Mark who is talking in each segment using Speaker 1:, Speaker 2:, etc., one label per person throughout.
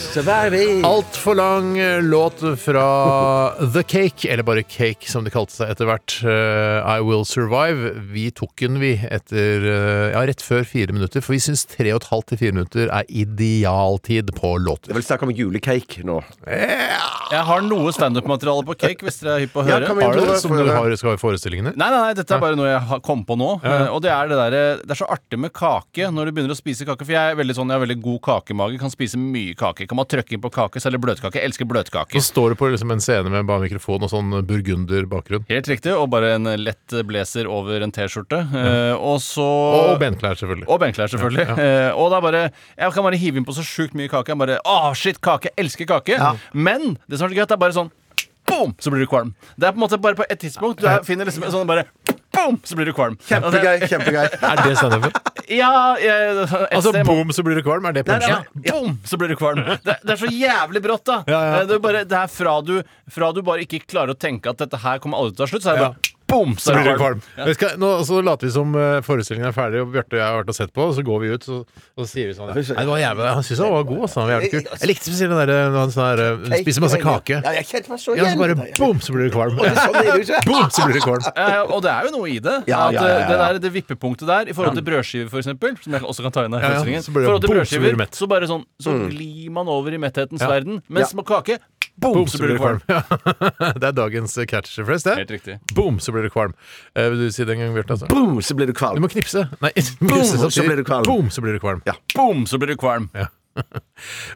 Speaker 1: Altfor lang eh, låt fra The Cake, eller bare Cake som de kalte seg etter hvert. eh, I Will Survive. Vi tok den, vi, etter eh, Ja, rett før fire minutter, for vi syns tre og et halvt til fire minutter er idealtid på låter.
Speaker 2: Det er vel snakk om julecake nå.
Speaker 3: Jeg har noe standup-materiale på cake, hvis dere er hypp på å
Speaker 2: Ja,
Speaker 3: høre.
Speaker 2: kom igjen,
Speaker 1: Har du
Speaker 2: Tore,
Speaker 1: det som
Speaker 2: få
Speaker 1: du
Speaker 2: høre.
Speaker 1: har skal ha i forestillingene?
Speaker 3: Nei, nei, nei, dette er bare noe jeg har- kom på nå. eh, Og det er det derre Det er så artig med kake når du begynner å spise kake. For jeg er veldig sånn, jeg har veldig god kakemage, kan spise mye kake. Kan man trykke inn på kake, særlig bløtkake. Jeg elsker
Speaker 1: Så
Speaker 3: bløtkake.
Speaker 1: står du på liksom en scene med bare mikrofon og sånn burgunderbakgrunn.
Speaker 3: Helt riktig. Og bare en lett blazer over en T-skjorte. Eh, Og så
Speaker 1: Og benklær, selvfølgelig.
Speaker 3: Og benklær, selvfølgelig. Eh, og det er bare, jeg kan bare hive inn på så sjukt mye kake. Jeg bare, Åh, shit, kake, jeg elsker kake. Men det som er så gøy, det er bare sånn boom, så blir du kvalm. Det er på en måte bare på et tidspunkt du er, finner liksom en sånn bare boom, så blir du kvalm.
Speaker 2: Kjempegøy. kjempegøy
Speaker 1: Er det standupen?
Speaker 3: Ja, jeg, et
Speaker 1: Altså
Speaker 3: sted må-
Speaker 1: boom, så blir du kvalm? Er det
Speaker 3: ja,
Speaker 1: punchen?
Speaker 3: boom, så blir du kvalm. Det, det er så jævlig brått, da. Eh,
Speaker 1: Ja, ja.
Speaker 3: Det, er bare, det er fra du, fra du bare ikke klarer å tenke at dette her kommer aldri til å ta slutt, så er det
Speaker 1: Ja.
Speaker 3: bare boom,
Speaker 1: Så
Speaker 3: så er
Speaker 1: blir
Speaker 3: du
Speaker 1: det kvalm.
Speaker 3: kvalm.
Speaker 1: Vi skal, nå, så later vi som eh, forestillingen er ferdig, og Bjarte og jeg har vært og sett på, og så går vi ut, så, og så sier vi sånn Nei, det var jævlig, Han syntes han var god, altså. Han var jævlig kul. Jeg likte spesielt den derre når han sånn der, eh, spiser masse kake.
Speaker 2: Ja, jeg kjente meg så
Speaker 1: Ja,
Speaker 2: igjen.
Speaker 1: så bare boom, så blir du kvalm.
Speaker 2: Sånn er det jo ikke.
Speaker 1: Boom, så blir du kvalm.
Speaker 3: Ja, ja, og det er jo noe i det.
Speaker 2: Ja,
Speaker 3: at,
Speaker 2: ja, ja, ja,
Speaker 3: eh, Det,
Speaker 2: ja.
Speaker 3: der, det vippepunktet der, i forhold til brødskiver, for eksempel, som jeg også kan ta inn her,
Speaker 1: Ja, ja,
Speaker 3: i forestillingen,
Speaker 1: så blir det
Speaker 3: forhold til
Speaker 1: boom, så blir
Speaker 3: brødskiver,
Speaker 1: du mett.
Speaker 3: så bare sånn Så glir man over i metthetens
Speaker 1: Ja.
Speaker 3: verden. Mens med kake, boom, så blir det kvalm.
Speaker 1: Ja. Det er dagens eh, catch phrase,
Speaker 3: Helt
Speaker 1: det.
Speaker 3: riktig.
Speaker 1: Boom, så blir du kvalm. Eh, vil du si det en gang, Bjarte? Altså?
Speaker 2: Boom, så blir du
Speaker 1: Du
Speaker 2: kvalm.
Speaker 1: må knipse. Nei, du må knipse
Speaker 2: Boom, så
Speaker 1: samtidig.
Speaker 2: blir du kvalm.
Speaker 1: Boom, så blir du kvalm.
Speaker 3: Boom, så blir du kvalm.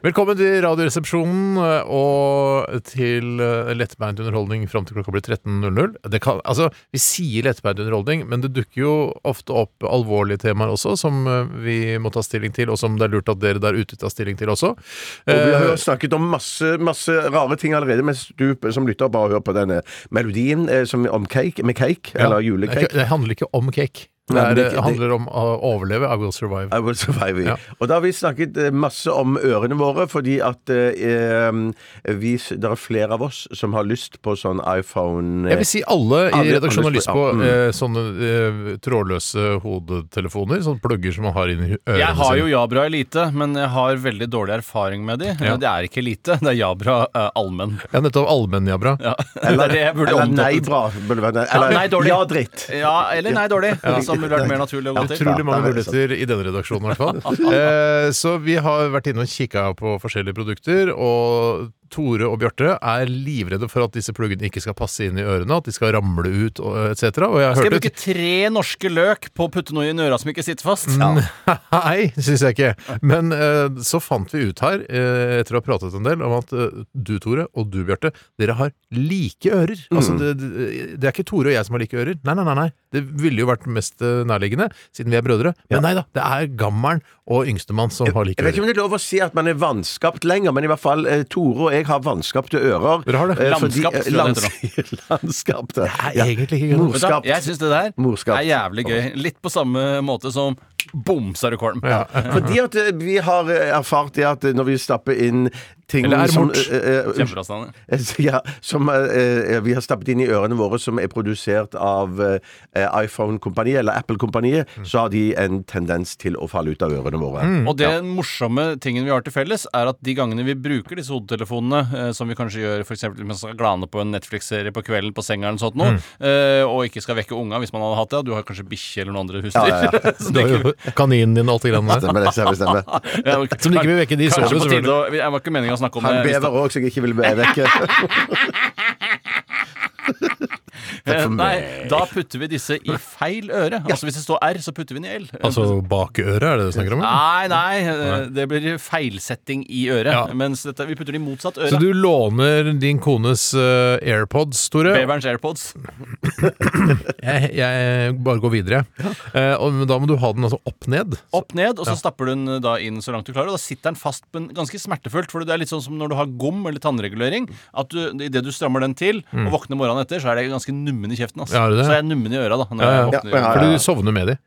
Speaker 1: Velkommen til Radioresepsjonen eh, og til eh, lettbeint underholdning fram til klokka blir 13.00. Det kan, altså, vi sier lettbeint underholdning, men det dukker jo ofte opp alvorlige temaer også, som eh, vi må ta stilling til, og som det er lurt at dere der ute tar stilling til også.
Speaker 2: Og vi har
Speaker 1: Eh,
Speaker 2: jo snakket om masse, masse rare ting allerede, mens du som lytter bare hører på denne melodien eh, som om cake, med cake, eller
Speaker 1: ja. Det er ikke-
Speaker 2: julecake.
Speaker 1: Det handler ikke om cake. Det,
Speaker 2: Nei,
Speaker 1: er,
Speaker 2: men det-
Speaker 1: det handler om å overleve. I will survive.
Speaker 2: I will survive.
Speaker 1: Ja.
Speaker 2: Og da har vi snakket eh, masse om ørene våre, fordi at eh, vi, det er flere av oss som har lyst på sånn iPhone
Speaker 1: Jeg vil si alle i
Speaker 2: Alle-
Speaker 1: redaksjonen har
Speaker 2: alle
Speaker 1: lyst på
Speaker 2: spør- ja, mm.
Speaker 1: eh, sånne eh, trådløse hodetelefoner. Sånne plugger som man har inni ørene
Speaker 3: Jeg har jo
Speaker 1: sine.
Speaker 3: Jabra Elite, men jeg har veldig dårlig erfaring med de.
Speaker 1: Ja.
Speaker 3: Det er ikke Elite, det er Jabra eh, allmenn.
Speaker 1: Ja, nettopp allmennjabra.
Speaker 3: Ja.
Speaker 2: Eller,
Speaker 3: det er det jeg burde
Speaker 2: eller
Speaker 3: omtalt.
Speaker 2: nei, bra. burde være- Eller
Speaker 3: nei, dårlig.
Speaker 2: ja, dritt.
Speaker 3: Ja, eller nei, dårlig. Som ville vært mer naturlig å gå til.
Speaker 1: Utrolig mange
Speaker 2: Ja, det er
Speaker 1: muligheter i denne redaksjonen, i hvert fall. Eh, så vi har vært inne og kikka på forskjellige produkter, og Tore og Bjarte er livredde for at disse pluggene ikke skal passe inn i ørene, at de skal ramle ut og etc. Og jeg har
Speaker 3: Skal
Speaker 1: hørt
Speaker 3: jeg
Speaker 1: et
Speaker 3: bruke tre norske løk på å putte noe i øra som ikke sitter fast?
Speaker 1: Nei, det syns jeg ikke. Men eh, så fant vi ut her, eh, etter å ha pratet en del, om at eh, du, Tore, og du, Bjarte, dere har like ører.
Speaker 2: Mm.
Speaker 1: Altså, det, det, det er ikke Tore og jeg som har like ører. Nei, nei, nei. nei. Det ville jo vært mest eh, nærliggende, siden vi er brødre. Men nei da, det er gammelen og yngstemann som har like
Speaker 2: Jeg vet ikke
Speaker 1: ører.
Speaker 2: om det er lov å si at man er vanskapt lenger, men i hvert fall eh, Tore og jeg har vanskapte ører.
Speaker 1: Dere har det.
Speaker 2: Eh, fordi- eh,
Speaker 3: Landskapt, tror jeg det
Speaker 2: lands- Landskapte.
Speaker 1: Det
Speaker 2: Ja.
Speaker 1: er egentlig ikke greit.
Speaker 3: Vet du hva?
Speaker 2: Morskapt.
Speaker 3: Jeg syns det der
Speaker 2: Morskapt.
Speaker 3: er jævlig gøy. Litt på samme måte som bom, sa du kvalm.
Speaker 2: Fordi at eh, vi har eh, erfart det at eh, når vi stapper inn ting
Speaker 1: Eller er
Speaker 2: som,
Speaker 1: mort.
Speaker 2: eh, eh,
Speaker 3: Kjempebra, Stanley.
Speaker 2: eh, ja, som eh, eh, vi har stappet inn i ørene våre, som er produsert av eh, eh, iPhone-kompaniet eller Apple-kompaniet, så har de en tendens til å falle ut av ørene våre.
Speaker 1: Mm.
Speaker 3: Og det morsomme tingen vi har til felles, er at de gangene vi bruker disse hodetelefonene, eh, som vi kanskje gjør f.eks. hvis man skal glane på en Netflix-serie på kvelden på senga eller sånt noe, eh, og ikke skal vekke unga hvis man hadde hatt det, og du har kanskje bikkje eller noen andre husdyr
Speaker 2: Ja, ja, ja.
Speaker 3: Så
Speaker 1: Du
Speaker 3: det er
Speaker 1: har
Speaker 3: ikke-
Speaker 1: jo kaninen din og alt det greiene der.
Speaker 2: Stemmer det, stemmer, stemmer.
Speaker 3: Ja, ok.
Speaker 1: Som de ikke vil vekke, de
Speaker 3: Kanskje
Speaker 1: sover
Speaker 3: på tide
Speaker 1: selvfølgelig.
Speaker 3: å Jeg var ikke meningen å snakke om
Speaker 2: Han
Speaker 3: det.
Speaker 2: bever òg, så jeg ikke vil vekke. Takk for
Speaker 3: Eh, Nei,
Speaker 2: meg.
Speaker 3: da putter vi disse i feil øre. Altså Hvis det står R, så putter vi den i L.
Speaker 1: Altså bak øret, er det det du snakker om? eller?
Speaker 3: Nei, nei, eh, det blir feilsetting i øret.
Speaker 1: Ja.
Speaker 3: Mens dette, vi putter det i motsatt øre.
Speaker 1: Så du låner din kones eh, AirPods, Tore?
Speaker 3: Beverens AirPods.
Speaker 1: Jeg, jeg bare går videre. Eh, og, men da må du ha den altså opp ned.
Speaker 3: Opp ned, og så stapper du den eh, da inn så langt du klarer. Og da sitter den fast, men ganske smertefullt. For det er litt sånn som når du har gom eller tannregulering. At du, Idet du strammer den til og våkner morgenen etter, så er det ganske nummen i kjeften. Altså.
Speaker 1: Mm. Ja, er det det?
Speaker 3: Så er jeg nummen i øra da. Når
Speaker 1: Ja, ja.
Speaker 3: Jeg våkner,
Speaker 2: Ja, ja,
Speaker 1: For du sovner med de.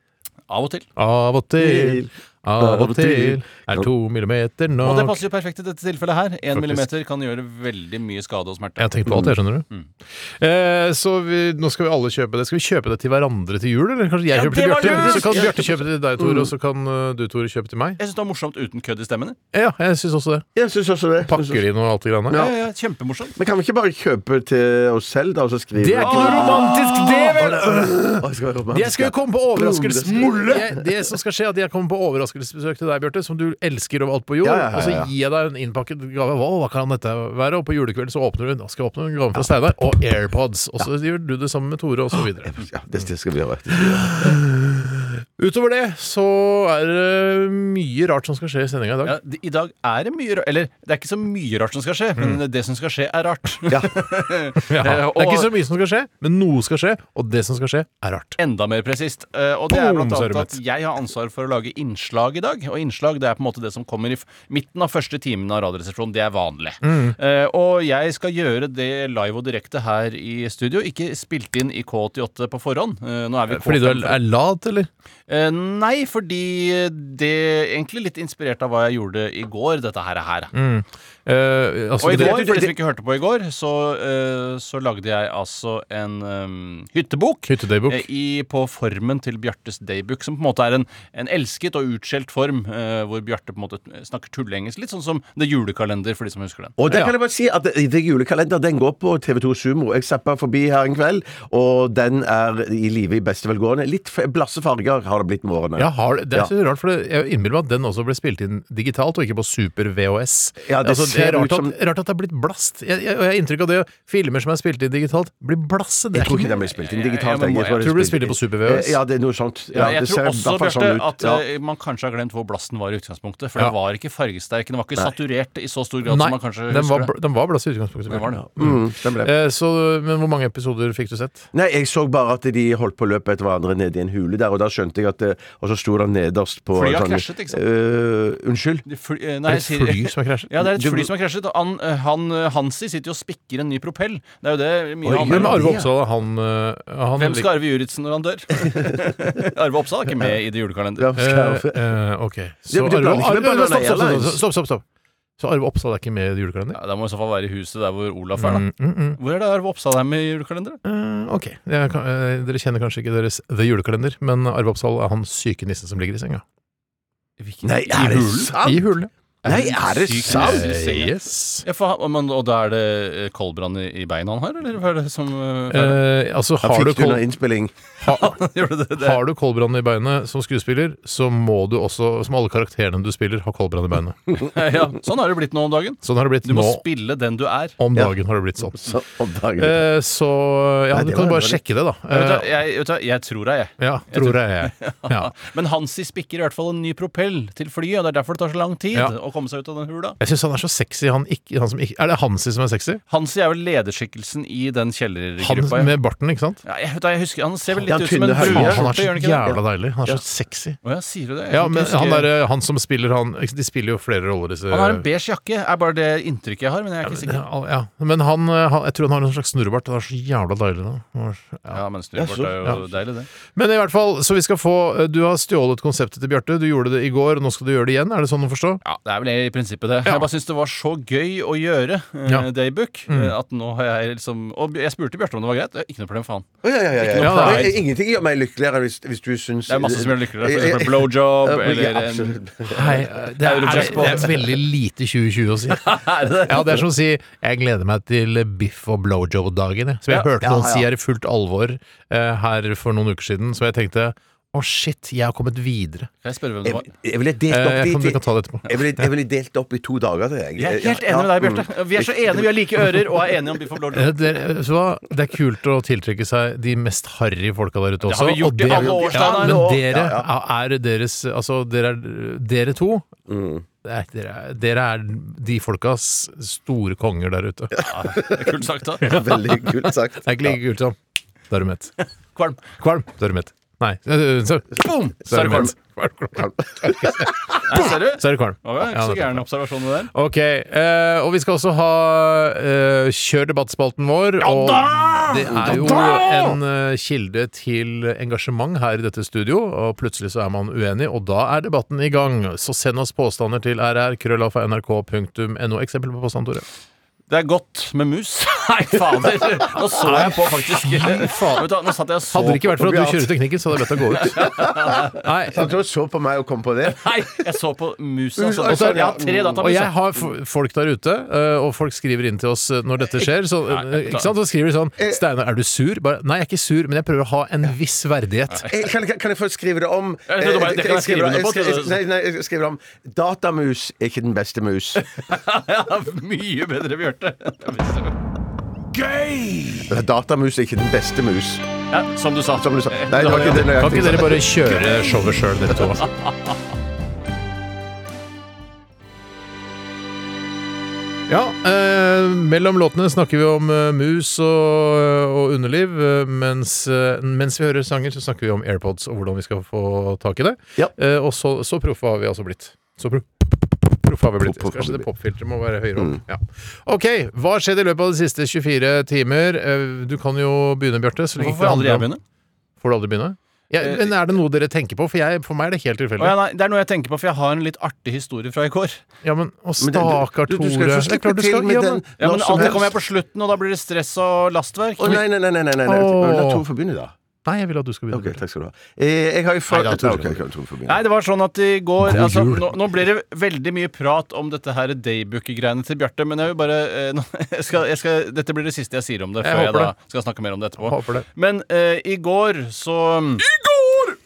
Speaker 3: Av og til.
Speaker 1: Av og til, av og til er to millimeter
Speaker 3: Og det
Speaker 1: nok.
Speaker 3: passer jo perfekt i dette tilfellet her. Én
Speaker 1: Faktisk.
Speaker 3: millimeter kan gjøre veldig mye skade og smerte.
Speaker 1: Jeg har tenkt på alt, jeg, skjønner du.
Speaker 3: Mm.
Speaker 1: Eh, så vi, nå skal vi alle kjøpe det. Skal vi kjøpe det til hverandre til jul, eller kanskje jeg
Speaker 3: Ja, Mm.
Speaker 1: kjøper til Bjarte?
Speaker 3: det var lurt!
Speaker 1: Så kan Bjarte kjøpe til deg, Tore, og så kan eh, du, Tore, kjøpe til meg.
Speaker 3: Jeg syns det var morsomt uten kødd i stemmene.
Speaker 1: Ja, jeg syns også det.
Speaker 2: Jeg syns også det.
Speaker 1: Pakker inn og alt det greiene.
Speaker 2: Ja.
Speaker 3: Ja. Ja, ja, kjempemorsomt.
Speaker 2: Men kan vi ikke bare kjøpe til oss selv, da, og så skrive
Speaker 1: Det er ikke noe romantisk, det, vel!
Speaker 2: Å, jeg skal være romantisk,
Speaker 1: Jeg skal jo komme på overraskelsesmulle! Det som skal skje, er at jeg kommer på overraskelsesbesøk til deg, Bjarte, som du elsker over alt på jord.
Speaker 2: Ja, ja, ja,
Speaker 1: Og så
Speaker 2: ja.
Speaker 1: gir jeg deg en innpakket gave. Hva, hva kan dette være? Og på julekvelden så åpner du Da skal jeg åpne en gave fra Steinar, og AirPods. Og så gjør du det sammen med Tore, og så videre.
Speaker 2: Ja, det det skal vi gjøre.
Speaker 1: Utover det så er det mye rart som skal skje i sendinga i dag.
Speaker 3: Ja, d- I dag er det mye rart Eller det er ikke så mye rart som skal skje, men det som skal skje, er rart.
Speaker 1: Ja. Mm. Det
Speaker 3: Eh,
Speaker 1: er ikke
Speaker 3: og-
Speaker 1: så mye som skal skje, men noe skal skje, og det som skal skje, er rart.
Speaker 3: enda mer presist. Eh, Og det er
Speaker 1: Boom,
Speaker 3: blant
Speaker 1: sa
Speaker 3: annet
Speaker 1: du,
Speaker 3: at
Speaker 1: Mats.
Speaker 3: jeg har ansvar for å lage innslag i dag. Og innslag det er på en måte det som kommer i f- midten av første timen av Radioresepsjonen. Det er vanlig.
Speaker 1: Mm.
Speaker 3: Eh, Og jeg skal gjøre det live og direkte her i studio. Ikke spilt inn i K88 på forhånd. Eh, Nå er vi i
Speaker 1: Fordi du er,
Speaker 3: K55.
Speaker 1: er lat, eller?
Speaker 3: Eh, Nei, fordi det egentlig litt inspirert av hva jeg gjorde i går, dette her. her.
Speaker 1: Eh, altså,
Speaker 3: Mm. Og i
Speaker 1: det-
Speaker 3: går, for de som ikke hørte på i går, så, eh, så lagde jeg altså en eh, hyttebok.
Speaker 1: Hyttedaybok.
Speaker 3: eh, i, på formen til Bjartes daybook, som på en måte er en, en elsket og utskjelt form, eh, hvor Bjarte på en måte snakker tulleengelsk. Litt sånn som The Julekalender, for de som husker den.
Speaker 2: Og der kan jeg bare si at det, det julekalender den går på TV2 Sumo. Jeg zappa forbi her en kveld, og den er i live i beste velgående. Litt f- blasse farger har det blitt med årene.
Speaker 1: Ja, har, det- det er
Speaker 2: Ja.
Speaker 1: så rart, for det- jeg innbiller meg at den også ble spilt inn digitalt, og ikke på super-VHS.
Speaker 2: Ja, det
Speaker 1: altså, det
Speaker 2: ser
Speaker 1: er rart
Speaker 2: ut som-
Speaker 1: at, rart at det er blitt blast. Jeg, jeg, og jeg har inntrykk av det. Filmer som er spilt inn digitalt, blir blasset. Det
Speaker 2: Jeg
Speaker 1: er
Speaker 2: tror ikke
Speaker 1: ikke
Speaker 2: den ble spilt inn
Speaker 3: Ja,
Speaker 2: digitalt.
Speaker 3: men
Speaker 2: tror
Speaker 3: må-
Speaker 1: jeg tror
Speaker 2: ble
Speaker 1: det ble
Speaker 2: spilt
Speaker 1: spilt inn
Speaker 2: inn-
Speaker 1: på
Speaker 2: Eh,
Speaker 1: CBVS.
Speaker 2: Ja, det er noe sånt. Ja,
Speaker 3: jeg
Speaker 2: det ser
Speaker 3: tror
Speaker 2: i
Speaker 3: også
Speaker 2: hvert fall
Speaker 3: Bjarte,
Speaker 2: sånn ut.
Speaker 3: at
Speaker 2: Ja.
Speaker 3: eh, man kanskje har glemt hvor blasten var i utgangspunktet. For
Speaker 1: Ja.
Speaker 3: den var ikke fargesterk. Den var ikke saturert i så stor grad som man kanskje
Speaker 1: Nei, den var,
Speaker 3: husker.
Speaker 1: bl- den var blast i utgangspunktet.
Speaker 3: Den var det.
Speaker 2: Mm, den ble.
Speaker 1: Eh, så, men hvor mange episoder fikk du sett?
Speaker 2: Nei, jeg så bare at de holdt på å løpe etter hverandre nede i en hule der, og da skjønte jeg at det, Og så sto det nederst på
Speaker 3: Flyet har
Speaker 2: sånn-
Speaker 3: krasjet, liksom. ikke sant?
Speaker 2: Øh, Unnskyld?
Speaker 3: Det fly, eh,
Speaker 1: Er
Speaker 3: nei,
Speaker 1: det
Speaker 3: jeg
Speaker 1: et
Speaker 3: sier-
Speaker 1: fly som har krasjet?
Speaker 3: Ja, det er et
Speaker 2: Du-
Speaker 3: fly som har krasjet. og Han, eh, han eh, Hansi sitter jo og spikker en ny propell. Det er jo det mye
Speaker 2: Oi,
Speaker 3: handler
Speaker 1: Hvem
Speaker 3: om.
Speaker 1: er Arve Oppsal? Han, eh, han
Speaker 3: Hvem skal arve Juritzen når han dør? Arve Oppsal er ikke med i det julekalender.
Speaker 2: Ja, skal jeg-
Speaker 1: Eh, eh, Ok. Så
Speaker 2: men du
Speaker 1: Arve
Speaker 2: blander ikke med
Speaker 1: Arve-
Speaker 2: Banana
Speaker 1: Stopp, stopp, stopp,
Speaker 2: Airlines.
Speaker 1: stopp, stopp, stopp. Så Arve Oppsal er ikke med i julekalender?
Speaker 3: Ja, da må i så fall være i huset der hvor Olaf er, da.
Speaker 1: Mm, mm, mm.
Speaker 3: Hvor er det Arve Oppsal er med i julekalenderet?
Speaker 1: Eh, ok. Jeg kan, eh, dere kjenner kanskje ikke deres The Julekalender, men Arve Oppsal er han syke nissen som ligger i senga.
Speaker 2: Nei, er det sant?
Speaker 1: I hulen.
Speaker 2: Nei, er det
Speaker 3: Syk
Speaker 2: sant?
Speaker 3: nisse i senga.
Speaker 1: Eh, yes.
Speaker 3: Ja, for, han- men, og da er det eh, koldbrann i, i beina han har, eller hva er det som eh, feiler?
Speaker 1: Eh, altså,
Speaker 2: Han
Speaker 1: har du,
Speaker 2: fikk det
Speaker 1: kol
Speaker 2: under innspilling.
Speaker 1: ha,
Speaker 3: Gjør det det? det?
Speaker 1: har du koldbrann i beinet som skuespiller, så må du også, som alle karakterene du spiller, ha koldbrann i beinet.
Speaker 3: Ja, sånn har det blitt nå om dagen.
Speaker 1: Sånn har det blitt
Speaker 3: Du må
Speaker 1: nå.
Speaker 3: spille den du er.
Speaker 1: Om dagen har det blitt sånn.
Speaker 2: Så, om dagen.
Speaker 1: Eh, så ja,
Speaker 2: Nei,
Speaker 1: du
Speaker 2: det
Speaker 1: kan
Speaker 2: var-
Speaker 1: bare
Speaker 2: det var-
Speaker 1: sjekke det, da.
Speaker 3: Vet du, hva,
Speaker 1: Eh,
Speaker 3: jeg, vet du, hva, jeg tror deg, jeg.
Speaker 1: ja, tror jeg. Ja.
Speaker 3: Men Hansi spikker i hvert fall en ny propell til flyet, og det er derfor det tar så lang tid
Speaker 1: Ja.
Speaker 3: å komme seg ut av den hula.
Speaker 1: Jeg syns han er så sexy, han, ikke, han som ikke Er det Hansi som er sexy?
Speaker 3: Hansi er vel lederskikkelsen i den
Speaker 1: Han
Speaker 3: kjellergruppa. ja.
Speaker 1: med barten, ikke sant?
Speaker 3: Ja, jeg, vet da, jeg husker, Han ser vel
Speaker 2: Ja,
Speaker 3: litt ut som en
Speaker 2: tynne høye.
Speaker 1: Faen, han er
Speaker 3: brunskjorte,
Speaker 1: så
Speaker 3: gjør han ikke det?
Speaker 1: jævla deilig. Han er så sexy.
Speaker 3: Å ja, sier du det? Jeg
Speaker 1: Ja,
Speaker 3: kan ikke
Speaker 1: men
Speaker 3: huske-
Speaker 1: han, der, eh, han som spiller han De spiller jo flere roller, disse
Speaker 3: han har en beige jakke, er bare det inntrykket jeg har. Men jeg er ikke sikker.
Speaker 1: Ja, ja. Men han, eh, han, jeg tror han har en slags snurrebart. Det er så jævla deilig. Da. Han er så- Ja.
Speaker 3: Ja, men snurrebart er jo deilig, det.
Speaker 1: Men i hvert fall, så vi skal få eh, Du har stjålet konseptet til Bjarte. Du gjorde det i går, og nå skal du gjøre det igjen. Er det sånn å forstå?
Speaker 3: Ja, Det er vel i prinsippet det. Jeg bare syns det var så gøy å gjøre eh,
Speaker 1: Ja. Mm.
Speaker 3: Daybook. eh, At nå har jeg liksom Og jeg spurte Bjarte om det var greit. Ikke noe problem, faen.
Speaker 2: Å, ja, ja, ja, ja.
Speaker 3: Ikke noe
Speaker 2: Men
Speaker 3: pride.
Speaker 2: Ingenting gjør meg lykkeligere hvis, hvis du syns Eh,
Speaker 3: Det er masse som gjør det lykkeligere. For
Speaker 2: Ja,
Speaker 3: eksempel blowjob
Speaker 2: ja,
Speaker 3: eller en
Speaker 2: absolutt.
Speaker 1: Nei, det er, det er veldig lite 2020 å si. Ja, det er som å si 'jeg gleder meg til biff og blowjob-dagen', jeg. som jeg hørte noen si er i fullt alvor eh, her for noen uker siden, så jeg tenkte Å, shit, jeg har kommet videre.
Speaker 3: Kan jeg spørre hvem det
Speaker 2: Jeg,
Speaker 3: var?
Speaker 2: jeg ville delt opp
Speaker 1: Eh, jeg,
Speaker 2: de-
Speaker 1: kan,
Speaker 2: de-
Speaker 1: jeg kan ta det etterpå.
Speaker 2: jeg ville, jeg ville delt opp i to dager. Det, jeg. Mm.
Speaker 3: Jeg er helt enig med deg, Bjarte. Vi er så enige, vi har like ører og er enige om Biff og Blå Lull.
Speaker 1: Eh, dere- så hva? Det er kult å tiltrekke seg de mest harry folka der ute også.
Speaker 3: Det har vi gjort
Speaker 1: og
Speaker 3: i
Speaker 1: dere-
Speaker 3: alle år,
Speaker 1: ja,
Speaker 3: Steinar.
Speaker 1: Men
Speaker 3: Ja,
Speaker 1: dere
Speaker 2: ja,
Speaker 1: er deres Altså, dere, er, dere to det er, dere, er, dere er de folkas store konger der ute. Det
Speaker 3: Kult sagt, da.
Speaker 2: Veldig kult sagt.
Speaker 1: er ikke like kult som Da er du mett.
Speaker 3: Kvalm.
Speaker 1: Kvalm. Da er du mett. Nei, eh, så,
Speaker 3: Boom!
Speaker 1: så er du
Speaker 3: kvalm.
Speaker 1: mett. Kvalm, kvalm, kvalm.
Speaker 3: Nei, Ser du?
Speaker 1: Så er du kvalm.
Speaker 3: Det var
Speaker 1: Ja,
Speaker 3: jo ikke så
Speaker 1: nettopp.
Speaker 3: gæren observasjon det der.
Speaker 1: Ok, eh, og vi skal også ha eh, Kjør debattspalten vår. Og det er jo en eh, kilde til engasjement her i dette studio, og plutselig så er man uenig, og da er debatten i gang. Så send oss påstander til rr.krøllalfa.nrk.no. Eksempel på påstand, Tore.
Speaker 3: Det er godt med mus. Nei, fader! Nå så jeg på, faktisk. Vet du, hva, nå satt jeg og så
Speaker 1: Hadde det ikke vært for at
Speaker 2: Bjart.
Speaker 1: du kjører teknikken, så hadde jeg bedt deg gå ut. Nei,
Speaker 2: Han så på meg og kom på det.
Speaker 3: Nei, jeg så på musa.
Speaker 2: Mus,
Speaker 3: Altså.
Speaker 2: altså,
Speaker 3: Jeg har tre
Speaker 1: Og jeg
Speaker 3: datamuser.
Speaker 1: har f- folk der ute, eh, og folk skriver inn til oss eh, når dette skjer. Så, eh, ikke sant? så skriver de sånn 'Steinar, er du sur?' Bare, Nei, jeg er ikke sur, men jeg prøver å ha en viss verdighet.
Speaker 2: Eh, Kan, kan, kan jeg få skrive det om?
Speaker 3: Ja, det kan du bare-
Speaker 2: Eh,
Speaker 3: det kan jeg skrive
Speaker 2: skriver-
Speaker 3: under på,
Speaker 2: jeg skriver-
Speaker 3: så-
Speaker 2: Nei, nei, jeg skriver om Datamus er ikke den beste mus.
Speaker 3: Ja, mye bedre Bjarte.
Speaker 2: Datamus er ikke den beste mus.
Speaker 3: Ja, som du sa.
Speaker 2: Som du sa. Nei, det var ikke det
Speaker 1: Kan
Speaker 2: nøyaktig.
Speaker 1: ikke dere bare kjøre showet sjøl, dere to? Ja, eh, mellom låtene snakker vi om eh, mus og, og underliv. eh, Mens, eh, mens vi hører sanger, så snakker vi om AirPods og hvordan vi skal få tak i det.
Speaker 2: Ja.
Speaker 1: Eh, og så, så proffe har vi altså blitt. Så pro proffe har vi blitt.
Speaker 2: Proff har vi
Speaker 1: Kanskje det
Speaker 2: blitt. Mm.
Speaker 1: popfilteret må være høyere opp. Ja. Ok, hva har skjedd i løpet av de siste 24 timer? Eh, Du kan jo begynne, Bjarte. så lenge
Speaker 3: Hvorfor
Speaker 1: ikke
Speaker 3: får aldri
Speaker 1: det handler
Speaker 3: jeg
Speaker 1: om-
Speaker 3: begynne?
Speaker 1: Får du aldri begynne? Ja,
Speaker 3: Eh,
Speaker 1: men Er det noe dere tenker på? For, jeg, for meg er det helt
Speaker 3: Å,
Speaker 1: tilfeldig.
Speaker 3: ja, nei, det er noe jeg tenker på, for jeg har en litt artig historie fra i går.
Speaker 1: Ja, men Å,
Speaker 2: Men du-
Speaker 1: stakkar
Speaker 2: du-
Speaker 1: Tore.
Speaker 2: Du skal jo
Speaker 1: Det
Speaker 2: få
Speaker 1: er
Speaker 2: slippe
Speaker 1: klart du
Speaker 2: til
Speaker 1: skal-
Speaker 2: med
Speaker 1: ja,
Speaker 2: den
Speaker 1: men-
Speaker 3: Ja,
Speaker 2: når
Speaker 3: men
Speaker 2: som
Speaker 3: alltid
Speaker 2: helst.
Speaker 3: kommer jeg på slutten, og da blir det stress og lastverk.
Speaker 2: Å, nei, nei, nei, nei, nei, nei.
Speaker 1: Åh.
Speaker 2: La Tor få begynne, da.
Speaker 1: Nei, jeg vil at du skal begynne.
Speaker 2: Ok, takk skal du ha. Eh, Jeg har jo fått
Speaker 1: Nei, da, Tor.
Speaker 2: Ok, ok, Tor får begynne.
Speaker 3: Nei, det var sånn at i går
Speaker 1: God
Speaker 3: altså,
Speaker 1: jul.
Speaker 3: nå, nå blir det veldig mye prat om dette her daybooker-greiene til Bjarte, men jeg vil bare eh, nå, jeg skal, jeg skal, Dette blir det siste jeg sier om det,
Speaker 1: Jeg
Speaker 3: før jeg,
Speaker 1: håper
Speaker 3: da skal snakke mer om det etterpå.
Speaker 1: Håper det.
Speaker 3: Men eh, i går så mm,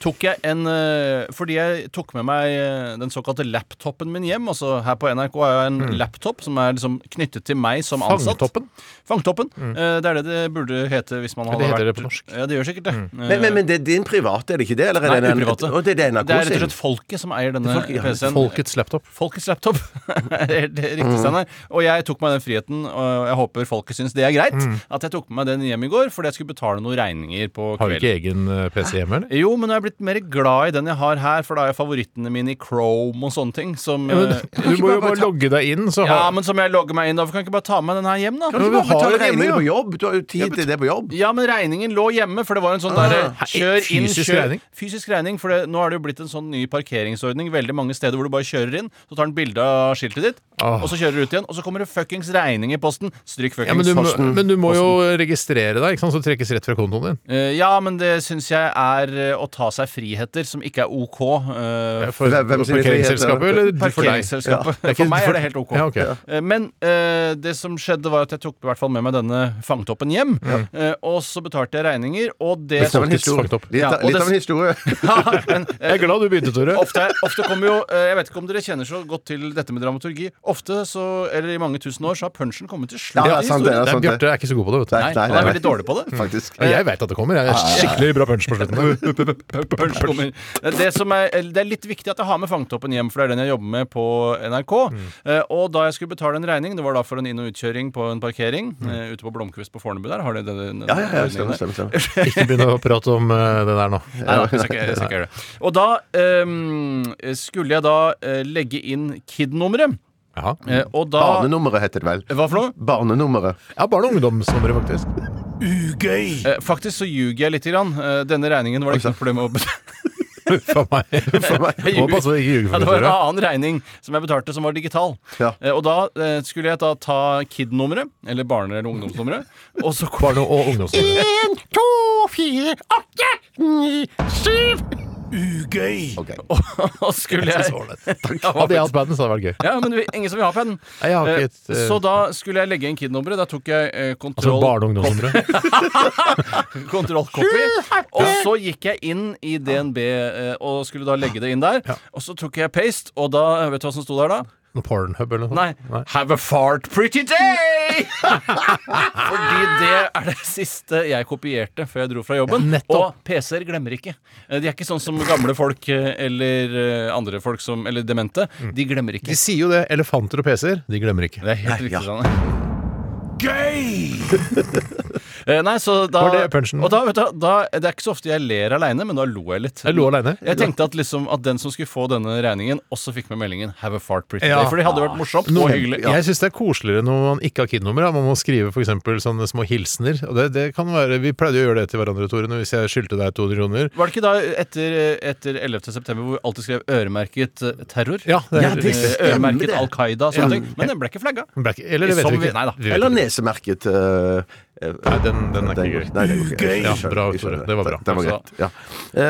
Speaker 3: tok jeg en eh, Fordi jeg tok med meg eh, den såkalte laptopen min hjem. Altså her på NRK har jeg en
Speaker 1: Mm.
Speaker 3: laptop som er liksom knyttet til meg som ansatt.
Speaker 1: Fangtoppen?
Speaker 3: Fangtoppen. Eh, det er det det burde hete hvis man
Speaker 1: Mm. Det
Speaker 3: hadde
Speaker 1: heter
Speaker 3: vært
Speaker 1: det på norsk. Mm.
Speaker 3: Ja, det gjør sikkert det. Eh,
Speaker 2: Men, men, men det er din private, er det ikke det? Eller er
Speaker 3: Nei,
Speaker 2: det en-
Speaker 3: uprivate.
Speaker 2: Å, det er det NRK
Speaker 3: Det er rett og
Speaker 2: sin.
Speaker 3: slett folket som eier denne
Speaker 2: Det er folket, ja.
Speaker 3: PC-en.
Speaker 1: Folkets laptop.
Speaker 3: Folkets laptop. Helt
Speaker 2: Mm.
Speaker 3: Riktig, Steinar. Og jeg tok meg den friheten, og jeg håper folket syns det er greit,
Speaker 1: Mm.
Speaker 3: at jeg tok med meg den hjem i går fordi jeg skulle betale noen regninger på
Speaker 1: Har du
Speaker 3: kvelden.
Speaker 1: ikke egen eh, PC hjemme, eller?
Speaker 3: Jo, men jeg er blitt mer glad i den jeg har her, for da har jeg favorittene mine i Chrome og sånne ting. Som,
Speaker 1: Ja,
Speaker 3: eh,
Speaker 1: men, du må jo bare logge deg inn, så
Speaker 3: ja,
Speaker 1: har
Speaker 3: men som jeg logger meg inn da, for kan jeg ikke bare ta med den her hjem, da?
Speaker 1: men
Speaker 2: Du
Speaker 1: vi
Speaker 2: må
Speaker 1: har
Speaker 2: betale
Speaker 1: det hjemme,
Speaker 2: regninger
Speaker 1: ja.
Speaker 2: på jobb. Du har jo tid til det på jobb.
Speaker 3: Ja, men regningen lå hjemme, for det var en sånn derre kjør inn,
Speaker 1: Ah. fysisk
Speaker 3: kjør
Speaker 1: regning?
Speaker 3: Fysisk regning, for det, nå er det jo blitt en sånn ny parkeringsordning veldig mange steder hvor du bare kjører inn, så tar den bilde av skiltet ditt,
Speaker 1: Ah.
Speaker 3: og så kjører du ut igjen, og så kommer det fuckings regning i posten. Stryk
Speaker 1: ja, men,
Speaker 3: fuckings
Speaker 1: du må,
Speaker 3: posten.
Speaker 1: men du må jo registrere deg, ikke sant? så trekkes rett fra kontoen din.
Speaker 3: Eh, ja, men det syns jeg er eh, å ta seg friheter som ikke er OK. eh,
Speaker 1: For
Speaker 2: Hvem- hvem sine
Speaker 1: parkeringsselskapet,
Speaker 2: friheter?
Speaker 1: eller for deg?
Speaker 3: Parkeringsselskapet.
Speaker 1: Det er ikke-
Speaker 3: For meg er det helt OK.
Speaker 1: Ja, ok.
Speaker 3: Eh, Men eh, det som skjedde, var at jeg tok i hvert fall med meg denne fangtoppen hjem. eh, og så betalte jeg regninger, og det
Speaker 1: Litt av en
Speaker 3: Faktisk
Speaker 1: historie.
Speaker 3: fangtopp.
Speaker 2: Litt,
Speaker 3: Ja,
Speaker 2: av- litt
Speaker 3: og det-
Speaker 2: av en historie.
Speaker 3: Ja, men, eh,
Speaker 1: Jeg er glad du begynte, Tore.
Speaker 3: Ofte, ofte kommer jo eh, Jeg vet ikke om dere kjenner så godt til dette med dramaturgi. Ofte så, eller i mange tusen år, så har punchen kommet til slutt.
Speaker 2: Ja,
Speaker 3: i
Speaker 2: sant det, ja.
Speaker 3: historien.
Speaker 1: Det er-
Speaker 2: sant det.
Speaker 1: Bjarte er ikke så god på det, vet du.
Speaker 2: Nei,
Speaker 3: Nei,
Speaker 2: nei,
Speaker 3: han er
Speaker 2: nei,
Speaker 3: veldig dårlig på det.
Speaker 2: faktisk.
Speaker 1: Ja, Jeg veit at det kommer. Jeg er skikkelig bra punch på slutten. der.
Speaker 3: Punch kommer. Det, som er, eller det er litt viktig at jeg har med fangtoppen hjem, for det er den jeg jobber med på NRK.
Speaker 2: Mm.
Speaker 3: Eh, og da jeg skulle betale en regning, det var da for en inn- og utkjøring på en parkering eh, ute på Blomkvist på Fornebu der, har de den? den-
Speaker 2: Mm. Ja, ja, ja,
Speaker 3: den-
Speaker 2: stemmer, stemmer, stemmer.
Speaker 1: Ikke begynn å prate om eh, det der nå.
Speaker 3: Nei, nei, jeg skal ikke- jeg skal ikke gjøre det. Og da ehm, skulle jeg da eh, legge inn KID-nummeret,
Speaker 1: Ja.
Speaker 2: Mm.
Speaker 3: eh, og da
Speaker 2: Barnenummeret heter det vel.
Speaker 3: Hva for noe?
Speaker 2: Barnenummeret.
Speaker 1: Ja, barne- og ungdomsnummeret, faktisk.
Speaker 4: Ugøy!
Speaker 3: Eh, faktisk så ljuger jeg litt. Grann. Eh, denne regningen var det ikke noe problem å betale.
Speaker 1: For meg. For meg.
Speaker 3: Jeg
Speaker 1: Må
Speaker 3: ljuger.
Speaker 1: passe på å ikke ljuge
Speaker 3: Ja,
Speaker 1: for
Speaker 3: det
Speaker 1: meg,
Speaker 3: var en
Speaker 1: Tore.
Speaker 3: annen regning som jeg betalte, som var digital.
Speaker 2: Ja.
Speaker 3: Eh, og da eh, skulle jeg da ta KID-nummeret, eller barne- eller ungdomsnummeret, og så kom
Speaker 1: Barne- og ungdomsnummeret.
Speaker 2: En, to, fire, åtte, ni, syv
Speaker 4: ugøy.
Speaker 2: Ok.
Speaker 3: Og skulle
Speaker 1: Jeg synes det
Speaker 3: jeg
Speaker 1: var ålreit. Hadde jeg hatt banden, så hadde det vært gøy.
Speaker 3: ja, men vi, ingen som vil ha på den.
Speaker 1: Nei, jeg har ikke
Speaker 3: Eh,
Speaker 1: et, eh,
Speaker 3: Så da skulle jeg legge inn KID-nummeret. Da tok jeg eh,
Speaker 1: Altså
Speaker 3: kontroll
Speaker 1: barne- og ungdomsnummeret.
Speaker 3: kontrollkopi. Og så gikk jeg inn i DNB eh, og skulle da legge det inn der. Og så tok jeg paste, og da Vet du hva som sto der da?
Speaker 1: Noe Pornhub eller noe
Speaker 3: Nei. Have a fart pretty day! Fordi det er det siste jeg kopierte før jeg dro fra jobben.
Speaker 1: Ja, nettopp.
Speaker 3: og PC-er glemmer ikke. Eh, De er ikke sånn som gamle folk eh, eller eh, andre folk som Eller demente.
Speaker 1: Mm.
Speaker 3: De glemmer ikke.
Speaker 1: De sier jo det. Elefanter og PC-er, de glemmer ikke.
Speaker 3: Det er helt riktig, Sanne. Gøy! Eh, Nei, så da,
Speaker 1: Var det punchen?
Speaker 3: Og da, vet du, da, det er ikke så ofte jeg ler aleine, men da lo jeg litt.
Speaker 1: Jeg lo alene.
Speaker 3: Jeg tenkte at, liksom, at den som skulle få denne regningen, også fikk med meldingen 'Have a fart pretty
Speaker 1: Ja.
Speaker 3: day'. For det hadde vært morsomt og
Speaker 1: Noen-
Speaker 3: hyggelig.
Speaker 1: Jeg syns det er koseligere når man ikke har KID-nummer. da. Man må skrive for eksempel sånne små hilsener. Og det, det kan være, vi pleide jo å gjøre det til hverandre, Tore, når hvis jeg skyldte deg 200 kroner.
Speaker 3: Var det ikke da etter, etter 11. september hvor vi alltid skrev 'øremerket eh, terror'?
Speaker 1: Ja, det er helt
Speaker 3: Eh,
Speaker 1: riktig.
Speaker 2: Stemmer det.
Speaker 3: Øremerket Al Qaida og sånne ting. Men den ble ikke flagga.
Speaker 1: Men det er ikke- Eller det vet
Speaker 3: Som
Speaker 1: vi
Speaker 3: vi-
Speaker 1: ikke.
Speaker 3: nei da.
Speaker 1: Vi vet
Speaker 2: Eller
Speaker 1: ikke.
Speaker 2: nesemerket. eh, eh,
Speaker 1: Nei, den, den er ikke gøy.
Speaker 2: Nei, det går ikke. Jeg
Speaker 1: Ja,
Speaker 2: skjønner,
Speaker 1: bra,
Speaker 2: jeg
Speaker 1: Tore.
Speaker 2: skjønner.
Speaker 1: Det var bra.
Speaker 2: Den var
Speaker 3: Altså-
Speaker 2: greit. Ja. Ehm,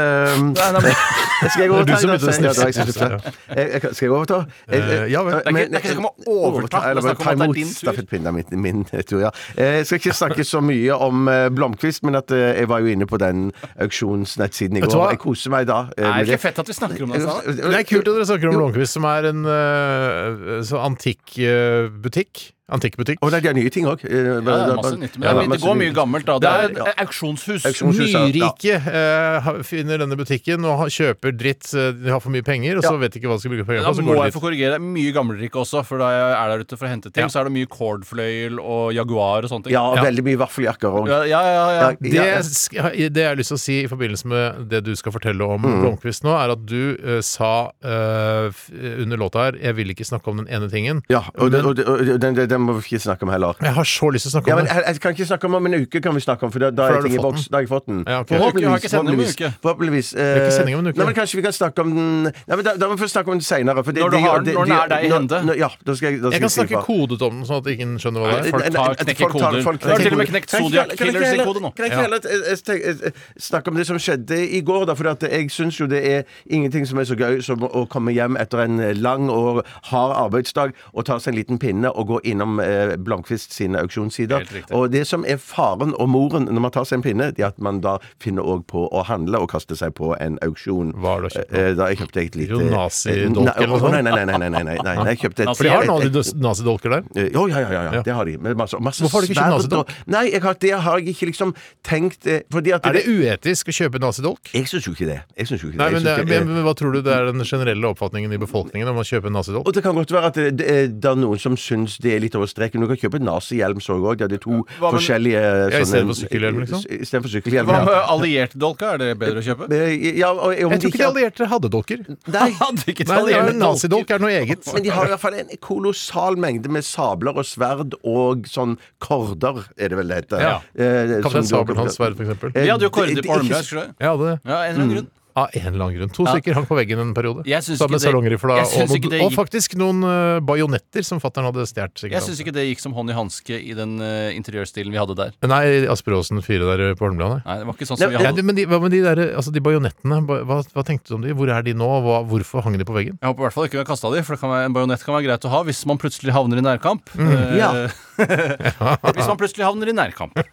Speaker 3: Nei, nei, men-
Speaker 2: skal jeg
Speaker 1: Det er du
Speaker 2: overta?
Speaker 1: som
Speaker 2: eller?
Speaker 1: begynte å
Speaker 2: Ja, det var jeg som
Speaker 1: snifse.
Speaker 2: snifset. Jeg- jeg- eh, Skal jeg overta? Jeg- jeg-
Speaker 1: Eh, ja vel. Det er
Speaker 3: ikke-
Speaker 2: men-
Speaker 3: det er ikke snakk om å overta, det er
Speaker 2: Eller bare
Speaker 3: snakk om
Speaker 2: ta
Speaker 3: at det er
Speaker 2: imot
Speaker 3: din tur.
Speaker 2: stafettpinnen. Det er min, min tur, ja. Eh, Jeg skal ikke snakke så mye om eh, Blomkvist, men at eh, jeg var jo inne på den auksjonsnettsiden i
Speaker 1: Vet du hva?
Speaker 2: går. Jeg koser meg da. eh,
Speaker 3: Er
Speaker 2: med
Speaker 3: det ikke fett at vi snakker om det? Sanne?
Speaker 1: Det er kult at dere snakker om Blomkvist, som er en eh, så antikk eh, butikk. Antikkbutikk.
Speaker 2: Og det er nye ting Eh, òg.
Speaker 3: Ja, det er masse nytt. Men det, det går mye gammelt, da. Det er et auksjonshus.
Speaker 2: Auksjonshus. Hun synes at-
Speaker 1: Nyrike eh, ha- finner denne butikken og ha- kjøper dritt. eh, De har for mye penger, og så vet de ikke hva de skal bruke pengene
Speaker 3: Da
Speaker 1: på. Så går
Speaker 3: må
Speaker 1: de
Speaker 3: jeg få
Speaker 1: dit.
Speaker 3: korrigere. Det er Mye gammelrikke også, for da jeg er der ute for å hente ting,
Speaker 1: Ja.
Speaker 3: så er det mye cordfløyel og Jaguar og sånne ting.
Speaker 2: Ja, og veldig mye vaffeljakker òg.
Speaker 3: ja, ja, ja, ja.
Speaker 1: Det, sk- det jeg har lyst til å si i forbindelse med det du skal fortelle om
Speaker 2: Mm.
Speaker 1: Blomkvist nå, er at du eh, sa eh, f- under låta her 'Jeg vil ikke snakke om den ene tingen'.
Speaker 2: Ja, og, det- og, det- og det- den, den, den må vi ikke snakke om heller.
Speaker 1: Jeg har så lyst til å snakke
Speaker 2: Ja,
Speaker 1: om
Speaker 2: men
Speaker 1: det.
Speaker 2: jeg, jeg kan ikke snakke om om en uke, kan vi snakke om, for da, da,
Speaker 1: har
Speaker 2: er
Speaker 1: du
Speaker 2: ting i
Speaker 1: fått
Speaker 2: boks.
Speaker 1: den.
Speaker 2: Da har jeg fått den.
Speaker 1: Ja, ok.
Speaker 3: Vi har ikke sending om en
Speaker 2: forhåpentligvis.
Speaker 3: uke.
Speaker 2: forhåpentligvis eh,
Speaker 1: er ikke sending om en uke.
Speaker 2: Nei, men kanskje vi kan snakke om den Nei, men da, da må vi først snakke om den seinere.
Speaker 3: Når du har den- når den er deg i hende.
Speaker 2: Ja, da skal jeg, da skal
Speaker 1: Jeg kan
Speaker 2: si
Speaker 1: snakke
Speaker 2: fra.
Speaker 1: kodet om den, sånn at ingen skjønner hva det er.
Speaker 3: Folk
Speaker 2: Nei, nei,
Speaker 3: tar-
Speaker 2: at
Speaker 3: knekker
Speaker 2: folk tar-
Speaker 3: koder.
Speaker 2: folk
Speaker 3: Det har
Speaker 2: knekker
Speaker 3: til og med
Speaker 2: koder.
Speaker 3: knekt
Speaker 2: Kan jeg ikke-
Speaker 3: Zodiac
Speaker 2: kan jeg ikke
Speaker 3: Killers i
Speaker 2: heller-
Speaker 3: kode nå?
Speaker 2: Kan jeg ikke
Speaker 1: Ja.
Speaker 2: heller eh, eh, tenk- eh, eh, snakke om det som skjedde i går, da? For at jeg syns jo det er ingenting som er så gøy som å komme hjem etter en lang og hard arbeidsdag og ta seg en liten pinne og gå innom eh, Blomkvist sine auksjonssider.
Speaker 3: Helt riktig.
Speaker 2: Og det som er faren og moren når man tar seg en pinne, det er at man da finner òg på å handle og kaste seg på en auksjon.
Speaker 1: Hva har du kjøpt nå?
Speaker 2: Eh, Da jeg kjøpte et lite
Speaker 1: Nazi-dolk
Speaker 2: Nei,
Speaker 1: eller noe
Speaker 2: å,
Speaker 3: sånn.
Speaker 1: sånt?
Speaker 2: Nei, nei, nei. nei, nei, nei, nei, nei, nei jeg kjøpte et,
Speaker 1: For de har nazi- nazidolker der.
Speaker 2: Eh, Jo, ja, ja, ja, ja,
Speaker 1: Ja.
Speaker 2: det har de. Med masse, masse
Speaker 1: Hvorfor har du ikke kjøpt
Speaker 2: sverd
Speaker 1: nazidolk?
Speaker 2: og- Nei, jeg har, det har jeg ikke liksom tenkt eh, Fordi at
Speaker 1: Er det uetisk å kjøpe nazidolk?
Speaker 2: Jeg syns jo ikke det. Jeg syns jo ikke det.
Speaker 1: Nei,
Speaker 2: Jeg
Speaker 1: men,
Speaker 2: synes
Speaker 1: det,
Speaker 2: ikke-
Speaker 1: men, men Hva tror du det er den generelle oppfatningen i befolkningen om å kjøpe en nazidolk?
Speaker 2: og det kan godt være at det, det, er- det er noen som syns det er litt over streken. Du kan kjøpe en nazihjelm så òg. Det er to
Speaker 3: med-
Speaker 2: forskjellige
Speaker 1: Ja, i
Speaker 2: sånne-
Speaker 1: stedet for sykkelhjelm, liksom?
Speaker 2: I stedet for sykkelhjelm,
Speaker 3: Hva med
Speaker 2: ja.
Speaker 3: alliertdolka? Er det bedre å kjøpe?
Speaker 2: Eh, ja, og, om
Speaker 1: Jeg tror
Speaker 2: de
Speaker 1: ikke de allierte hadde dolker.
Speaker 2: Nei,
Speaker 3: Hadde
Speaker 1: Nei,
Speaker 3: ikke
Speaker 1: det er
Speaker 3: italienerne
Speaker 1: Nazidolk
Speaker 3: dolker?
Speaker 1: er noe eget.
Speaker 2: Men de har i hvert fall en kolossal mengde med sabler og sverd og sånn korder, er det vel det heter.
Speaker 1: Ja.
Speaker 2: Eh, som
Speaker 1: Kaptein
Speaker 2: du-
Speaker 1: Sabeltanns sverd, for eksempel.
Speaker 2: Eh,
Speaker 3: Vi hadde jo
Speaker 2: det-
Speaker 3: korder
Speaker 2: det-
Speaker 3: på
Speaker 2: ikke- Mm.
Speaker 3: armene. husker du det?
Speaker 1: Jeg hadde det.
Speaker 3: Ja, en eller annen grunn.
Speaker 1: Av en eller annen grunn. To stykker hang på veggen en periode.
Speaker 3: Jeg syns
Speaker 1: Sammen med
Speaker 3: ikke det-
Speaker 1: salongrifla
Speaker 3: jeg
Speaker 1: og,
Speaker 3: syns ikke
Speaker 1: noen,
Speaker 3: det
Speaker 1: og
Speaker 3: gikk-
Speaker 1: faktisk noen eh, bajonetter som fatter'n hadde stjålet.
Speaker 3: Jeg syns ikke det gikk som hånd i hanske i den eh, interiørstilen vi hadde der.
Speaker 1: Nei, Asperåsen 4 der eh, på Holmlia, nei.
Speaker 3: Nei, det var ikke sånn som vi
Speaker 1: Ja,
Speaker 3: hadde.
Speaker 1: du, men de, hva med de der, altså de bajonettene? Ba- Hva, hva tenkte du om de? Hvor er de nå? Hva, hvorfor hang de på veggen?
Speaker 3: Jeg håper i hvert fall ikke vi har kasta de, for det kan være, en bajonett kan være greit å ha hvis man plutselig havner i nærkamp. Eh,
Speaker 2: Mm. Ja.
Speaker 3: hvis man plutselig havner i nærkamp.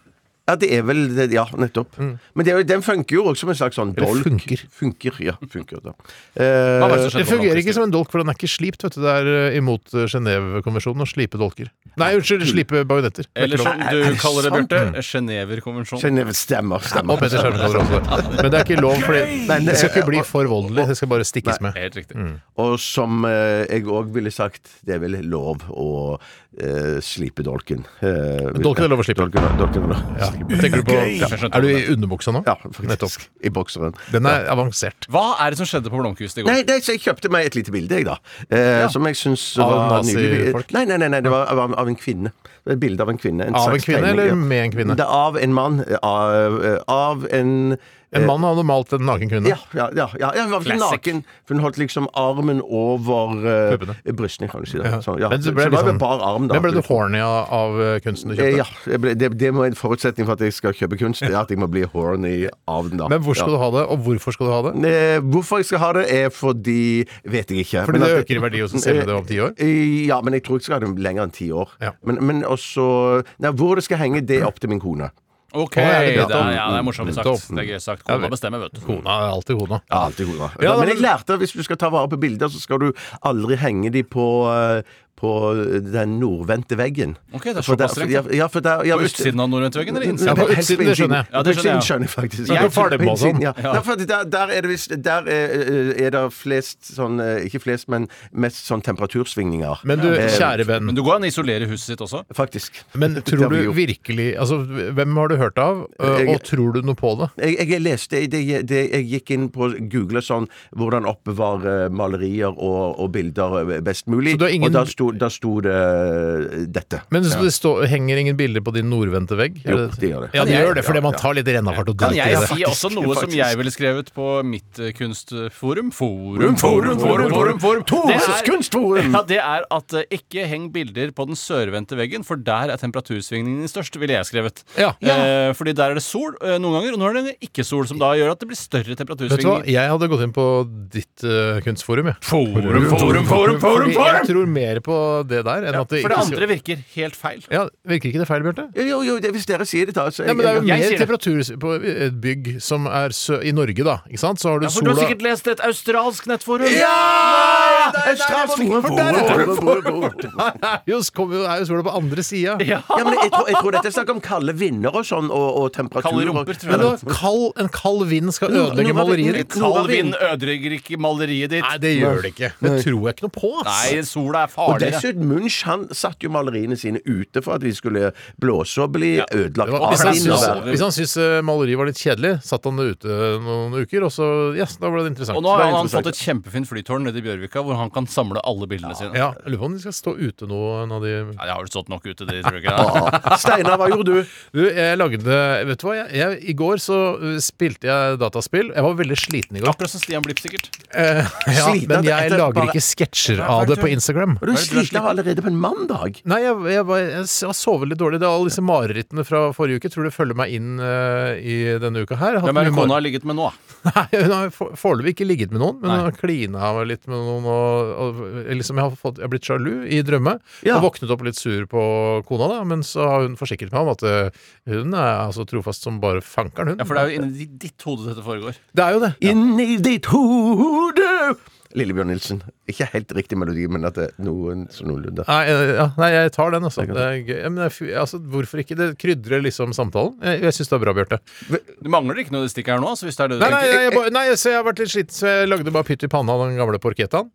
Speaker 2: Ja, det er vel det, Ja, nettopp. Men det, er jo- den funker jo også som en slags sånn
Speaker 1: Mm. Eller
Speaker 2: dolk.
Speaker 1: funker.
Speaker 2: Funker, ja. Funker, da.
Speaker 3: Hva var
Speaker 2: Eh,
Speaker 3: det som skjedde
Speaker 1: Det
Speaker 3: på
Speaker 1: fungerer
Speaker 3: Blomkvist?
Speaker 1: ikke som en dolk, for den er ikke slipt. Vet du. Det er eh, imot eh, Genévekonvensjonen å slipe dolker. Nei, unnskyld, slipe bajonetter. Det er
Speaker 3: Eller
Speaker 1: ikke lov.
Speaker 3: som du
Speaker 2: er det
Speaker 3: kaller det,
Speaker 2: sant? Mm.
Speaker 3: Bjarte, Genéverkonvensjonen.
Speaker 2: Genéve Eh, stemmer. stemmer.
Speaker 1: Og Petter Skjermen kaller det også det. Men det er ikke lov, fordi
Speaker 2: Men,
Speaker 1: det skal
Speaker 2: eh,
Speaker 1: ikke bli for voldelig. Det skal bare stikkes med.
Speaker 3: Helt riktig.
Speaker 2: Og som eh, jeg òg ville sagt, det er vel lov å eh, slipe dolken. Eh,
Speaker 1: Dolken er lov å slipe.
Speaker 2: Dolken, er- dolken er lov. å
Speaker 1: Ja.
Speaker 2: slipe.
Speaker 1: Tenker du på,
Speaker 3: Derfor skjønte
Speaker 1: er du i underbuksa nå?
Speaker 2: Ja, faktisk.
Speaker 1: Nettopp.
Speaker 2: I bokseren.
Speaker 1: Den er avansert.
Speaker 3: Hva er det som skjedde på Blomkvist i går?
Speaker 2: Nei, nei, så jeg kjøpte meg et lite bilde, jeg, da. Eh, Som jeg syns
Speaker 1: Av
Speaker 2: var
Speaker 1: nazifolk?
Speaker 2: Nei, nei, nei, nei, det var av, av en kvinne. Det var Et bilde av en kvinne. En
Speaker 1: Av en
Speaker 2: slags
Speaker 1: kvinne
Speaker 2: tegning,
Speaker 1: eller
Speaker 2: ja.
Speaker 1: med en kvinne?
Speaker 2: Det er av en mann. eh, Av, eh, av en
Speaker 1: En mann hadde malt en naken kvinne.
Speaker 2: Ja, ja, ja, ja, ja, hun var
Speaker 3: Classic.
Speaker 2: naken. For hun holdt liksom armen over eh,
Speaker 1: Puppene.
Speaker 2: brystene, kan du si. Det. Så, ja.
Speaker 1: Men
Speaker 2: så,
Speaker 1: så ble
Speaker 2: det var
Speaker 1: liksom-
Speaker 2: med bar arm, da.
Speaker 1: Men ble du horny av, av kunsten du
Speaker 2: Eh,
Speaker 1: kjøpte?
Speaker 2: ja, jeg ble, det, det må være en forutsetning for at jeg skal kjøpe kunst. Det er at jeg må bli horny av den. da
Speaker 1: Men hvor skal
Speaker 2: ja.
Speaker 1: du ha det, og hvorfor skal du ha det?
Speaker 2: Eh, Hvorfor jeg skal ha det, er fordi Vet jeg ikke.
Speaker 1: Fordi
Speaker 2: Men
Speaker 1: det
Speaker 2: at-
Speaker 1: øker i verdi, og så selger du det om ti år?
Speaker 2: Eh, Ja, men jeg tror jeg skal ha det lenger enn ti år.
Speaker 1: Ja.
Speaker 2: Men, men også Nei, hvor det skal henge, det er opp til min kone.
Speaker 3: OK,
Speaker 1: Å,
Speaker 3: det
Speaker 1: ja, det er
Speaker 3: er,
Speaker 1: dumt.
Speaker 3: ja, det er morsomt
Speaker 1: Dumt.
Speaker 3: sagt. Det er gøy sagt. Kona bestemmer, vet du.
Speaker 1: Kona er alltid kona.
Speaker 2: Ja, alltid god, da.
Speaker 1: Ja, da,
Speaker 2: men jeg
Speaker 1: men-
Speaker 2: lærte at hvis du skal ta vare på bilder, så skal du aldri henge de på eh, på den nordvendte veggen.
Speaker 3: Ok, det er
Speaker 2: For der-
Speaker 3: såpass strengt.
Speaker 2: ja, ja, for der, ja,
Speaker 3: På
Speaker 2: hvis-
Speaker 3: utsiden av nordvendtveggen eller
Speaker 2: Ja,
Speaker 3: innsiden?
Speaker 1: på
Speaker 2: helst
Speaker 1: utsiden, det skjønner jeg.
Speaker 3: Ja, det skjønner
Speaker 2: På
Speaker 3: jeg.
Speaker 2: utsiden skjønner jeg faktisk.
Speaker 1: Ja, på Falun,
Speaker 2: På innsiden,
Speaker 1: altså.
Speaker 2: ja. Nei, for der, der er det visst Der er, er det flest sånn eh, Ikke flest, men mest sånn temperatursvingninger.
Speaker 1: Men du, kjære venn.
Speaker 3: Men du går an å isolere huset sitt også.
Speaker 2: Faktisk.
Speaker 1: Men
Speaker 2: Det har
Speaker 1: tror
Speaker 2: vi
Speaker 1: du
Speaker 2: gjort.
Speaker 1: virkelig Altså, hvem har du hørt av, Eh, og
Speaker 2: Jeg-
Speaker 1: og tror du noe på det?
Speaker 2: jeg, jeg leste det, det, Jeg gikk inn på Google sånn hvordan oppbevare malerier og, og bilder eh, best mulig,
Speaker 1: Så du har ingen-
Speaker 2: og da sto, da sto det eh, dette.
Speaker 1: Men så det står- henger ingen bilder på din nordvendte vegg?
Speaker 2: Jo,
Speaker 1: Er
Speaker 2: det gjør det.
Speaker 1: Ja, det
Speaker 2: Ja,
Speaker 1: gjør det, fordi
Speaker 2: ja,
Speaker 1: man
Speaker 2: ja.
Speaker 1: tar litt rennafart og
Speaker 3: Kan
Speaker 1: driter i
Speaker 3: jeg
Speaker 1: det.
Speaker 3: si også noe som jeg ville skrevet på mitt eh, kunstforum? Forum,
Speaker 2: forum, forum, forum,
Speaker 3: Det
Speaker 2: Tores
Speaker 3: er-
Speaker 2: kunstforum!
Speaker 3: Ja, det er at eh, ikke heng bilder på den sørvendte veggen, for der er temperatursvingningene størst, ville jeg skrevet.
Speaker 1: Ja.
Speaker 3: Eh, fordi der er det sol eh, noen ganger, og nå er det ikke sol, som da gjør at det blir større
Speaker 1: Vet du hva,
Speaker 3: temperatursvingninger.
Speaker 1: jeg hadde gått inn på ditt eh, kunstforum, jeg.
Speaker 3: Forum, forum, forum, forum,
Speaker 1: Fordi jeg
Speaker 3: forum!
Speaker 1: tror mer på det der enn at det
Speaker 3: For det
Speaker 1: ikke skal-
Speaker 3: andre virker helt feil.
Speaker 1: Ja, Virker ikke det feil, Bjarte?
Speaker 2: Jo, jo, jo, det, hvis dere sier det, da. Så
Speaker 1: Ja, men det er jo
Speaker 3: Jeg
Speaker 1: mer
Speaker 3: sier det.
Speaker 1: temperatur på et bygg som er sø i Norge, da. Ikke sant? Så har du
Speaker 3: Ja, for du
Speaker 1: sola
Speaker 3: har sikkert lest et australsk nettforum.
Speaker 2: Ja!
Speaker 3: Nei, nei,
Speaker 2: Australsk
Speaker 3: nei,
Speaker 2: forum,
Speaker 3: for der er
Speaker 2: forum, forum, forum.
Speaker 1: Jo, så kommer jo- er jo sola på andre sida.
Speaker 3: Ja.
Speaker 2: Ja, men jeg tror, jeg tror dette er snakk om kalde vinder og sånn, og, og temperaturer.
Speaker 3: Kalde rumper, tror jeg.
Speaker 1: Men da, kald, en kald vind skal ødelegge
Speaker 2: nå var det-
Speaker 1: maleriet
Speaker 3: En
Speaker 1: ditt.
Speaker 3: Kald vind ødelegger ikke maleriet ditt.
Speaker 1: Nei, det gjør det ikke. Det tror jeg ikke noe på. ass.
Speaker 3: Nei, sola er
Speaker 2: Og
Speaker 3: farligere.
Speaker 2: dessuten, Munch han satt jo maleriene sine ute for at de skulle blåse og bli
Speaker 1: Det
Speaker 2: ødelagt.
Speaker 1: var,
Speaker 2: av
Speaker 1: hvis, han
Speaker 3: Arne
Speaker 2: vinduet.
Speaker 1: syns,
Speaker 3: Sover.
Speaker 1: hvis han syns eh, maleriet var litt kjedelig, satt han det ute noen uker, og så yes, da ble det interessant.
Speaker 3: Og nå har
Speaker 2: Det er
Speaker 3: han
Speaker 2: interessant.
Speaker 3: fått et kjempefint flytårn nede i Bjørvika, hvor han kan samle alle bildene sine.
Speaker 1: Ja, jeg lurer på om de skal stå ute nå, en av de
Speaker 3: Nei, det har vel stått nok ute, det tror jeg ikke.
Speaker 2: Steinar, hva gjorde du?
Speaker 1: Du, jeg lagde Vet du hva, jeg, jeg, i går så eh, spilte jeg dataspill. Jeg var veldig sliten i går.
Speaker 3: Akkurat som Stian Blipp, sikkert.
Speaker 1: Eh, ja,
Speaker 2: Sliten
Speaker 1: men
Speaker 2: at
Speaker 1: jeg
Speaker 2: etter
Speaker 1: lager
Speaker 2: bare-
Speaker 1: ikke sketsjer av det på Instagram.
Speaker 2: Du sliter allerede på en mandag.
Speaker 1: Nei, jeg, jeg, var- jeg, s- jeg sov veldig dårlig. Det er Alle disse marerittene fra forrige uke tror du følger meg inn eh, i denne uka her. Jeg har
Speaker 3: Hvem
Speaker 1: hatt
Speaker 3: er det
Speaker 1: mye
Speaker 3: kona
Speaker 1: mare-
Speaker 3: har ligget med nå? da?
Speaker 1: Nei, Hun har for- foreløpig ikke ligget med noen, men hun
Speaker 3: Nei.
Speaker 1: har klina meg litt med noen. Og, og liksom jeg, har fått, jeg har blitt sjalu i drømme.
Speaker 2: Ja.
Speaker 1: Og våknet opp litt sur på kona, da, men så har hun forsikret meg om at eh, hun er altså trofast som bare fankeren, hun.
Speaker 3: Ja, for det er jo inni ditt hode dette foregår.
Speaker 1: Det er jo det.
Speaker 2: Inni ditt hode Lillebjørn Nilsen. Ikke helt riktig melodi, men at det er noen som noenlunde.
Speaker 1: Nei, eh, ja, nei, jeg tar den, altså. Det er gøy. Ja, Men jeg, fy- altså hvorfor ikke? Det krydrer liksom samtalen. Jeg, jeg syns det er bra, Bjarte.
Speaker 3: Du mangler ikke noe stikk her nå, så hvis det er det du
Speaker 1: Nei, nei,
Speaker 3: tenker.
Speaker 1: nei, jeg, bare- nei, så jeg har vært litt sliten, så jeg lagde bare pytt i panna av den gamle porkettaen.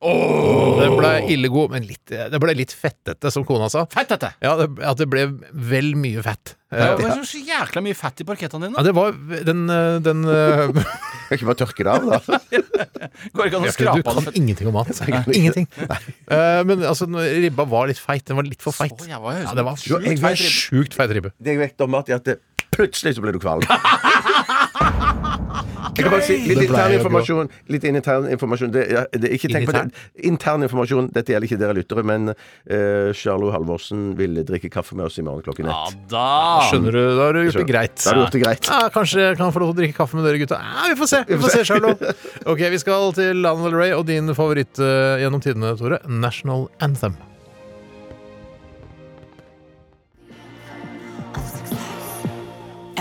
Speaker 1: Den ble ille god, men litt, eh, det ble litt fettete, som kona sa.
Speaker 3: Fett, dette!
Speaker 1: Ja, det, At det ble vel mye fett.
Speaker 3: Det
Speaker 1: Eh,
Speaker 3: var så jækla mye fett i parkettene
Speaker 1: Ja,
Speaker 3: dine.
Speaker 1: det var den, eh, den eh,
Speaker 2: Kan ikke bare tørke det av, da.
Speaker 3: Går ikke an å
Speaker 1: Du
Speaker 3: skrape av
Speaker 1: kan
Speaker 3: det fett.
Speaker 1: ingenting om mat. Ingenting. Eh, Men altså, den ribba var litt feit. Den var litt for feit.
Speaker 3: Så
Speaker 1: Ja,
Speaker 3: jeg var jo
Speaker 1: det var
Speaker 2: Jo, jeg
Speaker 1: sjukt
Speaker 2: vet-
Speaker 1: feit ribbe. Sjukt feit ribbe.
Speaker 2: Det jeg vet om mat, er at det, plutselig så ble du kvalm. Jeg kan bare si litt
Speaker 1: Det ble
Speaker 2: intern
Speaker 1: jeg jo.
Speaker 2: informasjon. Litt intern informasjon. Det, ja, det, ikke tenk på det.
Speaker 1: Intern?
Speaker 2: Intern informasjon. Dette gjelder ikke dere lyttere, men eh, Charlo Halvorsen ville drikke kaffe med oss i morgen klokken
Speaker 3: Ja
Speaker 2: ett.
Speaker 3: da!
Speaker 1: Skjønner du? Da har du gjort det greit.
Speaker 2: Da har du gjort det greit.
Speaker 1: Ja, kanskje jeg kan få lov til å drikke kaffe med dere gutta. Ja, vi får se. Vi får se, Charlotte. Ok, Vi skal til Lana Del Rey og din favoritt eh, gjennom tidene, Tore. National Anthem.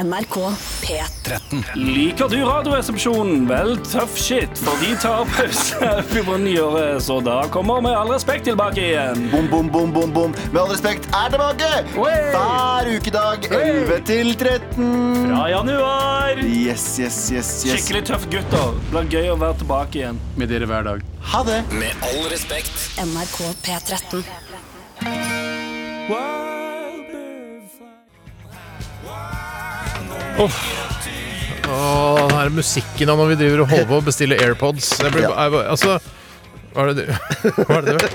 Speaker 5: NRK P13.
Speaker 6: Liker du Radioresepsjonen? Vel, tough shit, for de tar pause på nyåret, så da kommer Med all respekt tilbake igjen.
Speaker 7: Bom, bom, bom, bom, bom. Med all respekt er tilbake! Hver ukedag 11 til 13.
Speaker 6: Fra januar!
Speaker 7: Yes, yes, yes, yes.
Speaker 6: Skikkelig tøff gutter. Det blir gøy å være tilbake igjen.
Speaker 3: Med dere hver dag.
Speaker 7: Ha det!
Speaker 5: NRK P13.
Speaker 1: Åh, den her musikken da, når vi driver og holder på å bestille AirPods. Jeg blir, jeg, bare- altså, hva er det du Hva er det du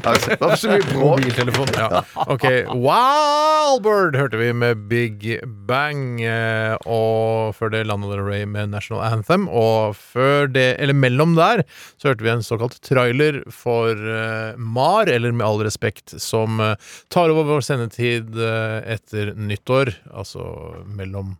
Speaker 7: Altså, det var så mye bråk.
Speaker 1: Mobiltelefon. Ja. OK. Wildbird hørte vi med Big Bang. eh, Og før det Lana Del Rey med National Anthem. Og før det, eller mellom der, så hørte vi en såkalt trailer for eh, MAR, eller Med all respekt, som eh, tar over vår sendetid eh, etter nyttår. Altså mellom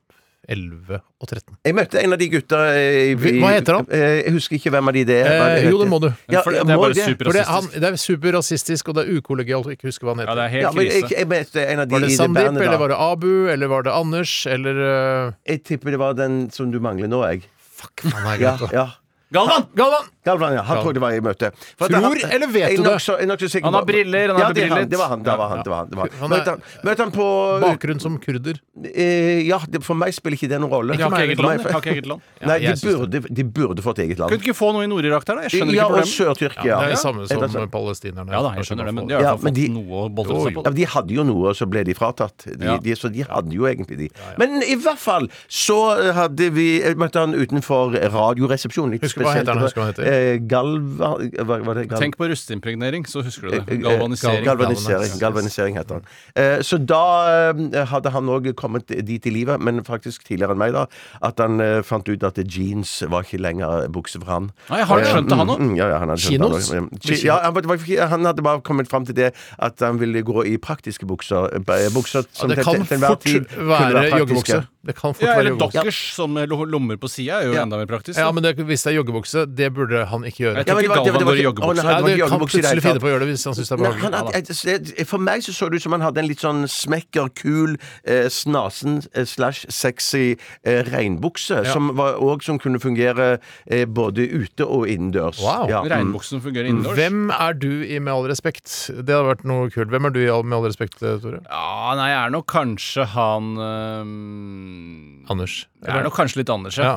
Speaker 1: 11 og 13.
Speaker 2: Jeg møtte en av de gutta eh, i,
Speaker 1: Hva heter han?
Speaker 2: Eh, Jeg husker ikke hvem av de det er. Hva er
Speaker 1: Eh, jo, det må du.
Speaker 2: Ja,
Speaker 3: For det er
Speaker 2: må
Speaker 3: bare
Speaker 2: det?
Speaker 3: super-
Speaker 1: For det, er han, det er superrasistisk, og det er ukollegialt å ikke huske hva han
Speaker 3: Ja,
Speaker 1: heter.
Speaker 3: det er helt
Speaker 2: Ja, men jeg,
Speaker 3: krise.
Speaker 2: jeg møtte en av de
Speaker 1: var det
Speaker 2: i det
Speaker 1: Sandeep,
Speaker 2: bandet
Speaker 1: eller
Speaker 2: da.
Speaker 1: var det Abu, eller var det Anders, eller eh,
Speaker 2: Jeg tipper det var den som du mangler nå, jeg.
Speaker 1: Faen, jeg
Speaker 2: Ja,
Speaker 1: glemte det.
Speaker 2: ja.
Speaker 3: Galvan!
Speaker 1: Galvan!
Speaker 2: Galvan, ja. Han tror det var jeg møtte. For at
Speaker 1: Tror
Speaker 2: han-
Speaker 1: eller vet
Speaker 2: Jeg er
Speaker 1: du det?
Speaker 2: nokså- jeg er nokså sikker
Speaker 3: Han har
Speaker 2: på-
Speaker 3: briller, han
Speaker 2: ja,
Speaker 3: er
Speaker 2: det
Speaker 3: bebrillet.
Speaker 2: Det var han. Det var han, det var han, det var
Speaker 1: Han
Speaker 2: han.
Speaker 1: er-
Speaker 2: Møtte han, møtte han på
Speaker 1: Bakgrunn som kurder.
Speaker 2: eh, Ja, det, for meg spiller ikke det noen rolle.
Speaker 3: Jeg har
Speaker 2: For
Speaker 3: ikke
Speaker 2: meg-
Speaker 3: eget
Speaker 2: for
Speaker 1: liksom.
Speaker 3: land.
Speaker 2: meg-
Speaker 3: Jeg har ikke eget land.
Speaker 2: Nei, de
Speaker 1: jeg syns
Speaker 2: burde, de burde fått eget
Speaker 3: Kunne
Speaker 2: land.
Speaker 3: du ikke få noe i Nord-Irak der, da? Jeg
Speaker 2: Ja,
Speaker 3: skjønner ikke
Speaker 2: og
Speaker 3: problemet.
Speaker 2: Sør-Tyrkia.
Speaker 1: Det er
Speaker 2: Ja.
Speaker 1: det samme
Speaker 2: Er det
Speaker 1: som
Speaker 2: sant?
Speaker 1: palestinerne.
Speaker 3: Ja da, jeg skjønner det, men de
Speaker 1: ja.
Speaker 3: har i
Speaker 2: Ja,
Speaker 3: hvert fall
Speaker 2: men de-
Speaker 3: fått noe å boltre seg på.
Speaker 2: Ja, men De hadde jo noe, og så ble de fratatt. De,
Speaker 3: Ja.
Speaker 2: de, så de hadde jo egentlig de. Men i hvert fall så hadde vi jeg møtte han utenfor Radioresepsjonen. Litt
Speaker 1: Husker hva heter han? Husker hva han heter?
Speaker 2: Eh, Galva... Hva var det? Gal-
Speaker 3: Tenk på rustimpregnering, så husker du
Speaker 2: eh, eh,
Speaker 3: det. Galvanisering.
Speaker 2: Galvanisering, galvanisering heter han. Eh, Så da eh, hadde han òg kommet dit i livet, men faktisk tidligere enn meg, da, at han eh, fant ut at jeans var ikke lenger bukse for han.
Speaker 3: Nei, har han skjønt det, han
Speaker 2: Mm,
Speaker 3: òg?
Speaker 2: mm, Ja, ja, han hadde skjønt
Speaker 1: Kinos?
Speaker 2: det, han også. Ki- Ja, han, var- det var ikke- han hadde bare kommet fram til det at han ville gå i praktiske bukser. eh, b- Bukser som
Speaker 1: det
Speaker 2: til-
Speaker 1: kan
Speaker 2: til enhver
Speaker 1: fort
Speaker 2: tid kunne
Speaker 1: være
Speaker 2: praktiske.
Speaker 1: joggebukse. Det kan fort
Speaker 3: Ja,
Speaker 1: være
Speaker 3: eller
Speaker 1: joggebukse.
Speaker 3: dockers som med lo- lommer på sida er jo
Speaker 2: Ja.
Speaker 3: enda mer praktisk.
Speaker 1: Ja,
Speaker 3: da.
Speaker 1: men det, hvis det er joggebukse, det burde han ikke gjøre.
Speaker 3: Jeg tror ikke Galvan går i
Speaker 2: ikke-
Speaker 3: joggebukse.
Speaker 2: Å, nei, han
Speaker 1: Nei,
Speaker 2: hadde
Speaker 1: det
Speaker 2: ikke
Speaker 1: kan
Speaker 2: joggebukse i det hele
Speaker 1: plutselig finne
Speaker 2: tatt.
Speaker 1: på å gjøre det hvis han syns det er
Speaker 2: Nei, han
Speaker 1: behagelig.
Speaker 2: hadde, jeg- jeg- for meg så så det ut som han hadde en litt sånn smekker, kul, eh, snasen eh, slash sexy eh, regnbukse,
Speaker 1: Ja.
Speaker 2: som, var, og, som kunne fungere eh, både ute og innendørs.
Speaker 1: Wow.
Speaker 2: Ja. Mm.
Speaker 3: Regnbuksen fungerer innendørs.
Speaker 1: Hvem er du i Med all respekt? Det hadde vært noe kult. Hvem er du i all- Med all respekt, Tore?
Speaker 3: Ja, nei, jeg er nok kanskje han øhm,
Speaker 1: Anders.
Speaker 3: Jeg er nok kanskje litt Anders,
Speaker 1: Ja.
Speaker 3: ja.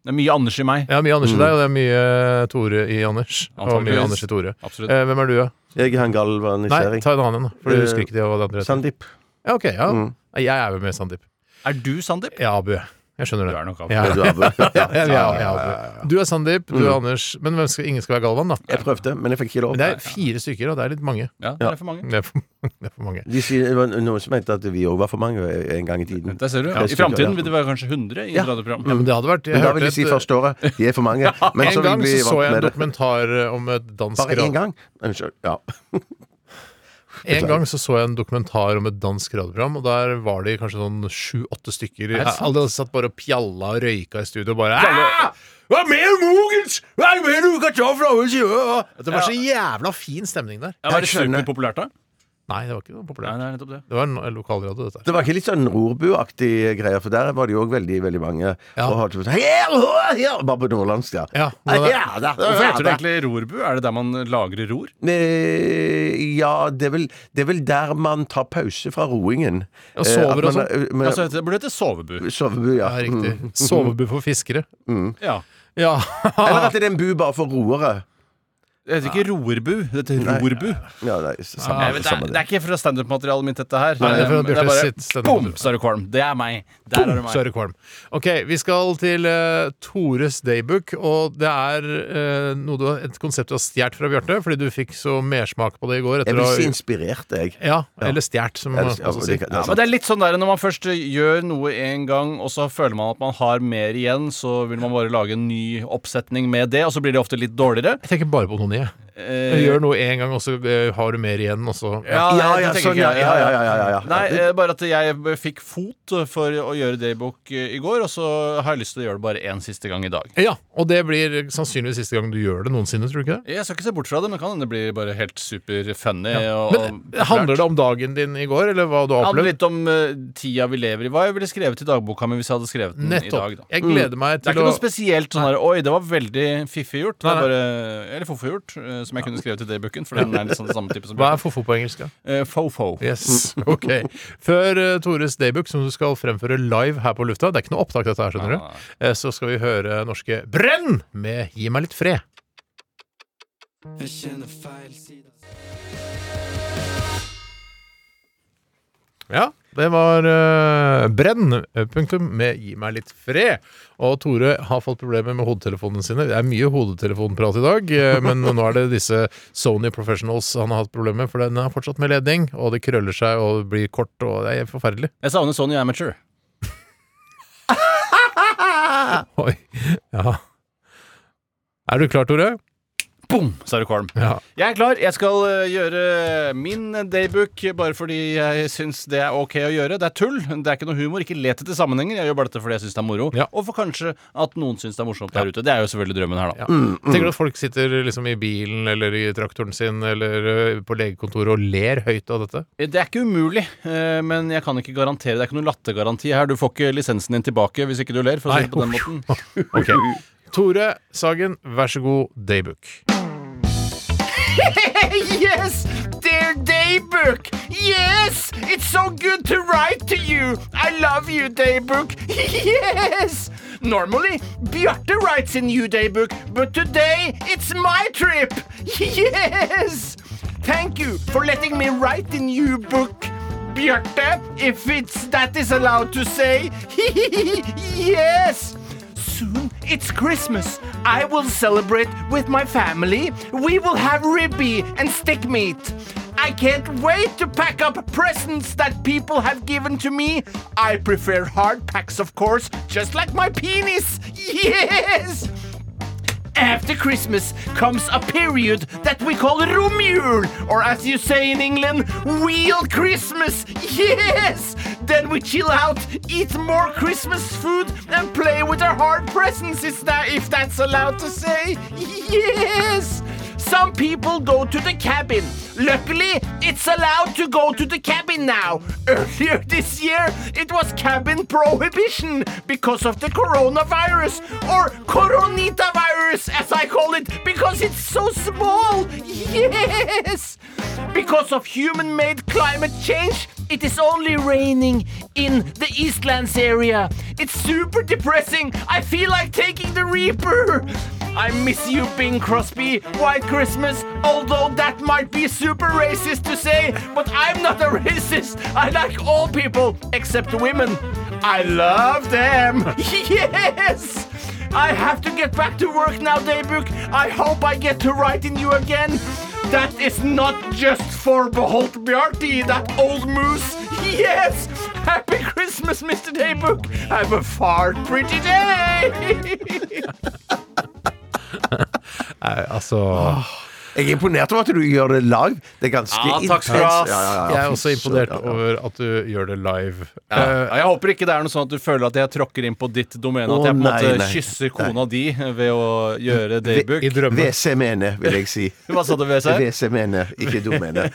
Speaker 3: Det er mye Anders i meg.
Speaker 1: Ja, mye Anders i
Speaker 2: Mm.
Speaker 1: deg, og det er mye Tore i Anders. Og mye
Speaker 3: Antakeligvis.
Speaker 1: Anders i Tore.
Speaker 3: Absolutt.
Speaker 1: Eh, hvem er du, da?
Speaker 2: Jeg har en
Speaker 1: Nei,
Speaker 2: galvanisering.
Speaker 1: ta en annen en, da. For du
Speaker 2: Eh,
Speaker 1: husker ikke det hva det andre heter.
Speaker 2: Sandeep. Mm.
Speaker 1: Ja, ok, ja. Nei, Jeg er jo med Sandeep.
Speaker 3: Er du Sandeep?
Speaker 1: Jeg er Abu. jeg. Jeg skjønner det.
Speaker 3: Du er nok Abu.
Speaker 1: Ja.
Speaker 2: Du, Abu.
Speaker 1: Ja, jeg, jeg, jeg, er Abu. Du er Sandeep, du
Speaker 2: Mm.
Speaker 1: er Anders. Men hvem skal, ingen skal være Galvan, da.
Speaker 2: Jeg prøvde, men jeg fikk ikke lov.
Speaker 1: Men det er fire stykker, og det er litt mange.
Speaker 3: Ja, det er for mange.
Speaker 1: Det er for, det er for mange.
Speaker 2: De sier, det var noen som mente at vi òg var for mange eh, en gang i tiden.
Speaker 3: Der ser du.
Speaker 2: Ja.
Speaker 3: I framtiden vil det være kanskje 100 i et
Speaker 1: Ja,
Speaker 3: radioprogram.
Speaker 1: men det hadde vært jeg
Speaker 2: Men da
Speaker 1: hørte
Speaker 2: vil de si
Speaker 1: et-
Speaker 2: første året de er for mange. Men
Speaker 1: En
Speaker 2: så vil
Speaker 1: gang
Speaker 2: vi
Speaker 1: så, så
Speaker 2: vant
Speaker 1: jeg en
Speaker 2: med det.
Speaker 1: dokumentar om et dansk
Speaker 2: Bare én
Speaker 1: radio-
Speaker 2: gang? Unnskyld. Ja.
Speaker 1: En gang så så jeg en dokumentar om et dansk radioprogram, og der var de kanskje sånn sju-åtte stykker. Alle satt bare og pjalla og røyka i studio og bare «Ah! Hva mer mugens? Hva mer du kan ta fra oss?» ja?» Det var så jævla fin stemning der.
Speaker 3: Ja, var det
Speaker 2: Jeg skjønner.
Speaker 3: superpopulært, da?
Speaker 1: Nei, det var ikke noe
Speaker 3: Nei,
Speaker 1: populært.
Speaker 3: det er nettopp det.
Speaker 1: Det var en lokalradio, dette.
Speaker 2: Det var ikke litt sånn rorbuaktig greier, for der var det jo òg veldig veldig mange.
Speaker 1: Ja.
Speaker 2: Og hadde sånn, «Her, her, her», Bare på nordlandsk, ja.
Speaker 1: Ja,
Speaker 2: Ah,
Speaker 1: det-
Speaker 2: ja, da,
Speaker 3: Hvorfor
Speaker 2: ja,
Speaker 3: heter det
Speaker 2: da.
Speaker 3: egentlig rorbu? Er det der man lagrer ror?
Speaker 2: Eh, ja, det er, vel, det er vel der man tar pause fra roingen.
Speaker 1: Og sover
Speaker 2: Eh, at
Speaker 1: og
Speaker 2: man-
Speaker 1: sånn.
Speaker 2: eh, men-
Speaker 3: Altså, det burde hete sovebu.
Speaker 2: Sovebu, ja.
Speaker 1: Ja,
Speaker 2: Mm.
Speaker 1: riktig. Sovebu for fiskere.
Speaker 3: Ja.
Speaker 1: Ja.
Speaker 2: Eller at det er en bu bare for roere.
Speaker 3: Det heter ikke rorbu, det heter rorbu.
Speaker 2: Ja, nei, samme,
Speaker 3: Nei, men det,
Speaker 2: samme
Speaker 3: er, det er ikke fra standup-materialet mitt, dette her.
Speaker 1: Nei, det er fra
Speaker 3: Men
Speaker 1: Bjarte
Speaker 3: bare
Speaker 1: sitt standup-materiale.
Speaker 3: Boom, så er du kvalm. Det er meg. Der er det
Speaker 1: Så
Speaker 3: meg.
Speaker 1: er det kvalm. Ok, vi skal til eh, Tores daybook, og det er eh, noe du, et konsept du har stjålet fra Bjarte, fordi du fikk så mersmak på det i går.
Speaker 2: Jeg
Speaker 1: Etter
Speaker 2: vil
Speaker 1: å,
Speaker 2: si inspirert, jeg.
Speaker 1: ja, eller stjålet, som man
Speaker 2: Eller- ja,
Speaker 1: også
Speaker 2: det kan-
Speaker 1: sier.
Speaker 2: det er
Speaker 3: Men
Speaker 2: sant.
Speaker 3: det er litt sånn der, Når man først gjør noe en gang, og så føler man at man har mer igjen, så vil man bare lage en ny oppsetning med det, og så blir det ofte litt dårligere.
Speaker 1: Jeg tenker bare på noe nye.
Speaker 3: Eh,
Speaker 1: Jeg gjør noe én gang, og så eh, har du mer igjen, og så ja.
Speaker 3: Ja,
Speaker 2: Ja,
Speaker 3: det
Speaker 2: ja,
Speaker 3: tenker
Speaker 2: sånn,
Speaker 3: ikke
Speaker 2: ja,
Speaker 3: jeg.
Speaker 2: ja, ja, ja, ja, ja.
Speaker 3: Nei, eh, bare at jeg fikk fot for å gjøre daybook i går, og så har jeg lyst til å gjøre det bare én siste gang i dag.
Speaker 1: ja. Og det blir sannsynligvis siste gang du gjør det noensinne, tror du ikke det?
Speaker 3: Jeg skal ikke se bort fra det, men kan hende det blir bare helt superfunny. og-
Speaker 1: Men eh, Handler det om dagen din i går, eller hva du har
Speaker 3: Det
Speaker 1: opplevd?
Speaker 3: handler litt om eh, tida vi lever i. Hva jeg ville skrevet i dagboka mi hvis jeg hadde skrevet den i dag.
Speaker 1: Nettopp.
Speaker 3: Da. Mm.
Speaker 1: Jeg gleder meg
Speaker 3: Det er
Speaker 1: til
Speaker 3: ikke
Speaker 1: å
Speaker 3: noe spesielt sånn her Oi, det var veldig fiffig gjort. Det
Speaker 1: Nei,
Speaker 3: er
Speaker 1: nei.
Speaker 3: bare, eller fofo gjort, eh, som jeg kunne skrevet i daybooken. For den er litt sånn samme type som
Speaker 1: Hva er fofo på engelsk? Ja?
Speaker 3: Eh, Fofo.
Speaker 1: Yes, ok Før eh, Tores daybook, som du skal fremføre live her på lufta Det er ikke noe opptak dette her, skjønner
Speaker 3: Nei, nei,
Speaker 1: du Eh, Så skal vi høre norske Brenn med Gi meg litt fred Ja, det var eh, Brenn. Punktum med Gi meg litt fred. Og Tore har fått problemer med hodetelefonene sine. Det er mye hodetelefonprat i dag, eh, men nå er det disse Sony Professionals han har hatt problemer med, for den har fortsatt med ledning, og det krøller seg og det blir kort, og det er forferdelig.
Speaker 8: Jeg savner Sony Amateur.
Speaker 1: Oi. Ja. Er du klar, Tore?
Speaker 8: Boom, sa du kvalm.
Speaker 1: Ja.
Speaker 8: Jeg er klar. Jeg skal øh, gjøre min daybook bare fordi jeg syns det er ok å gjøre. Det er tull. Det er ikke noe humor. Ikke let etter sammenhenger. Jeg gjør bare dette fordi jeg syns det er moro.
Speaker 1: Ja.
Speaker 8: Og for kanskje at noen syns det er morsomt der ute. Det er jo selvfølgelig drømmen her, da.
Speaker 1: Ja. Tenker du at folk sitter liksom i bilen eller i traktoren sin eller eh, på legekontoret og ler høyt av dette?
Speaker 8: Det er ikke umulig, eh, men jeg kan ikke garantere. Det er ikke noen lattergaranti her. Du får ikke lisensen din tilbake hvis ikke du ler, for å si det på den måten.
Speaker 1: Ok. Tore Sagen, vær så god, daybook.
Speaker 3: Yes, dear Daybook. Yes, it's so good to write to you. I love you, Daybook. Yes. Normally, Bjarte writes in you, Daybook, but today it's my trip. Yes. Thank you for letting me write in you, book. Bjarte, if it's that is allowed to say. yes. Soon it's Christmas. I will celebrate with my family. We will have ribby and stick meat. I can't wait to pack up presents that people have given to me. I prefer hard packs, of course, just like my penis. Yes! After Christmas comes a period that we call Romjul, or as you say in England, Wheel Christmas. Yes! Then we chill out, eat more Christmas food, and play with our hard presents, is that, if that's allowed to say. Yes! Some people go to the cabin. Luckily, it's allowed to go to the cabin now. Earlier this year, it was cabin prohibition because of the coronavirus, or coronita virus, as I call it, because it's so small. Yes! Because of human made climate change, it is only raining in the Eastlands area. It's super depressing. I feel like taking the Reaper. I miss you, Bing Crosby. White Christmas, although that might be super racist to say, but I'm not a racist. I like all people except women. I love them. yes! I have to get back to work now, Daybook. I hope I get to write in you again. That is not just for Behold Bjarti, that old moose. Yes! Happy Christmas, Mr. Daybook. Have a far pretty day.
Speaker 1: Nei, altså
Speaker 2: Jeg er imponert over at du gjør det live. Det er ganske
Speaker 8: Ja, takk skal du ha, ass.
Speaker 1: Jeg er også imponert over at du gjør det live.
Speaker 8: Ja, Eh, jeg håper ikke det er noe sånn at du føler at jeg tråkker inn på ditt domene. At
Speaker 2: Å,
Speaker 8: jeg på en måte
Speaker 2: nei, nei.
Speaker 8: kysser kona di ved å gjøre daybook.
Speaker 1: I drømme.
Speaker 2: WC-mene, vil jeg si.
Speaker 8: Hva sa du, WC?
Speaker 2: WC-mene, ikke domene.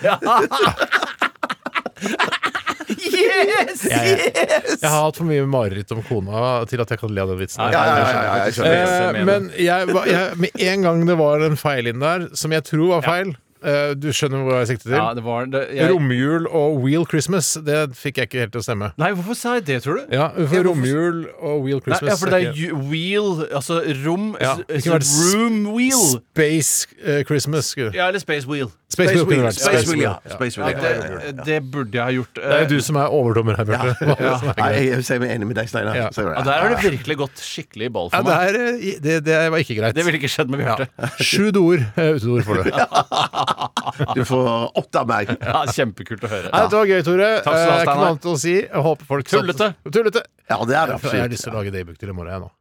Speaker 3: yes!
Speaker 1: Jeg har hatt for mye mareritt om kona til at jeg kan le av den vitsen.
Speaker 8: Nei,
Speaker 1: her.
Speaker 2: Ja, ja, ja, ja, jeg skjønner.
Speaker 1: Eh, men jeg, var- jeg, med en gang det var en feil inn der, som jeg tror var feil eh, Du skjønner hvor jeg sikter til?
Speaker 8: Ja, det var det, jeg,
Speaker 1: Romjul og Wheel Christmas, det fikk jeg ikke helt til å stemme.
Speaker 8: Nei, hvorfor sa jeg det, tror du?
Speaker 1: Ja, for Romjul og Wheel
Speaker 8: Nei,
Speaker 1: Christmas
Speaker 8: ja, for det
Speaker 1: er
Speaker 8: er
Speaker 1: ikke-
Speaker 8: ju- wheel, altså rom
Speaker 1: Ja,
Speaker 8: s-
Speaker 1: det
Speaker 8: s-
Speaker 1: kunne vært sp-
Speaker 8: Room wheel.
Speaker 1: Space eh, Christmas. skulle-
Speaker 8: Ja, eller space wheel.
Speaker 1: Space, Wheel kunne det vært.
Speaker 2: Space Wheel, ja. Space
Speaker 8: Ja,
Speaker 2: Wheel, ja. ja, ja, ja.
Speaker 8: det, det burde jeg ha gjort.
Speaker 1: Det er jo du som er overdommer her, Bjarte. Hva er det som er
Speaker 2: Nei,
Speaker 1: greit?
Speaker 2: jeg jeg er enig med deg, Steinar.
Speaker 1: Ja.
Speaker 2: Så-
Speaker 8: Ja, der har det virkelig gått skikkelig i ball
Speaker 1: Ja,
Speaker 8: for meg.
Speaker 1: det, er, eh, det, det var ikke greit.
Speaker 8: Det ville ikke skjedd med Bjarte.
Speaker 1: Sju doer eh, utedoer får du.
Speaker 2: Du får åtte av meg.
Speaker 8: Ja, kjempekult å høre.
Speaker 1: Nei, Dette var gøy, Tore.
Speaker 8: Takk skal du ha,
Speaker 1: Eh, Ikke noe
Speaker 8: Steinar.
Speaker 1: annet å si. Jeg håper folk satt-
Speaker 8: Tullete.
Speaker 1: Tullete.
Speaker 2: Ja, det er det
Speaker 1: Jeg har
Speaker 2: absolutt.
Speaker 1: lyst til å lage daybook til i morgen, jeg nå.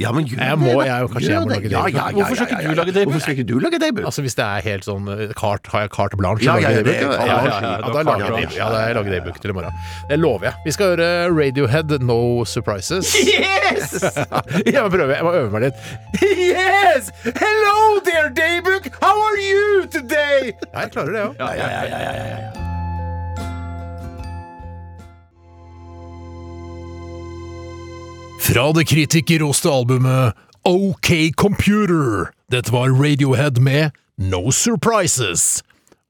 Speaker 2: Ja, men gjør
Speaker 1: Jeg må-
Speaker 2: det, da.
Speaker 1: jeg er jo- kanskje jeg
Speaker 2: Gjør
Speaker 1: må
Speaker 2: det.
Speaker 1: lage
Speaker 2: Ja,
Speaker 1: debut.
Speaker 2: ja, ja,
Speaker 8: Hvorfor skal ikke
Speaker 2: ja, ja,
Speaker 8: du
Speaker 2: ja.
Speaker 8: lage debut?
Speaker 2: Hvorfor skal ikke du lage debut?
Speaker 1: Altså Hvis det er helt sånn eh, carte, Har jeg carte blanche?
Speaker 2: Ja,
Speaker 1: lager
Speaker 2: ja,
Speaker 1: jeg
Speaker 2: det- ja, ja,
Speaker 1: daybook. ja,
Speaker 8: du
Speaker 1: ja, da
Speaker 8: har carte
Speaker 1: lager jeg
Speaker 8: blanche.
Speaker 1: daybook. Ja, da jeg lager daybook til i morgen. Det lover jeg. Vi skal høre Radiohead, No Surprises.
Speaker 3: Yes!
Speaker 1: Jeg må prøve, jeg må øve meg litt.
Speaker 3: yes! Hello there, Daybook! How are you today?
Speaker 1: Jeg klarer det, ja. Fra det kritikerroste albumet OK Computer. Dette var Radiohead med No Surprises.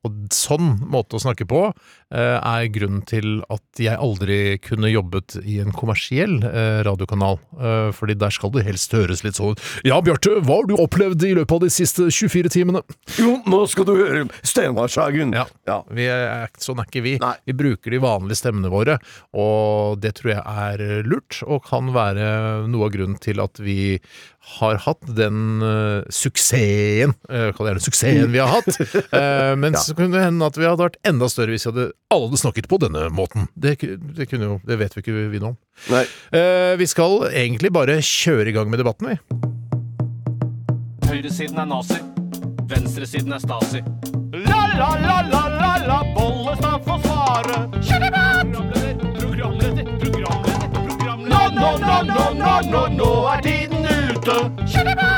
Speaker 1: Og sånn måte å snakke på eh, er grunnen til at jeg aldri kunne jobbet i en kommersiell eh, radiokanal. Eh, Fordi der skal det helst høres litt sånn Ja, Bjarte, hva har du opplevd i løpet av de siste 24 timene?
Speaker 2: Jo, nå skal du høre Steinmarkshagen!
Speaker 1: Ja,
Speaker 2: Ja.
Speaker 1: Vi er, sånn er ikke vi.
Speaker 2: Nei.
Speaker 1: Vi bruker de vanlige stemmene våre, og det tror jeg er lurt, og kan være noe av grunnen til at vi har hatt den eh, suksessen uh, Kall det gjerne suksessen vi har hatt. Eh, men så kunne det hende at vi hadde vært enda større hvis vi hadde, alle hadde snakket på denne måten. Det, ku- det, kunne jo, det vet vi ikke vi noe om.
Speaker 2: Nei.
Speaker 1: Eh, vi skal egentlig bare kjøre i gang med debatten, vi.
Speaker 3: Høyresiden er nazi. Venstresiden er stasi. La, la, la, la, la, la, Bollestad får svare. Kjør debatt! Programleder, programleder, programleder. Nå, nå, nå, nå, nå, nå, nå er tiden ute. Kjør debatt!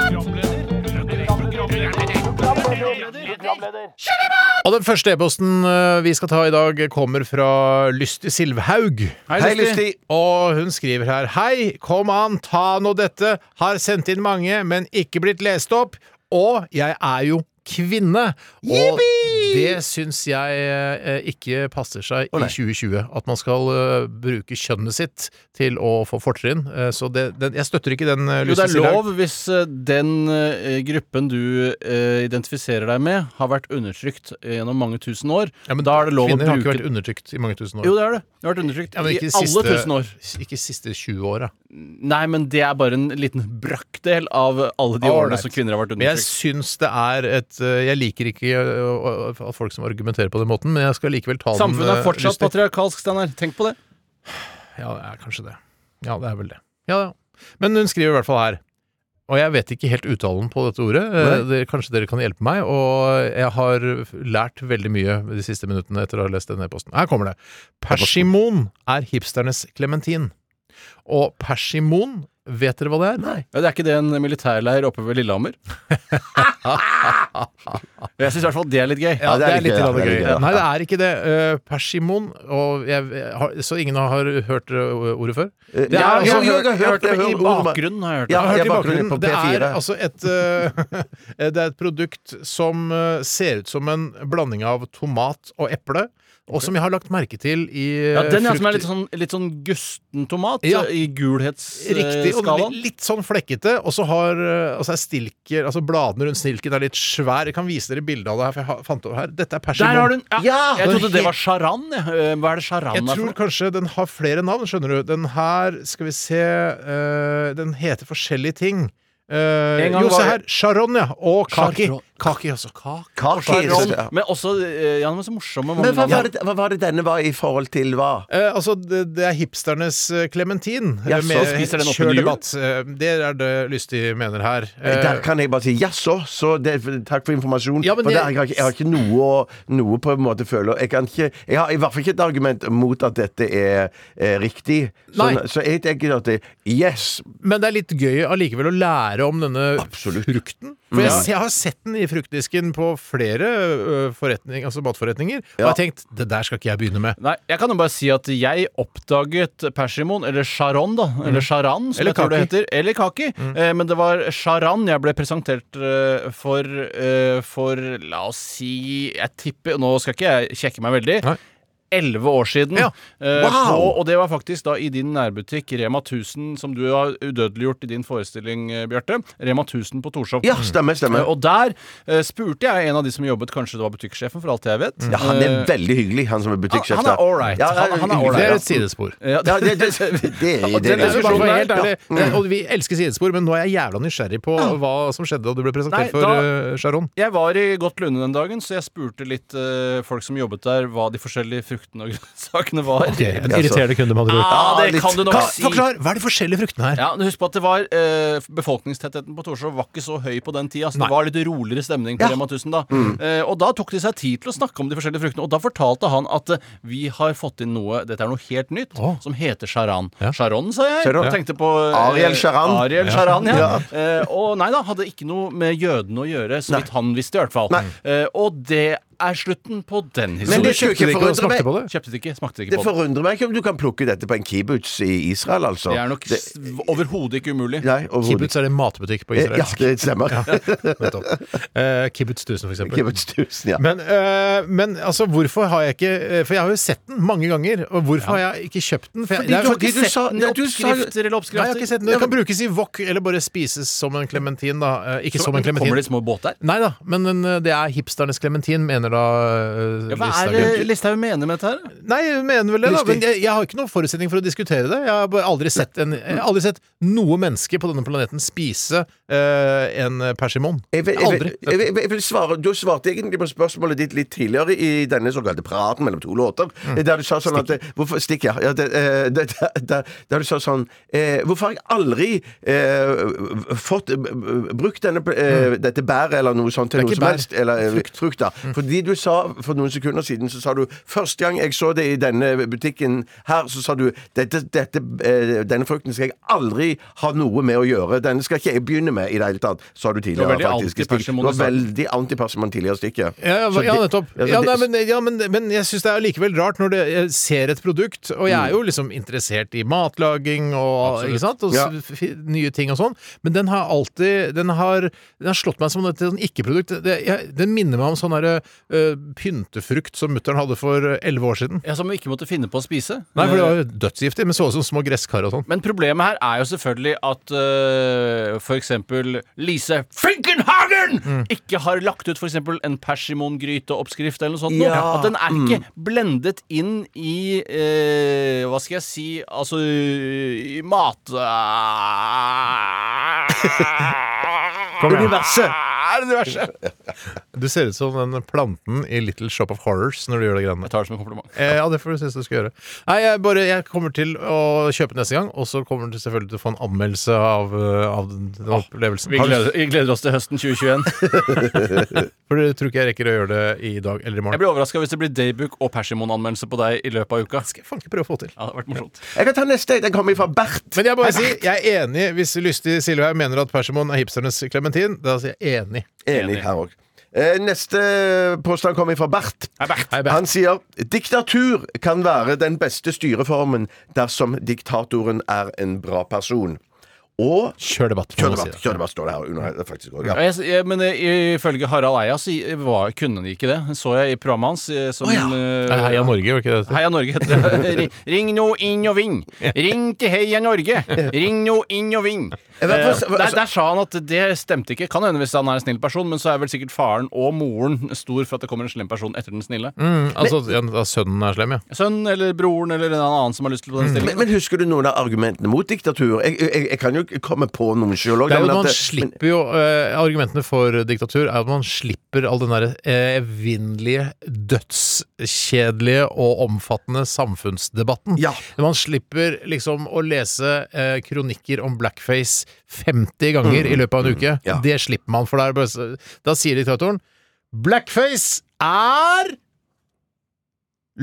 Speaker 1: Og den første e-posten eh, vi skal ta i dag, kommer fra Lystig Silvhaug.
Speaker 2: Hei, Lysti!
Speaker 1: Og hun skriver her Hei, kom an, ta nå dette. Har sendt inn mange, men ikke blitt lest opp. Og jeg er jo kvinne. Og det syns jeg eh, ikke passer seg i 2020. At man skal eh, bruke kjønnet sitt til å få fortrinn. Eh, så det, den, jeg støtter ikke den. Uh,
Speaker 3: Jo, det er lov hvis eh, den eh, gruppen du eh, identifiserer deg med, har vært undertrykt eh, gjennom mange tusen år.
Speaker 1: Ja, men
Speaker 3: da er det lov å
Speaker 1: Kvinner har ikke
Speaker 3: bruke
Speaker 1: vært undertrykt i mange tusen år.
Speaker 3: Jo, det er det. Det har vært undertrykt
Speaker 1: Ja, men
Speaker 3: i
Speaker 1: ikke
Speaker 3: alle
Speaker 1: siste-
Speaker 3: tusen år.
Speaker 1: Ikke siste 20 åra.
Speaker 3: Nei, men det er bare en liten brøkdel av alle de
Speaker 1: All
Speaker 3: årene
Speaker 1: right.
Speaker 3: som kvinner har vært
Speaker 1: Men jeg
Speaker 3: undertrykt.
Speaker 1: syns det er et øh, Jeg liker ikke øh, øh, at folk som argumenterer på den måten, men jeg skal likevel ta den
Speaker 3: Samfunnet
Speaker 1: øh,
Speaker 3: er fortsatt
Speaker 1: lystig.
Speaker 3: patriarkalsk, Steinar. Tenk på det.
Speaker 1: Ja, det er kanskje det. Ja, det er vel det. Ja, ja. Men hun skriver i hvert fall her. Og jeg vet ikke helt uttalen på dette ordet. Eh, Det, kanskje dere kan hjelpe meg. Og jeg har lært veldig mye de siste minuttene etter å ha lest denne e-posten. Her kommer det. Persimon er hipsternes klementin. Og persimon, vet dere hva det er? Nei.
Speaker 3: Ja, det er ikke det en militærleir oppe ved Lillehammer? jeg syns i hvert fall det er litt gøy.
Speaker 1: Ja, det er, litt
Speaker 7: gøy,
Speaker 1: grann
Speaker 7: det er
Speaker 1: gøy.
Speaker 7: litt gøy, ja.
Speaker 1: Nei, det er ikke det. Eh, Persimon, og jeg, jeg har, så ingen har hørt eh, ordet før? Det er
Speaker 2: ja,
Speaker 1: altså-
Speaker 2: jo, jo, jeg har hørt det,
Speaker 3: det
Speaker 2: jeg
Speaker 3: i
Speaker 2: hører ordet.
Speaker 3: bakgrunnen, har jeg hørt.
Speaker 2: Ja,
Speaker 1: jeg har hørt
Speaker 2: jeg
Speaker 1: i
Speaker 2: bare kunne
Speaker 1: bakgrunnen.
Speaker 2: på
Speaker 1: Det er
Speaker 2: P4.
Speaker 1: altså et eh, Det er et produkt som eh, ser ut som en blanding av tomat og eple, og som jeg har lagt merke til i eh,
Speaker 3: Ja, den ja, som er
Speaker 1: frukt-
Speaker 3: litt sånn, litt sånn gusten tomat
Speaker 1: Ja.
Speaker 3: i eh,
Speaker 1: Riktig, og
Speaker 3: gulhetsskalaen.
Speaker 1: litt sånn flekkete. Og så har eh, altså er stilker Altså bladene rundt stilken er litt svær. Jeg kan vise dere bilde av det her, for jeg har- fant det over her. Dette er persimon.
Speaker 3: Der har du den! Ja.
Speaker 2: Ja!
Speaker 3: Jeg trodde det var charan. jeg. Eh, Hva er det charan
Speaker 1: Jeg
Speaker 3: er for
Speaker 1: tror
Speaker 3: noe?
Speaker 1: kanskje den har flere navn, skjønner du. Den her, skal vi se eh, Den heter forskjellige ting. Eh,
Speaker 3: En gang
Speaker 1: jo, se
Speaker 3: var-
Speaker 1: her. Sharon, ja. Og Kaki.
Speaker 3: Sharon.
Speaker 1: Kaki også. Kaki.
Speaker 2: Kakis.
Speaker 3: Men også eh, Ja, men så morsomme
Speaker 2: Men
Speaker 3: mange
Speaker 2: hva var,
Speaker 3: navn.
Speaker 2: det, hva var det denne var i forhold til hva?
Speaker 1: Eh, altså, det, det er hipsternes eh, klementin.
Speaker 2: Ja, så
Speaker 3: spiser den opp
Speaker 1: kjør
Speaker 3: under jul?
Speaker 1: debatt. Eh, det er det Lystig mener her. Eh,
Speaker 2: Der kan jeg bare si jaså, så det, takk for informasjon.
Speaker 1: Ja, men
Speaker 2: for
Speaker 1: det-
Speaker 2: der, jeg, har ikke, jeg har ikke noe, å- noe på en måte føler Jeg, kan ikke, jeg har i hvert fall ikke et argument mot at dette er, eh, riktig.
Speaker 1: Nei.
Speaker 2: Sånn, så jeg tenker at det, yes,
Speaker 1: Men det er litt gøy allikevel å lære om denne
Speaker 2: Absolutt.
Speaker 1: frukten. For jeg, jeg har sett den i fruktdisken på flere ø, forretning, altså matforretninger, og jeg har tenkt det der skal ikke jeg begynne med.
Speaker 3: Nei, jeg kan jo bare si at jeg oppdaget persimon, eller charon, da. Eller charan, som
Speaker 1: Mhm. Eller
Speaker 3: jeg tror det
Speaker 1: kaki. Mhm.
Speaker 3: heter. Eller kaki. Eh, men det var charan jeg ble presentert eh, for eh, for, la oss si Jeg tipper Nå skal ikke jeg kjekke meg veldig.
Speaker 1: Nei.
Speaker 3: Elleve år siden.
Speaker 1: Ja.
Speaker 3: Eh,
Speaker 1: Wow!
Speaker 3: på, og det var faktisk da i din nærbutikk Rema 1000, som du har udødeliggjort i din forestilling, eh, Bjarte. Rema 1000 på Torshov.
Speaker 2: ja, stemmer,
Speaker 3: Eh,
Speaker 2: stemmer.
Speaker 3: Og der eh, spurte jeg en av de som jobbet, kanskje det var butikksjefen, for alt jeg vet.
Speaker 2: Ja, han er
Speaker 3: Eh,
Speaker 2: veldig hyggelig, han som er butikksjef.
Speaker 3: Han- han er
Speaker 2: der.
Speaker 3: all right. Han- han er all
Speaker 2: hyggelig.
Speaker 1: Det er et
Speaker 2: Ja.
Speaker 1: sidespor.
Speaker 3: ja,
Speaker 2: Ja, det, det, det, det, er- det,
Speaker 1: Den
Speaker 2: er-
Speaker 1: diskusjonen
Speaker 3: diskusjonen
Speaker 1: var
Speaker 3: der,
Speaker 1: helt ærlig. Eh, Og vi elsker sidespor, men nå er jeg jævla nysgjerrig på hva som skjedde da du ble presentert
Speaker 3: Nei,
Speaker 1: for
Speaker 3: da-
Speaker 1: eh, Sharon.
Speaker 3: Jeg var i godt lunde den dagen, så jeg spurte litt eh, folk som jobbet der, hva de forskjellige fruktene og grønnsakene var.
Speaker 1: en irriterende kunde, med
Speaker 3: Ah, det
Speaker 2: Ja, litt.
Speaker 3: kan du nok si.
Speaker 1: Forklar! Hva er de forskjellige fruktene her?
Speaker 3: Ja, men Husk på at det var eh, befolkningstettheten på Torshov var ikke så høy på den tida. Så det var litt roligere stemning på Rema 1000 da. Eh, og da tok de seg tid til å snakke om de forskjellige fruktene. Og da fortalte han at eh, vi har fått inn noe, dette er noe helt nytt,
Speaker 1: Å.
Speaker 3: som heter charan.
Speaker 1: Ja.
Speaker 3: Charon, sa jeg.
Speaker 2: Charon.
Speaker 3: Jeg Tenkte på eh,
Speaker 2: Ariel Charan.
Speaker 3: Ariel Charan, ja. Eh, og nei da, hadde ikke noe med jødene å gjøre, så vidt han visste i hvert fall. Eh, og det er slutten på den
Speaker 1: Men
Speaker 3: historien.
Speaker 1: du
Speaker 2: det
Speaker 1: kjøpte
Speaker 2: kjøpte
Speaker 1: det ikke og
Speaker 2: forundrer meg-
Speaker 1: smakte på det?
Speaker 3: Kjøpte det ikke, smakte det
Speaker 2: Det
Speaker 3: ikke på den.
Speaker 2: forundrer meg ikke om du kan plukke dette på en kibbutz i Israel, altså.
Speaker 3: Det er nok s- overhodet ikke umulig.
Speaker 2: Nei, overhodet
Speaker 1: Kibbutz er det matbutikk på
Speaker 2: ikke. Ja,
Speaker 1: israelsk.
Speaker 2: det stemmer.
Speaker 1: Nettopp. Eh, Kibbutz 1000, for eksempel.
Speaker 2: Kibbutz 1000, ja.
Speaker 1: Men, eh, men altså, hvorfor har jeg ikke eh, For jeg har jo sett den mange ganger, og hvorfor har jeg ikke kjøpt den? For jeg,
Speaker 2: Fordi du
Speaker 1: jeg har
Speaker 2: har
Speaker 1: faktisk
Speaker 2: ikke
Speaker 1: sett
Speaker 2: sett den i
Speaker 3: Oppskrifter
Speaker 1: Nei,
Speaker 3: eller
Speaker 1: jeg har
Speaker 3: oppskrifter.
Speaker 1: ikke sett den. Den kan brukes i wok eller bare spises som en klementin, da. Eh, Ikke som en
Speaker 3: Kommer
Speaker 1: klementin.
Speaker 3: det i små båter?
Speaker 1: Nei da, men eh, det er hipsternes klementin, mener da eh,
Speaker 3: Ja, hva er
Speaker 1: Listhaug.
Speaker 3: det Listhaug mener med dette her?
Speaker 1: Nei, hun mener vel det, da.
Speaker 2: Listig.
Speaker 1: Men jeg, jeg har ikke noen forutsetning for å diskutere det. Jeg har bare aldri sett, en, jeg har aldri sett noe menneske på denne planeten spise eh, en persimon.
Speaker 2: Jeg vil, jeg, vil,
Speaker 1: Aldri.
Speaker 2: jeg, vil, jeg vil svare, du svarte egentlig på spørsmålet ditt litt tidligere i denne såkalte praten mellom to låter,
Speaker 1: Mm.
Speaker 2: der du sa sånn at eh, hvorfor, Stikk, ja. ja det, eh, det, det, der, der du sa sånn eh, Hvorfor har jeg aldri eh, fått eh, brukt denne, eh, dette bæret eller noe sånt til
Speaker 1: Mm. Det
Speaker 2: noe
Speaker 1: er ikke
Speaker 2: som
Speaker 1: bær. Mm.
Speaker 2: helst? Eller eh, frukt. da. Fordi du sa for noen sekunder siden så sa du Første gang jeg så det i denne butikken her, så sa du dette, dette, eh, Denne frukten skal jeg aldri ha noe med å gjøre. Denne skal ikke jeg begynne med i det hele tatt, sa du tidligere
Speaker 3: Det var veldig
Speaker 2: faktisk, i stikk.
Speaker 3: antipersimon
Speaker 2: Det
Speaker 3: i
Speaker 2: var
Speaker 3: starten.
Speaker 2: veldig antipersimon tidligere stikket.
Speaker 1: Ja,
Speaker 2: Så
Speaker 1: ja
Speaker 2: det-
Speaker 1: nettopp.
Speaker 2: Ja, så
Speaker 1: Ja,
Speaker 2: det-
Speaker 1: nei, men, ja, men, men jeg syns det er likevel rart når det, jeg ser et produkt, og jeg er jo liksom interessert i matlaging og, ikke sant? og s-
Speaker 2: Ja.
Speaker 1: f- nye ting og sånn, men den har alltid Den har, den har slått meg som et sånn ikke-produkt. Det- jeg- Den minner meg om sånn derre eh, pyntefrukt som mutter'n hadde for elleve år siden.
Speaker 3: Ja, Som vi ikke måtte finne på å spise.
Speaker 1: Nei, for det var jo dødsgiftig, men så ut som små gresskar og sånn.
Speaker 3: Men problemet her er jo selvfølgelig at øh, for eksempl Lise Finkenhagen ikke har lagt ut for eksempel en persimongryteoppskrift eller noe sånt. nå.
Speaker 2: Ja.
Speaker 3: At den er ikke blendet inn i øh, Hva skal jeg si Altså i mat...
Speaker 1: Kom igjen.
Speaker 3: Universet! Er universet.
Speaker 1: Du ser ut som den planten i Little Shop of Horrors når du gjør det greiene.
Speaker 3: Jeg tar det som en kompliment.
Speaker 1: Eh, ja, det får du synes du skal gjøre. Nei, jeg, bare, jeg kommer til å kjøpe neste gang, og så kommer du selvfølgelig til å få en anmeldelse av, eh, av den, den opplevelsen.
Speaker 3: Vi
Speaker 1: Har du-
Speaker 3: gleder, vi gleder oss til høsten 2021.
Speaker 1: For du tror ikke jeg rekker å gjøre det i dag eller i
Speaker 3: Jeg
Speaker 1: morgen.
Speaker 3: blir overraska hvis det blir Daybook og Persimon-anmeldelse på deg i løpet av uka.
Speaker 1: Skal jeg faen ikke prøve å få til.
Speaker 3: Ja, det hadde vært morsomt.
Speaker 2: Jeg kan ta neste. Den kommer fra Bert.
Speaker 1: Men jeg bare sier, jeg er enig hvis lystig Siljehaug mener at persimon er hipsternes klementin. Da sier jeg enig.
Speaker 2: Enig her òg. Neste påstand kommer fra Bert.
Speaker 1: Hei, Bert.
Speaker 2: Han sier diktatur kan være den beste styreformen dersom diktatoren er en bra person. Og
Speaker 1: Kjør debatt. må
Speaker 2: Kjør
Speaker 1: man si
Speaker 2: debatt,
Speaker 1: det.
Speaker 2: kjør debatt står det her under her faktisk òg.
Speaker 3: Ja.
Speaker 2: Ja.
Speaker 3: Jeg, jeg, men eh, ifølge Harald Eia så i- var, kunne han ikke det. Så jeg i programmet hans eh, som eh,
Speaker 1: Nei, Heia Norge, var ikke det?
Speaker 3: Heia Norge heter det. Ring- Ring nå inn og vinn! Ring til Heia Norge! Ring nå inn og vinn! Eh,
Speaker 2: Jeg vet hva- hva-
Speaker 3: Der, der sa han at det stemte ikke. Kan hende hvis han er en snill person, men så er vel sikkert faren og moren stor for at det kommer en slem person etter den snille.
Speaker 1: Mm, altså, ja, da sønnen er slem, ja.
Speaker 3: Sønn eller broren eller en annen som har lyst til på den
Speaker 2: Men,
Speaker 3: stillingen.
Speaker 2: men husker du noen av argumentene mot diktatur? Jeg, jeg, jeg kan jo ikke komme på noen sjøl òg.
Speaker 1: Det er jo at man slipper jo eh, Argumentene for diktatur er at man slipper all den der eh, evinnelige, dødskjedelige og omfattende samfunnsdebatten.
Speaker 2: Ja.
Speaker 1: Man slipper liksom å lese eh, kronikker om blackface 50 ganger i løpet av en uke.
Speaker 2: ja.
Speaker 1: Det slipper man, for der bare så- Da sier diktatoren Blackface er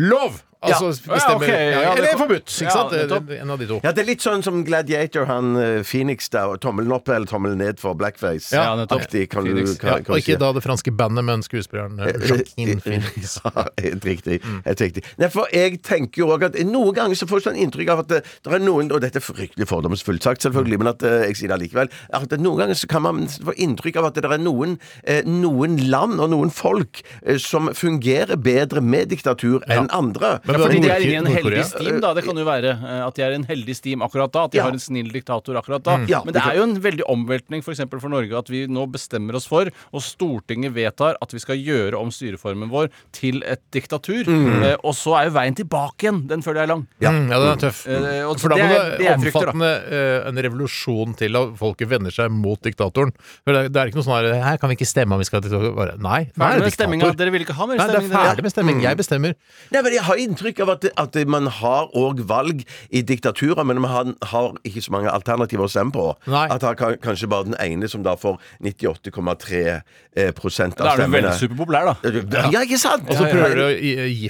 Speaker 1: lov! Altså
Speaker 3: Ja,
Speaker 1: bestemmer
Speaker 3: ok, ja, det
Speaker 1: Eller
Speaker 3: kom-
Speaker 1: forbudt, ikke
Speaker 3: Ja,
Speaker 1: sant? Det-
Speaker 3: nettopp.
Speaker 1: det- En av de to.
Speaker 2: Ja, det er litt sånn som Gladiator, han eh, Phoenix der. og Tommelen opp eller tommelen ned for blackface.
Speaker 3: Ja, nettopp.
Speaker 2: Aktig, kan du,
Speaker 3: Phoenix,
Speaker 1: Ja,
Speaker 2: kan, kan
Speaker 1: og
Speaker 2: du si.
Speaker 1: ikke da det franske bandet, men skuespilleren eh, Joaquin Phoenix. Mm.
Speaker 2: Ja, helt riktig. Helt riktig. Nei, for jeg tenker jo òg at noen ganger så får jeg sånn inntrykk av at det, det er noen Og dette er fryktelig fordomsfullt sagt,
Speaker 1: Mm.
Speaker 2: selvfølgelig, men at eh, jeg sier det allikevel. At det noen ganger så kan man få inntrykk av at det er noen, eh, noen land og noen folk eh, som fungerer bedre med diktatur enn andre.
Speaker 1: Men det
Speaker 3: Ja, fordi de
Speaker 1: Nord-
Speaker 3: er inne i en heldig
Speaker 1: Nord-Korea.
Speaker 3: stim, da. Det kan jo være eh, at de er i en heldig stim akkurat da. At de
Speaker 2: Ja.
Speaker 3: har en snill diktator akkurat da.
Speaker 1: Mm.
Speaker 2: Ja,
Speaker 3: Men det
Speaker 2: ikke-
Speaker 3: er jo en veldig omveltning f.eks. For, for Norge at vi nå bestemmer oss for, og Stortinget vedtar at vi skal gjøre om styreformen vår til et diktatur.
Speaker 1: Mm.
Speaker 3: Eh, og så er jo veien tilbake igjen. Den føler jeg er lang.
Speaker 1: Ja. Mm, ja, den er tøff.
Speaker 3: Eh, og
Speaker 1: For da
Speaker 3: det
Speaker 1: må
Speaker 3: er-
Speaker 1: det,
Speaker 3: det jeg frykter, da.
Speaker 1: omfattende eh, en revolusjon til at folket vender seg mot diktatoren. For det, det er ikke noe sånn her Her kan vi ikke stemme om vi skal til Bare, Nei, nå er
Speaker 3: Ferdig med
Speaker 1: det
Speaker 3: stemminga.
Speaker 1: diktator.
Speaker 3: Dere vil ikke ha mer
Speaker 1: Nei, det er
Speaker 3: stemming? dere.
Speaker 2: Mm.
Speaker 1: ferdig med stemming. Jeg bestemmer.
Speaker 2: Nei, men Jeg har inntrykk av at, at man har òg valg i diktaturer, men man har ikke så mange alternativer å stemme på.
Speaker 1: Nei.
Speaker 2: At han kan, kanskje bare den ene som da får 98,3 eh, prosent
Speaker 3: Da
Speaker 2: av
Speaker 3: er du veldig
Speaker 2: stemmene.
Speaker 3: superpopulær, da.
Speaker 2: Ja, ja, ikke sant?
Speaker 1: Og så prøver du å i-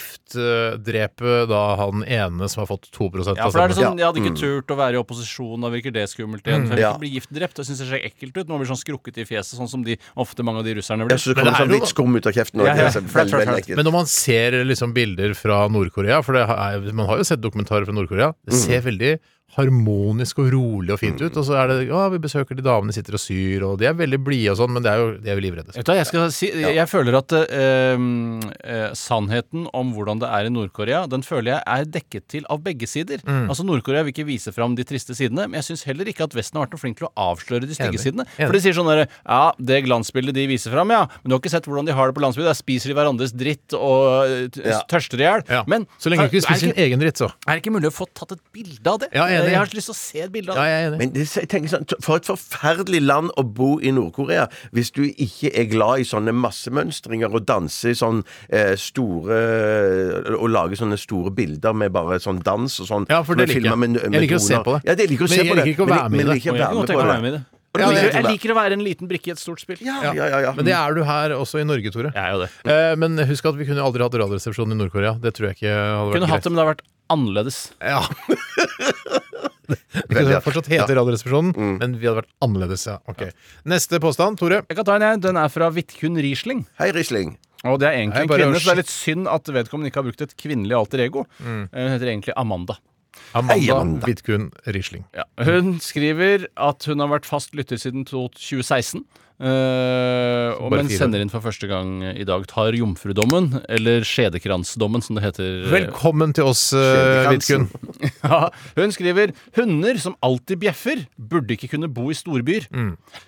Speaker 1: giftdrepe da han ene som har fått 2 av
Speaker 3: Ja, for da er det
Speaker 1: stemmen.
Speaker 3: sånn, Jeg hadde ikke turt å være i opposisjon, da virker det skummelt igjen.
Speaker 1: Mm.
Speaker 3: For jeg vil
Speaker 2: Ja.
Speaker 3: ikke bli giftdrept. Jeg syns det ser ekkelt ut når man blir sånn skrukket i fjeset, sånn som de, ofte mange av de russerne
Speaker 2: Jeg
Speaker 3: blir.
Speaker 2: synes det kommer
Speaker 1: Men det er
Speaker 2: sånn
Speaker 1: jo-
Speaker 2: litt skum ut av kjeften. og
Speaker 3: Ja, ja,
Speaker 2: det er
Speaker 3: flaut,
Speaker 2: veldig,
Speaker 3: flaut,
Speaker 2: veldig
Speaker 3: flaut.
Speaker 2: ekkelt.
Speaker 1: Men når man ser liksom bilder fra Nord-Korea, for det er, man har jo sett dokumentarer fra Nord-Korea, det ser veldig harmonisk og rolig og fint ut. Og så er det ja, vi besøker de damene, sitter og syr, og de er veldig blide og sånn, men det er jo, de er jo livredde.
Speaker 3: Vet du hva, jeg, skal si, jeg føler at eh, eh, sannheten om hvordan det er i Nord-Korea, den føler jeg er dekket til av begge sider.
Speaker 1: Mm.
Speaker 3: Altså Nord-Korea vil ikke vise fram de triste sidene, men jeg syns heller ikke at Vesten har vært noe flink til å avsløre de stygge
Speaker 1: Enig.
Speaker 3: sidene.
Speaker 1: Enig.
Speaker 3: For de sier sånn derre Ja, det glansbildet de viser fram, ja, men du har ikke sett hvordan de har det på landsbygda. Der spiser de hverandres dritt og eh, t-
Speaker 2: Ja.
Speaker 3: tørster i hjel.
Speaker 1: Ja.
Speaker 3: Men
Speaker 1: så lenge du ikke
Speaker 3: er det
Speaker 1: spiser din egen dritt, så.
Speaker 3: er det ikke mulig å få tatt et bilde av det?
Speaker 1: Ja, jeg er enig.
Speaker 3: jeg har så lyst til å se et bilde av
Speaker 1: Ja,
Speaker 3: det.
Speaker 1: jeg er enig.
Speaker 2: Men det, jeg tenker sånn, for et forferdelig land å bo i Nord-Korea hvis du ikke er glad i sånne massemønstringer og danse i sånn eh, store Og lage sånne store bilder med bare sånn dans og sånn.
Speaker 1: Ja, for
Speaker 2: med
Speaker 1: det liker jeg.
Speaker 2: filmer med- med
Speaker 1: Jeg liker å se
Speaker 2: droner.
Speaker 1: på det.
Speaker 2: Ja, jeg liker å
Speaker 1: Men
Speaker 2: se
Speaker 1: jeg
Speaker 2: på det.
Speaker 1: liker ikke å
Speaker 2: Men
Speaker 1: være med i
Speaker 2: men jeg
Speaker 1: det.
Speaker 2: liker
Speaker 3: Og
Speaker 2: ikke
Speaker 3: jeg
Speaker 2: å
Speaker 3: kan godt
Speaker 2: være
Speaker 3: tenke meg å være
Speaker 2: med på
Speaker 3: med i
Speaker 2: det.
Speaker 3: det.
Speaker 2: Og det
Speaker 1: Ja,
Speaker 2: liker jeg
Speaker 3: Jeg
Speaker 2: ikke å være.
Speaker 3: liker å være en liten brikke i et stort spill.
Speaker 2: Ja, ja, ja, ja.
Speaker 1: Men det er du her også i Norge, Tore.
Speaker 3: Jeg er jo det.
Speaker 1: Eh, men husk at vi kunne aldri hatt radioresepsjon i Nord-Korea. Det tror jeg ikke hadde vært
Speaker 3: Kunne hatt
Speaker 1: greit.
Speaker 3: det, men det har vært annerledes.
Speaker 1: Ja. Vi kunne fortsatt hete Radioresepsjonen, men vi hadde vært annerledes. Ja. Ok. Neste påstand, Tore.
Speaker 3: Jeg kan ta en, jeg. Den er fra Vidkun Riesling.
Speaker 2: Hei, Risling.
Speaker 3: Og det er egentlig
Speaker 1: Nei,
Speaker 3: en
Speaker 1: bare
Speaker 3: kvinne,
Speaker 1: å
Speaker 3: så det er litt synd at vedkommende ikke har brukt et kvinnelig alter ego. Eh, Hun heter egentlig Amanda.
Speaker 1: Amanda Vidkun Riesling.
Speaker 3: Ja. Hun skriver at hun har vært fast lytter siden to- 2016. eh, og,
Speaker 1: Bare
Speaker 3: men
Speaker 1: fire.
Speaker 3: sender inn for første gang i dag. Tar jomfrudommen, eller skjedekransdommen, som det heter.
Speaker 1: Eh, Velkommen til oss, eh, Vidkun.
Speaker 2: Skjøntekransen.
Speaker 3: Ja, hun skriver 'Hunder som alltid bjeffer, burde ikke kunne bo i storbyer'.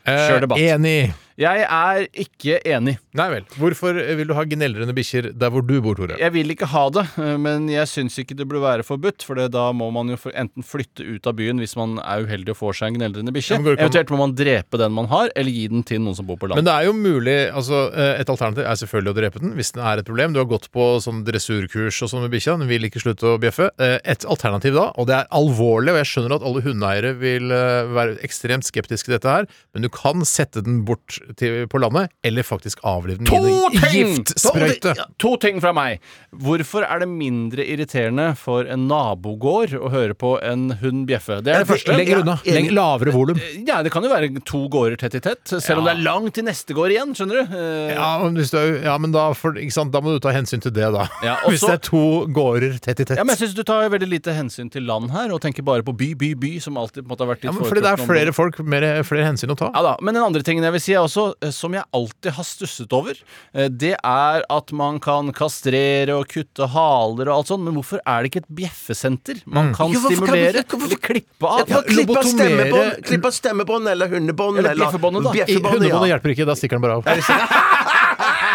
Speaker 1: Eh,
Speaker 3: Kjør debatt.
Speaker 1: Enig.
Speaker 3: Jeg er ikke enig.
Speaker 1: Nei vel. Hvorfor vil du ha gnellrende bikkjer der hvor du bor, Tore?
Speaker 3: Jeg vil ikke ha det, eh, men jeg syns ikke det burde være forbudt. For det- da må man jo for- enten flytte ut av byen hvis man er uheldig og får seg en gneldrende bikkje.
Speaker 1: Ja, men går det ikke an-
Speaker 3: Eventuelt må man drepe den man har, eller gi den til noen som bor på
Speaker 1: Men
Speaker 3: landet.
Speaker 1: det er jo mulig altså, eh, Et alternativ er selvfølgelig å drepe den hvis den er et problem. Du har gått på sånn dressurkurs og sånn med bikkja, den vil ikke slutte å bjeffe. Eh, Et alternativ da, og det er alvorlig, og jeg skjønner at alle hundeeiere vil eh, være ekstremt skeptiske til dette her, men du kan sette den bort til, på landet, eller faktisk avlive den
Speaker 3: To
Speaker 1: i en
Speaker 3: ting!
Speaker 1: giftsprøyte.
Speaker 3: To- To ting fra meg. Hvorfor er det mindre irriterende for en nabogård å høre på en hund bjeffe? Det er det første.
Speaker 1: Lenger unna.
Speaker 2: Ja,
Speaker 1: Lenger, lavere volum.
Speaker 3: Ja, det kan jo være to gårder tett i tett, selv om det er langt til neste gård igjen, skjønner du. Eh,
Speaker 1: Ja, men, hvis du er, ja, men da, får- ikke sant, da må du ta hensyn til det, da.
Speaker 3: Ja, og
Speaker 1: hvis
Speaker 3: så-
Speaker 1: det er to gårder tett i tett.
Speaker 3: Ja, men jeg syns du tar veldig lite hensyn til land her, og tenker bare på by, by, by, som alltid på en måte har vært
Speaker 1: Ja,
Speaker 3: ditt
Speaker 1: men fordi det er
Speaker 3: foretrukne område.
Speaker 1: flere folk, mer, flere hensyn å ta.
Speaker 3: Ja da, Men den andre tingen jeg vil si er også, eh, som jeg alltid har stusset over, eh, det er at man kan kastrere og kutte haler og alt sånt, men hvorfor er det ikke et bjeffesenter man kan
Speaker 2: Jo, hvorfor kan vi
Speaker 3: stimulere
Speaker 2: ikke- hvorfor-
Speaker 3: eller klippe av?
Speaker 2: Ja, Klipp av
Speaker 1: Mm. lobotomere-
Speaker 2: stemmebånd, klipp av stemmebånd eller hundebånd
Speaker 3: Eller bjeffebåndet, da. I
Speaker 1: I
Speaker 2: bjeffebåndet, ja.
Speaker 1: Hundebåndet hjelper ikke, da stikker den bare av.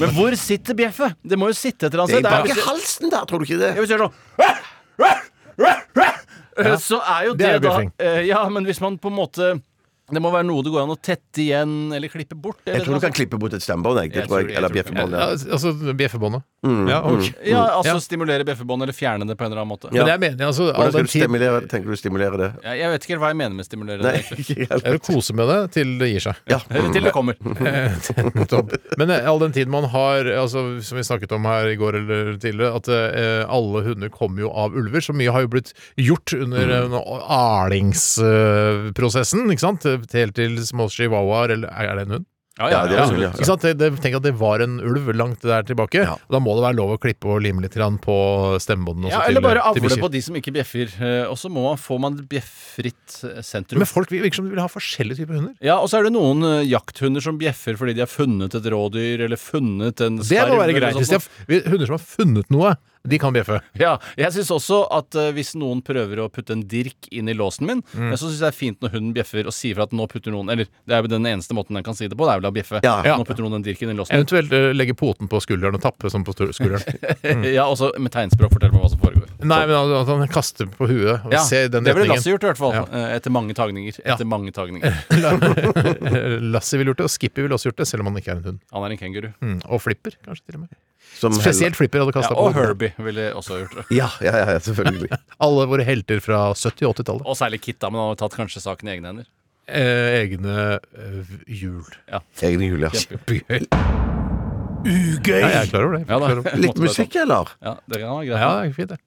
Speaker 3: Men hvor sitter bjeffet? Det må jo sitte et eller annet
Speaker 2: Det
Speaker 3: sted.
Speaker 2: er
Speaker 3: Det
Speaker 2: bak i
Speaker 3: er-
Speaker 2: halsen der, tror du ikke det?
Speaker 3: Ja, Hvis du gjør sånn
Speaker 1: Ja.
Speaker 3: Eh, Så er jo
Speaker 1: Det
Speaker 3: det,
Speaker 1: er jo
Speaker 3: da
Speaker 1: bjeffing.
Speaker 3: eh, Ja, men hvis man på en måte det må være noe det går an å tette igjen eller klippe bort. Eller
Speaker 2: Jeg tror du
Speaker 3: noe
Speaker 2: kan klippe bort et stemmebånd, jeg. Det
Speaker 3: Jeg
Speaker 2: tror
Speaker 3: tror-
Speaker 2: jeg.
Speaker 3: jeg
Speaker 2: Eller
Speaker 3: tror- jeg-
Speaker 2: bjeffebånd.
Speaker 1: Ja,
Speaker 2: Ja.
Speaker 1: altså bjeffebåndet.
Speaker 2: Mm,
Speaker 1: Ja, ok.
Speaker 3: sånt. ja,
Speaker 1: Mm.
Speaker 3: altså
Speaker 1: Ja.
Speaker 3: stimulere bjeffebånd eller fjerne det på en eller annen måte.
Speaker 1: Men jeg mener altså
Speaker 2: Hvordan skal
Speaker 1: all den
Speaker 2: du
Speaker 1: tid
Speaker 2: stimulere, tenker du stimulere det?
Speaker 3: Ja, Jeg vet ikke helt hva jeg mener med stimulere.
Speaker 2: Nei,
Speaker 3: det, egentlig.
Speaker 2: ikke helt.
Speaker 1: jeg vil kose med det til det gir seg.
Speaker 2: Ja.
Speaker 3: Eller til det kommer.
Speaker 1: Nettopp. Men eh, all den tid man har, altså, som vi snakket om her i går eller tidligere, at eh, alle hunder kommer jo av ulver. Så mye har jo blitt gjort under arlingsprosessen, ikke sant? Helt til små chihuahuaer, eller er det en hund?
Speaker 2: Ja, det er
Speaker 3: absolutt.
Speaker 2: mulig,
Speaker 1: Ikke sant? Det, det, tenk at det var en ulv langt der tilbake. Da må det være lov å klippe og lime litt grann på stemmebåndene.
Speaker 3: Ja, eller bare avle på de som ikke bjeffer. eh, Og så må man, får man et bjeffritt eh, sentrum.
Speaker 1: Men folk virker som de vil ha forskjellige typer hunder.
Speaker 3: Ja, Og så er det noen eh, jakthunder som bjeffer fordi de har funnet et rådyr eller funnet en
Speaker 1: Det
Speaker 3: skarv.
Speaker 1: må være
Speaker 3: eller
Speaker 1: greit.
Speaker 3: sånt
Speaker 1: Hvis de har, hvis hunder som har funnet noe, de kan bjeffe.
Speaker 3: Ja, jeg syns også at eh, hvis noen prøver å putte en dirk inn i låsen min,
Speaker 1: Mm.
Speaker 3: eh, så syns jeg det er fint når hunden bjeffer og sier fra at nå putter noen Eller det er jo den eneste måten den kan si det på, det er vel å bjeffe.
Speaker 2: Ja.
Speaker 1: Ja.
Speaker 3: Nå putter noen en dirk inn i låsen min.
Speaker 1: Eventuelt eh, legge poten på skulderen og tappe som på stu- skulderen.
Speaker 3: ja, og så med tegnspråk fortell meg hva som foregår.
Speaker 1: Nei, men at at han kaster på huet og
Speaker 3: Ja,
Speaker 1: ser i den
Speaker 3: det ville
Speaker 1: retningen.
Speaker 3: Lasse gjort i hvert fall.
Speaker 1: Ja.
Speaker 3: eh, Etter mange tagninger.
Speaker 1: Ja.
Speaker 3: Etter mange tagninger.
Speaker 1: Lasse ville gjort det, og Skippy ville også gjort det, selv om han ikke er en hund.
Speaker 3: Han er en kenguru.
Speaker 1: Mm, og flipper, kanskje til og med.
Speaker 2: Som
Speaker 1: Spesielt Flipper hadde
Speaker 3: Ja,
Speaker 1: kasta
Speaker 3: og
Speaker 1: på.
Speaker 3: Herbie ville også gjort det.
Speaker 2: Ja, ja, ja, selvfølgelig.
Speaker 1: Alle våre helter fra 70- og 80-tallet.
Speaker 3: Og særlig Kit, da, men han har tatt kanskje saken i egne hender.
Speaker 1: Eh, egne eh, hjul.
Speaker 2: Egen jul, ja.
Speaker 1: Kjempegøy. Ugøy! Ja, jeg er klar over det. Jeg
Speaker 3: Ja,
Speaker 1: er
Speaker 3: da.
Speaker 1: klar over det.
Speaker 2: Litt musikk, eller?
Speaker 3: Ja, det kan være greit.
Speaker 1: Ja, det er fint, det.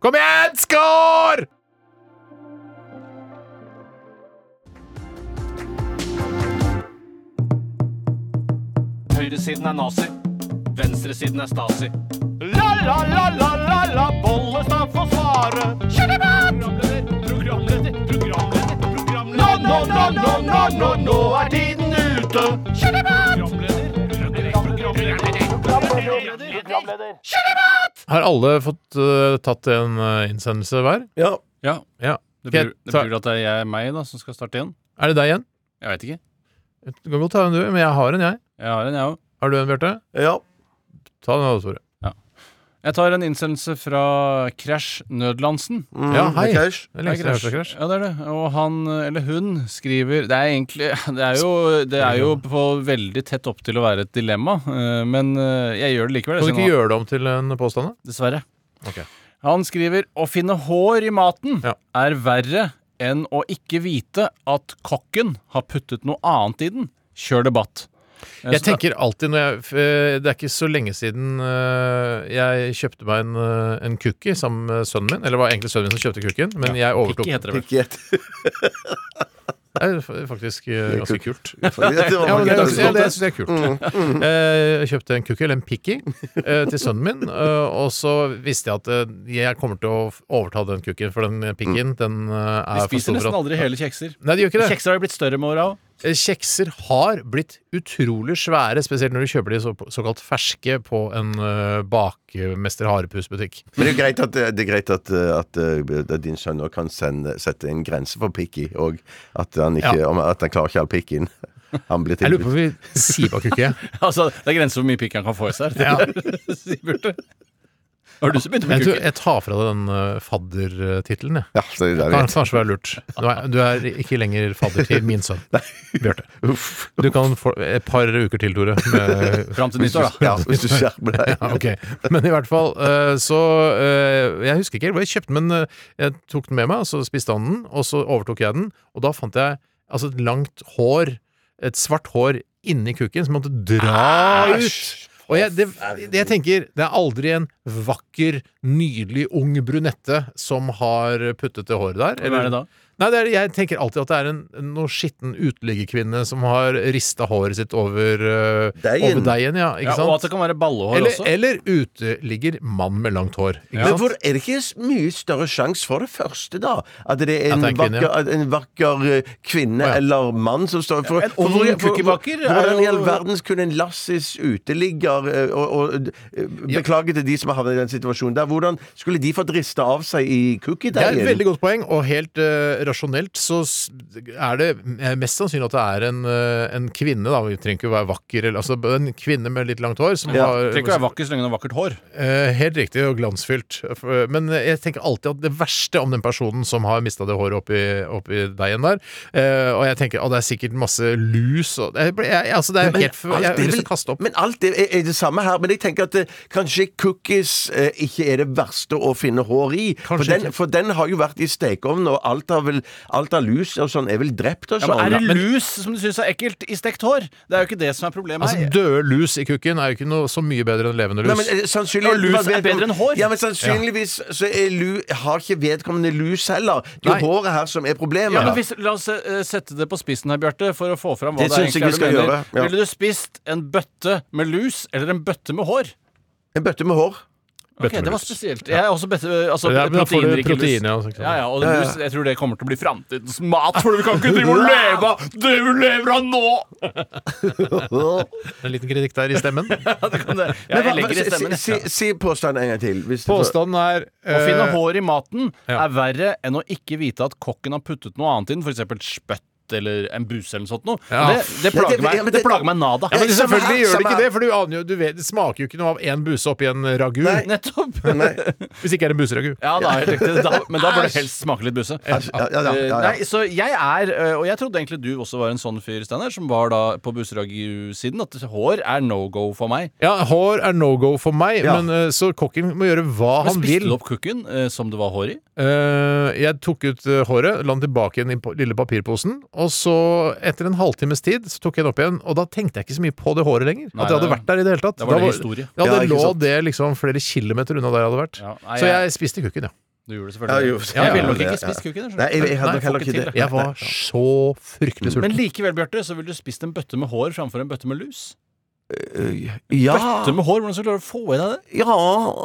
Speaker 1: Kom igjen, skår!
Speaker 3: Høyresiden er nazi. Venstresiden er stasi. La, la, la, la, la, la, Bollestad får svare. Kjør det bak! Programleder, programleder, programleder. Nå, nå, nå, nå, nå, nå, nå er tiden ute. Kjør det bak!
Speaker 1: Har alle fått eh, tatt en eh, innsendelse hver?
Speaker 2: Ja.
Speaker 3: Ja,
Speaker 1: Ja.
Speaker 3: det
Speaker 1: Skal jeg
Speaker 3: blir, det
Speaker 1: ta-
Speaker 3: blir at det er jeg, meg da, som skal starte igjen.
Speaker 1: Er det deg igjen?
Speaker 3: Jeg vet ikke.
Speaker 1: Du kan godt ta en du, men jeg har en, jeg.
Speaker 3: Jeg har en, jeg òg.
Speaker 1: Har du en, Bjarte?
Speaker 2: ja.
Speaker 1: Ta den, da, Tore.
Speaker 3: Jeg tar en innsendelse fra Crash Nødlandsen.
Speaker 2: Mm,
Speaker 1: Ja, hei.
Speaker 2: Cash.
Speaker 1: Det er lenge siden jeg har hørt deg, Crash.
Speaker 3: Ja, det er det. Og han, eller hun, skriver Det er egentlig Det er jo, det er jo på veldig tett opp til å være et dilemma, eh, men eh, jeg gjør det likevel.
Speaker 1: Kan du
Speaker 3: siden
Speaker 1: ikke
Speaker 3: han-
Speaker 1: gjøre det om til en påstand? da?
Speaker 3: Dessverre.
Speaker 1: Ok.
Speaker 3: Han skriver Å finne hår i maten
Speaker 1: Ja.
Speaker 3: er verre enn å ikke vite at kokken har puttet noe annet i den. Kjør debatt. Eh,
Speaker 1: Jeg
Speaker 3: så-
Speaker 1: tenker alltid når jeg f- eh, Det er ikke så lenge siden eh, jeg kjøpte meg en, eh, en cookie sammen med sønnen min. Eller det var egentlig sønnen min som kjøpte cookien, men jeg overtok.
Speaker 3: Ikke heter det vel.
Speaker 2: Ikke gjett.
Speaker 1: Det er fa- faktisk eh, ganske kult. Ja, men det,
Speaker 2: Ja,
Speaker 1: det, det, synes jeg er kult. Eh, Jeg kjøpte en cookie, eller en picky, eh, til sønnen min. eh, Og så visste jeg at eh, jeg kommer til å f- overta den cookien, for den pickien den eh,
Speaker 3: Vi
Speaker 1: er for
Speaker 3: spiser
Speaker 1: stor
Speaker 3: nesten
Speaker 1: for at
Speaker 3: aldri hele kjekser.
Speaker 1: Nei, de gjør ikke det.
Speaker 3: Kjekser har jo blitt større med åra òg.
Speaker 1: Eh, Kjekser har blitt utrolig svære, spesielt når du kjøper de så, såkalt ferske på en eh, bakmester harepus-butikk.
Speaker 2: Men det er greit at, det er greit at, at, eh, at din sønn også kan sende, sette en grense for Pikki, og at han, ikke, om- at han klarer ikke all pikken. Han blir
Speaker 1: Jeg lurer på
Speaker 2: tilbudt.
Speaker 1: om vi sier bak kukke.
Speaker 3: Altså, det er grenser for hvor mye pikk han kan få i seg.
Speaker 1: Ja.
Speaker 3: Sier Bjarte. Har du så begynt med
Speaker 1: Jeg, tror
Speaker 3: kukken?
Speaker 1: jeg tar fra deg den eh, faddertittelen, jeg.
Speaker 2: Ja, så det er
Speaker 1: Kan
Speaker 2: greit.
Speaker 1: kanskje være lurt. Du er, du er ikke lenger fadder til min sønn, Bjarte.
Speaker 2: Uff.
Speaker 1: Du kan få et par uker til, Tore. med-
Speaker 3: Fram til nytt år, da.
Speaker 2: Ja, hvis du skjerper deg.
Speaker 1: Ja, ok. Men i hvert fall, eh, så eh, Jeg husker ikke helt hva jeg kjøpte, men eh, jeg tok den med meg, og så spiste han den, og så overtok jeg den, og da fant jeg altså et langt hår, et svart hår, inni kukken som måtte dra ut. Og jeg, det, det jeg tenker, det er aldri en vakker, nydelig ung brunette som har puttet det håret der.
Speaker 3: Hvem er det da?
Speaker 1: Nei, det er, jeg tenker alltid at det er en, noe skitten uteliggerkvinne som har rista håret sitt over, eh,
Speaker 2: Deigen.
Speaker 1: over deigen. Ja,
Speaker 3: Ja,
Speaker 1: ikke
Speaker 3: og
Speaker 1: sant?
Speaker 3: at det kan være ballehår
Speaker 1: Eller,
Speaker 3: også.
Speaker 1: eller uteligger mann med langt hår. Ikke
Speaker 2: Men
Speaker 1: sant?
Speaker 2: hvor er det ikke s- mye større sjanse for det første, da? At det er en,
Speaker 1: At det er en kvinne,
Speaker 2: vakker, at en vakker eh, kvinne
Speaker 1: Å, ja.
Speaker 2: eller mann som står for
Speaker 3: En
Speaker 2: for-
Speaker 3: ung
Speaker 2: for- for-
Speaker 3: kukkebaker er
Speaker 2: Hvordan i
Speaker 3: jo-
Speaker 2: all verden kunne en Lassis uteligger eh, og, og eh, Beklager til de som har havnet i den situasjonen der. Hvordan skulle de fått rista av seg i
Speaker 1: Det er et
Speaker 2: cookie-deigen?
Speaker 1: veldig godt poeng, og helt eh, rasjonelt så s- er det eh, mest sannsynlig at det er en, eh, en kvinne, da, vi trenger ikke å være vakker, eller, altså en kvinne med litt langt hår som
Speaker 2: Ja,
Speaker 1: har
Speaker 3: Trenger ikke være vakker så lenge hun har vakkert hår.
Speaker 1: Eh, helt riktig og glansfylt. F- eh, Men jeg tenker alltid at det verste om den personen som har mista det håret oppi, oppi deigen der eh, Og jeg tenker at det er sikkert masse lus og jeg, ble- jeg, altså det er
Speaker 2: Men
Speaker 1: helt, f- Jeg
Speaker 2: alt
Speaker 1: har
Speaker 2: er
Speaker 1: lyst
Speaker 2: vel-
Speaker 1: til å kaste opp.
Speaker 2: Men alt er, er det samme her. Men jeg tenker at eh, kanskje cookies eh, ikke er det verste å finne hår i. For
Speaker 1: Kanskje
Speaker 2: den,
Speaker 1: ikke.
Speaker 2: for den har jo vært i stekeovnen, og alt av, vel, alt av lus og sånn er vel drept og
Speaker 3: Ja, men
Speaker 2: sånn.
Speaker 3: er det lus som du syns er ekkelt i stekt hår? Det er jo ikke det som er problemet
Speaker 1: Altså
Speaker 3: her.
Speaker 1: Døde lus i kukken er jo ikke noe så mye bedre enn levende lus.
Speaker 2: Nei, men, eh, sannsynlig-
Speaker 3: Ja, lus er bedre enn hår.
Speaker 2: Ja, men sannsynligvis så er lu, har ikke vedkommende lus heller. Det er
Speaker 1: Nei.
Speaker 2: jo håret her som er problemet.
Speaker 3: Ja, men hvis, La oss eh, sette det på spissen her, Bjarte, for å få fram hva
Speaker 2: Det
Speaker 3: det, er
Speaker 2: synes jeg
Speaker 3: egentlig
Speaker 2: vi
Speaker 3: er
Speaker 2: skal
Speaker 3: du mener.
Speaker 2: gjøre, ja.
Speaker 3: Ville du spist en bøtte med lus eller en bøtte med hår?
Speaker 2: En bøtte med hår.
Speaker 1: med
Speaker 3: Ok, Det var
Speaker 1: lus.
Speaker 3: spesielt. Jeg er også bøtte, altså,
Speaker 1: Ja, men da får du
Speaker 3: proteinrik
Speaker 1: protein, ja,
Speaker 3: lus.
Speaker 1: sånn.
Speaker 3: Ja, ja, og lus, jeg tror det kommer til å bli framtidens mat, for vi kan ikke drive og leve av det vi lever av nå!
Speaker 1: En liten kritikk der i stemmen.
Speaker 3: Ja, det kan det. Ja, jeg legger det i stemmen.
Speaker 2: si,
Speaker 3: jeg.
Speaker 2: si, si påstanden en gang til. Hvis du får-
Speaker 1: Påstanden er
Speaker 3: Å finne
Speaker 1: eh,
Speaker 3: hår i maten
Speaker 1: ja.
Speaker 3: er verre enn å ikke vite at kokken har puttet noe annet inn, f.eks. spytt kjøtt eller en buse eller noe sånt noe.
Speaker 1: Ja.
Speaker 3: Og Det, det,
Speaker 2: Ja, det-
Speaker 3: plager meg,
Speaker 2: ja, men
Speaker 3: det
Speaker 2: det-
Speaker 3: plager meg nada.
Speaker 1: Ja, men
Speaker 2: Samme her,
Speaker 1: selvfølgelig gjør det
Speaker 2: samme
Speaker 1: ikke
Speaker 2: her.
Speaker 1: det, for du, aner jo, du vet, det smaker jo ikke noe av én buse oppi en ragu.
Speaker 3: Nettopp!
Speaker 1: Hvis det ikke er en buseragu.
Speaker 3: Ja, da, er det riktig. da, men da bør det helst smake litt busse.
Speaker 2: Altså,
Speaker 7: Ja, ja, ja, ja, ja.
Speaker 3: Nei, så jeg er, eh, og jeg trodde egentlig du også var en sånn fyr, Steinar, som var da på Buseragu-siden, at hår er no go for meg.
Speaker 1: Ja, hår er no go for meg,
Speaker 7: Ja.
Speaker 1: men eh, så kokken må gjøre hva
Speaker 3: Men
Speaker 1: han
Speaker 3: spiste
Speaker 1: vil.
Speaker 3: du opp kukken eh, som det var hår i?
Speaker 1: Eh, jeg tok ut eh, håret, la den tilbake igjen i pa- lille papirposen, og så, etter en halvtimes tid, så tok jeg den opp igjen, og da tenkte jeg ikke så mye på det håret lenger.
Speaker 3: Nei,
Speaker 1: at det hadde
Speaker 3: det-
Speaker 1: vært der i det hele tatt.
Speaker 3: da var det
Speaker 1: Da
Speaker 3: historie.
Speaker 1: Ja,
Speaker 7: Ja,
Speaker 1: det
Speaker 7: ikke
Speaker 1: lå
Speaker 7: sant.
Speaker 1: det liksom flere kilometer unna der jeg hadde vært.
Speaker 3: Ja, nei,
Speaker 1: så
Speaker 3: jeg-
Speaker 1: jeg spiste kukken, ja.
Speaker 3: Du
Speaker 2: Ja,
Speaker 3: gjorde det selvfølgelig.
Speaker 2: jo,
Speaker 3: jeg ville nok
Speaker 2: ja, ja,
Speaker 3: ikke
Speaker 2: ja.
Speaker 3: spist kukken. jeg skjønner.
Speaker 2: Nei, jeg, jeg hadde
Speaker 3: Nei,
Speaker 2: nok heller
Speaker 3: får
Speaker 2: ikke
Speaker 3: ikke
Speaker 2: det.
Speaker 3: til
Speaker 1: Jeg var så fryktelig sulten.
Speaker 3: Men likevel, Bjarte, så ville du spist en bøtte med hår framfor en bøtte med lus.
Speaker 2: Ja,
Speaker 3: Bøtte med hår, Hvordan skal du klare å få i deg det?
Speaker 2: ja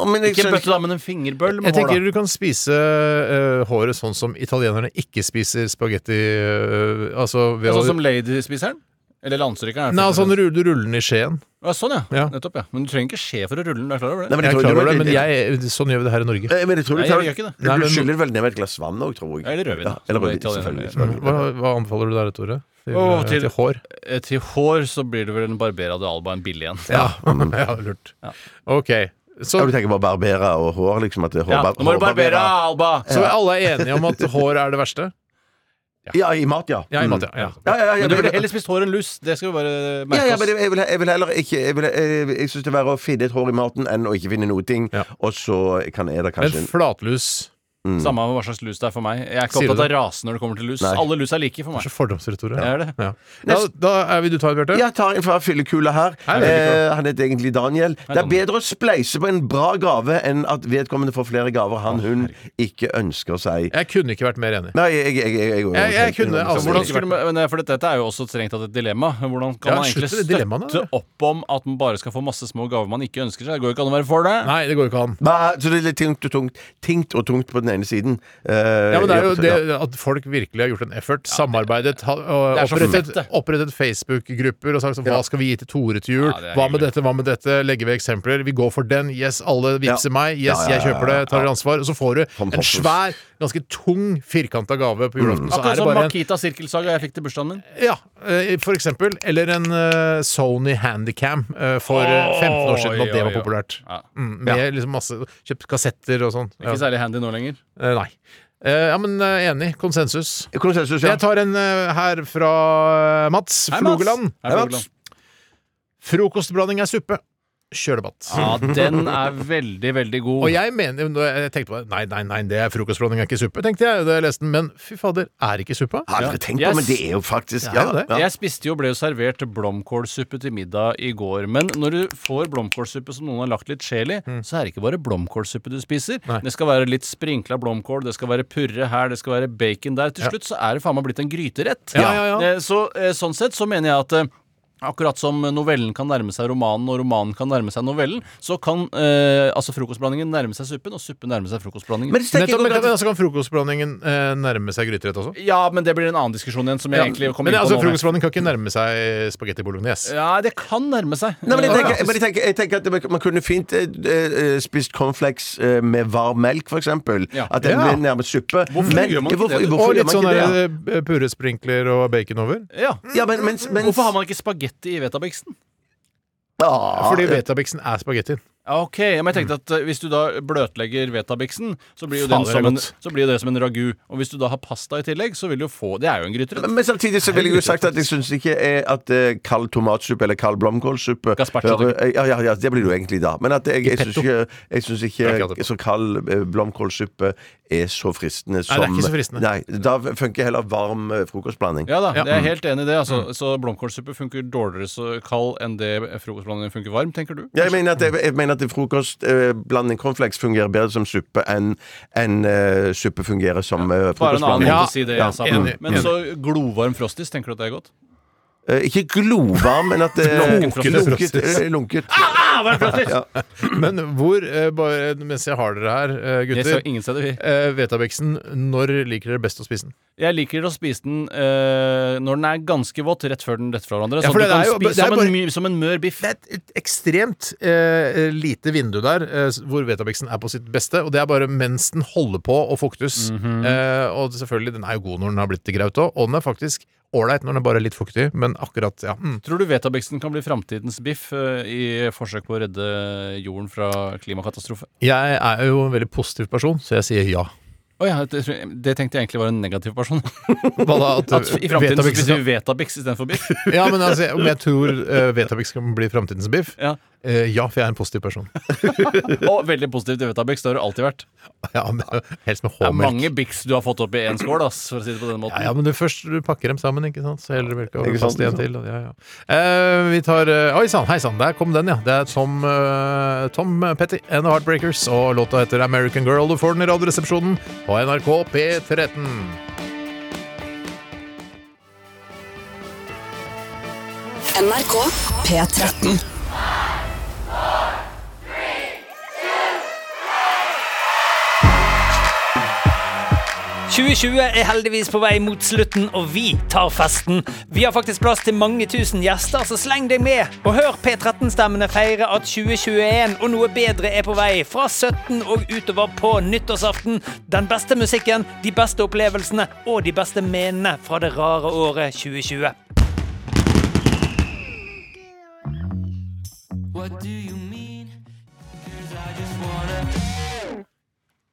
Speaker 2: men jeg
Speaker 3: Ikke en
Speaker 2: skjønner
Speaker 3: bøtte, da, men en fingerbøll med
Speaker 1: Jeg
Speaker 3: hår.
Speaker 1: tenker
Speaker 3: da
Speaker 1: du kan spise eh, håret sånn som italienerne ikke spiser spagetti eh, Altså ved
Speaker 3: Sånn
Speaker 1: å
Speaker 3: som Lady-spiseren? Eller landstrykeren?
Speaker 1: Nei, sånn rull- du ruller den i skjeen.
Speaker 3: ja, sånn, ja.
Speaker 1: Ja.
Speaker 3: Nettopp, ja. Men du trenger ikke skje for å rulle den. Du er klar over det?
Speaker 2: Nei, men jeg
Speaker 1: Jeg er
Speaker 2: tror
Speaker 1: klar
Speaker 2: du-
Speaker 1: over det, men jeg, sånn gjør vi det her i Norge.
Speaker 2: Eh, Men jeg tror du
Speaker 3: Nei, jeg
Speaker 2: tar
Speaker 3: gjør ikke det.
Speaker 1: Nei,
Speaker 2: Du
Speaker 1: men-
Speaker 2: skyller vel ned med et glass vann òg, tror jeg.
Speaker 3: Ja, eller rødvin, da.
Speaker 2: Eller
Speaker 3: Som
Speaker 2: rødvin,
Speaker 3: det italienerne
Speaker 2: selvfølgelig.
Speaker 3: gjør.
Speaker 2: selvfølgelig.
Speaker 1: Hva, hva anbefaler du der, Tore? Til,
Speaker 3: Å,
Speaker 1: eh,
Speaker 3: til-
Speaker 1: til hår?
Speaker 3: Eh, Til hår så blir det vel en Barbera de Alba en billig en.
Speaker 1: Ja, ja lurt. Ok.
Speaker 2: Ja,
Speaker 1: Så,
Speaker 2: du tenker på barbere og hår, liksom? At det er
Speaker 3: Ja,
Speaker 2: hårbar-
Speaker 3: nå må du
Speaker 2: hårbarbere.
Speaker 3: barbere Alba!
Speaker 1: så alle er enige om at hår er det verste?
Speaker 2: Ja, i mat, ja.
Speaker 1: Ja, i
Speaker 2: Mm.
Speaker 1: mat, ja. ja.
Speaker 2: Ja, ja, ja,
Speaker 3: Men du
Speaker 2: men-
Speaker 3: ville heller spist hår enn lus. Det skal vi bare
Speaker 2: Ja,
Speaker 3: merke
Speaker 2: ja, men
Speaker 3: oss.
Speaker 2: jeg vil, jeg vil heller ikke Jeg, vil, jeg, jeg syns det er verre å finne et hår i maten enn å ikke finne noe ting.
Speaker 1: Ja.
Speaker 2: Og så kan jeg da kanskje
Speaker 1: Men flatlus
Speaker 3: Samme hva slags lus det er for meg. Jeg er ikke
Speaker 1: Sier du
Speaker 3: opptatt av rasen når det kommer til lus.
Speaker 2: Nei.
Speaker 3: Alle lus er like for
Speaker 1: Det er så
Speaker 3: meg.
Speaker 1: fordomsfritt, Tore.
Speaker 3: Det er det.
Speaker 1: Ja. Da, da er vi du tar, Bjarte.
Speaker 2: Jeg tar en fra fyllekula her.
Speaker 1: Hei, fyllekula.
Speaker 2: eh, han heter egentlig Daniel. Det er bedre å spleise på en bra gave enn at vedkommende får flere gaver han hun ikke ønsker seg.
Speaker 1: Jeg kunne ikke vært mer enig.
Speaker 2: Nei, jeg, jeg, jeg, jeg,
Speaker 1: Jeg- jeg kunne, altså,
Speaker 3: Hvordan
Speaker 1: Ikke
Speaker 3: skulle man, men, for dette er jo også strengt tatt et dilemma. Hvordan kan
Speaker 1: Ja,
Speaker 3: man egentlig
Speaker 1: slutt med de dilemmaene,
Speaker 3: støtte opp om at man bare skal få masse små gaver man ikke ønsker seg? Det går jo ikke an å være for det.
Speaker 1: Nei, det går jo ikke an.
Speaker 2: Bah, så det er litt tingt og tungt Tingt og tungt på den ene siden. Eh,
Speaker 1: Ja, men det er
Speaker 2: ja.
Speaker 1: jo det at folk virkelig har gjort en effort, samarbeidet, ha- og
Speaker 3: det er så
Speaker 1: opprettet,
Speaker 3: fett, det.
Speaker 1: opprettet Facebook-grupper og sagt sånn Hva skal vi gi til Tore til jul?
Speaker 3: Ja, det er
Speaker 1: hva med
Speaker 3: hyggelig.
Speaker 1: dette, hva med dette? Legge ved eksempler. Vi går for den. Yes, alle vippser meg. Yes,
Speaker 2: Ja, ja,
Speaker 1: jeg kjøper det. Tar ansvar. Og så får du en
Speaker 2: Fantastisk.
Speaker 1: svær, ganske tung, firkanta gave på julaften. Så
Speaker 3: Akkurat
Speaker 1: er det
Speaker 3: som
Speaker 1: bare en
Speaker 3: Makita sirkelsaga jeg fikk til bursdagen min.
Speaker 1: Ja, eh, for eksempel. Eller en eh, Sony Handycam eh, for eh, 15 år siden, da
Speaker 3: Oi,
Speaker 1: det
Speaker 3: oi,
Speaker 1: var
Speaker 3: oi.
Speaker 1: populært.
Speaker 3: Ja.
Speaker 1: Mm, med liksom masse Kjøpt kassetter og sånn. Ja.
Speaker 3: Ikke særlig handy nå lenger.
Speaker 1: Eh, nei. Eh, ja, men eh, enig. Konsensus.
Speaker 2: Konsensus, ja.
Speaker 1: Jeg tar en eh, her fra eh, Mats
Speaker 3: Hei, Mats.
Speaker 1: Flogeland.
Speaker 3: Hei,
Speaker 2: Hei,
Speaker 3: Flogeland.
Speaker 2: Mats.
Speaker 1: Frokostblanding er suppe. Kjør debatt.
Speaker 3: Ja, den er veldig, veldig god.
Speaker 1: Og jeg mener når Jeg tenkte på det. Nei, nei, nei, det er frokostblanding er ikke suppe, tenkte jeg da jeg leste den. Men fy fader, er ikke suppa?
Speaker 2: Jeg har aldri tenkt på
Speaker 3: Yes.
Speaker 2: men det er jo faktisk
Speaker 1: Ja, det er
Speaker 2: ja.
Speaker 3: Jeg spiste jo, ble jo servert blomkålsuppe til middag i går. Men når du får blomkålsuppe som noen har lagt litt sjel i, så er det ikke bare blomkålsuppe du spiser. Det skal være litt sprinkla blomkål, det skal være purre her, det skal være bacon der. Til slutt så er det faen meg blitt en gryterett.
Speaker 1: Ja, ja, ja.
Speaker 3: Eh, Så, eh, sånn sett så mener jeg at eh, Akkurat som novellen kan nærme seg romanen, og romanen kan nærme seg novellen, så kan eh, altså frokostblandingen nærme seg suppen, og suppen nærme seg frokostblandingen.
Speaker 2: Men det tenker jeg
Speaker 1: Nettopp, men,
Speaker 2: godt at-
Speaker 1: men altså kan frokostblandingen eh, nærme seg gryterett også?
Speaker 3: ja, men det blir en annen diskusjon igjen, som jeg egentlig kom
Speaker 1: Men
Speaker 3: inn på
Speaker 1: altså,
Speaker 3: nå. men-
Speaker 1: frokostblanding kan ikke nærme seg eh, spagetti bolognese.
Speaker 3: Ja, det kan nærme seg.
Speaker 2: Nei, men jeg
Speaker 3: Eh,
Speaker 2: tenker, men jeg tenker, jeg tenker at man- man kunne fint eh, eh, spist cornflakes eh, med varm melk, for eksempel.
Speaker 3: Ja.
Speaker 2: At den
Speaker 1: Ja.
Speaker 2: blir nærmest suppe. Hvorfor
Speaker 3: gjør man ikke
Speaker 2: hvorfor,
Speaker 3: det?
Speaker 2: Hvorfor gjør
Speaker 1: Og litt
Speaker 2: man
Speaker 1: sånn
Speaker 2: ikke det?
Speaker 1: der, eh, purre sprinkler og bacon over.
Speaker 3: Ja.
Speaker 2: Ja, men, mens, mens,
Speaker 3: Hvorfor har man ikke spagetti i vetabeksten?
Speaker 2: ah,
Speaker 1: Fordi vetabixen er spagettien.
Speaker 3: Ok, ja, men jeg tenkte at eh, Hvis du da bløtlegger vetabeksten, så blir jo den
Speaker 1: Fader, det er
Speaker 3: som en,
Speaker 1: godt.
Speaker 3: så blir jo det som en ragu. Og hvis du da har pasta i tillegg, så vil du jo få Det er jo en gryterett.
Speaker 2: men samtidig så ville jeg jo sagt at jeg syns ikke eh, at eh, kald tomatsuppe eller kald blomkålsuppe
Speaker 3: Gazpacho,
Speaker 2: hører- eh, ja, ja, ja, det blir det jo egentlig da. Men at jeg, jeg syns
Speaker 1: petto.
Speaker 2: ikke, jeg syns
Speaker 1: Det er ikke
Speaker 2: ikke
Speaker 1: det.
Speaker 2: så kald eh, blomkålsuppe er så fristende som
Speaker 1: det er ikke så fristende.
Speaker 2: Nei, da funker heller varm eh, frokostblanding.
Speaker 3: Ja da,
Speaker 1: Ja. Mm.
Speaker 3: jeg er helt enig i det. Altså. Så blomkålsuppe funker dårligere så kald enn det frokostblandingen funker varm, tenker du?
Speaker 2: Ja, jeg mener at, jeg, jeg mener at frokostblanding cornflakes fungerer bedre som suppe enn enn, eh, suppe fungerer som eh,
Speaker 3: Bare en
Speaker 2: frokostblanding.
Speaker 3: annen måte å si det jeg sa. på.
Speaker 1: enig,
Speaker 3: Men så glovarm frostis, tenker du at det er godt?
Speaker 2: Eh, ikke glovarm, men at eh,
Speaker 3: Lunken frostis.
Speaker 2: lunket, eh, lunket.
Speaker 1: Men hvor, eh, bare mens jeg har dere her, eh,
Speaker 3: Jeg ser
Speaker 1: gutter
Speaker 3: ingen steder vi
Speaker 1: eh, Vetabixen, når liker dere best å spise den?
Speaker 3: Jeg liker å spise den eh, når den er ganske våt, rett før den detter fra hverandre.
Speaker 1: Ja,
Speaker 3: sånn
Speaker 1: for det
Speaker 3: at du kan
Speaker 1: er jo-
Speaker 3: spise
Speaker 1: det er
Speaker 3: som,
Speaker 1: bare-
Speaker 3: en, my- som en mør biff.
Speaker 1: Det er et, et ekstremt eh, lite vindu der eh, s- hvor Vetabixen er på sitt beste, og det er bare mens den holder på å fuktes. eh, og selvfølgelig, den er jo god når den har blitt til graut òg, og den er faktisk ålreit når den bare er litt fuktig, men akkurat, ja. Mm.
Speaker 3: Tror du Vetabixen kan bli framtidens biff eh, i forsøk på å redde jorden fra klimakatastrofe?
Speaker 1: Jeg er jo en veldig positiv person, så jeg sier ja.
Speaker 3: Å ja, det, tror jeg- det tenkte jeg egentlig var en negativ person.
Speaker 1: Hva da? At,
Speaker 3: At I framtiden så
Speaker 1: Vetabix-
Speaker 3: spiser vi Vetabix istedenfor biff.
Speaker 1: Ja, men altså, om jeg tror uh, Vetabix kan bli framtidens biff?
Speaker 3: Ja.
Speaker 1: Eh, ja, for jeg er en positiv person.
Speaker 3: Og veldig positiv til Vetabix, det har du alltid vært.
Speaker 1: Ja, men, helst med
Speaker 3: Det er
Speaker 1: H-melk.
Speaker 3: mange Bix du har fått opp i én skål, ass, for å si det på den måten.
Speaker 1: Ja, ja, men du først du pakker dem sammen, ikke sant? Så heller melka over
Speaker 2: Ikke sant,
Speaker 1: fast igjen
Speaker 2: ikke
Speaker 1: til. og- Ja, ja. Eh, vi tar eh, Oi sann, hei sann, der kom den, ja. Det er Tom, eh, Tom Petty and The Heartbreakers, og låta heter American Girl. Du får den i Radioresepsjonen på NRK P13.
Speaker 5: NRK P13.
Speaker 9: er heldigvis på vei mot slutten, og vi tar festen. Vi har faktisk plass til mange tusen gjester, så sleng deg med. Og hør P13-stemmene feire at 2021 og noe bedre er på vei fra 17 og utover på nyttårsaften. Den beste musikken, de beste opplevelsene og de beste menene fra det rare året 2020.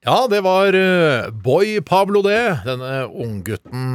Speaker 1: Ja, det var eh, Boy Pablo, det. Denne unggutten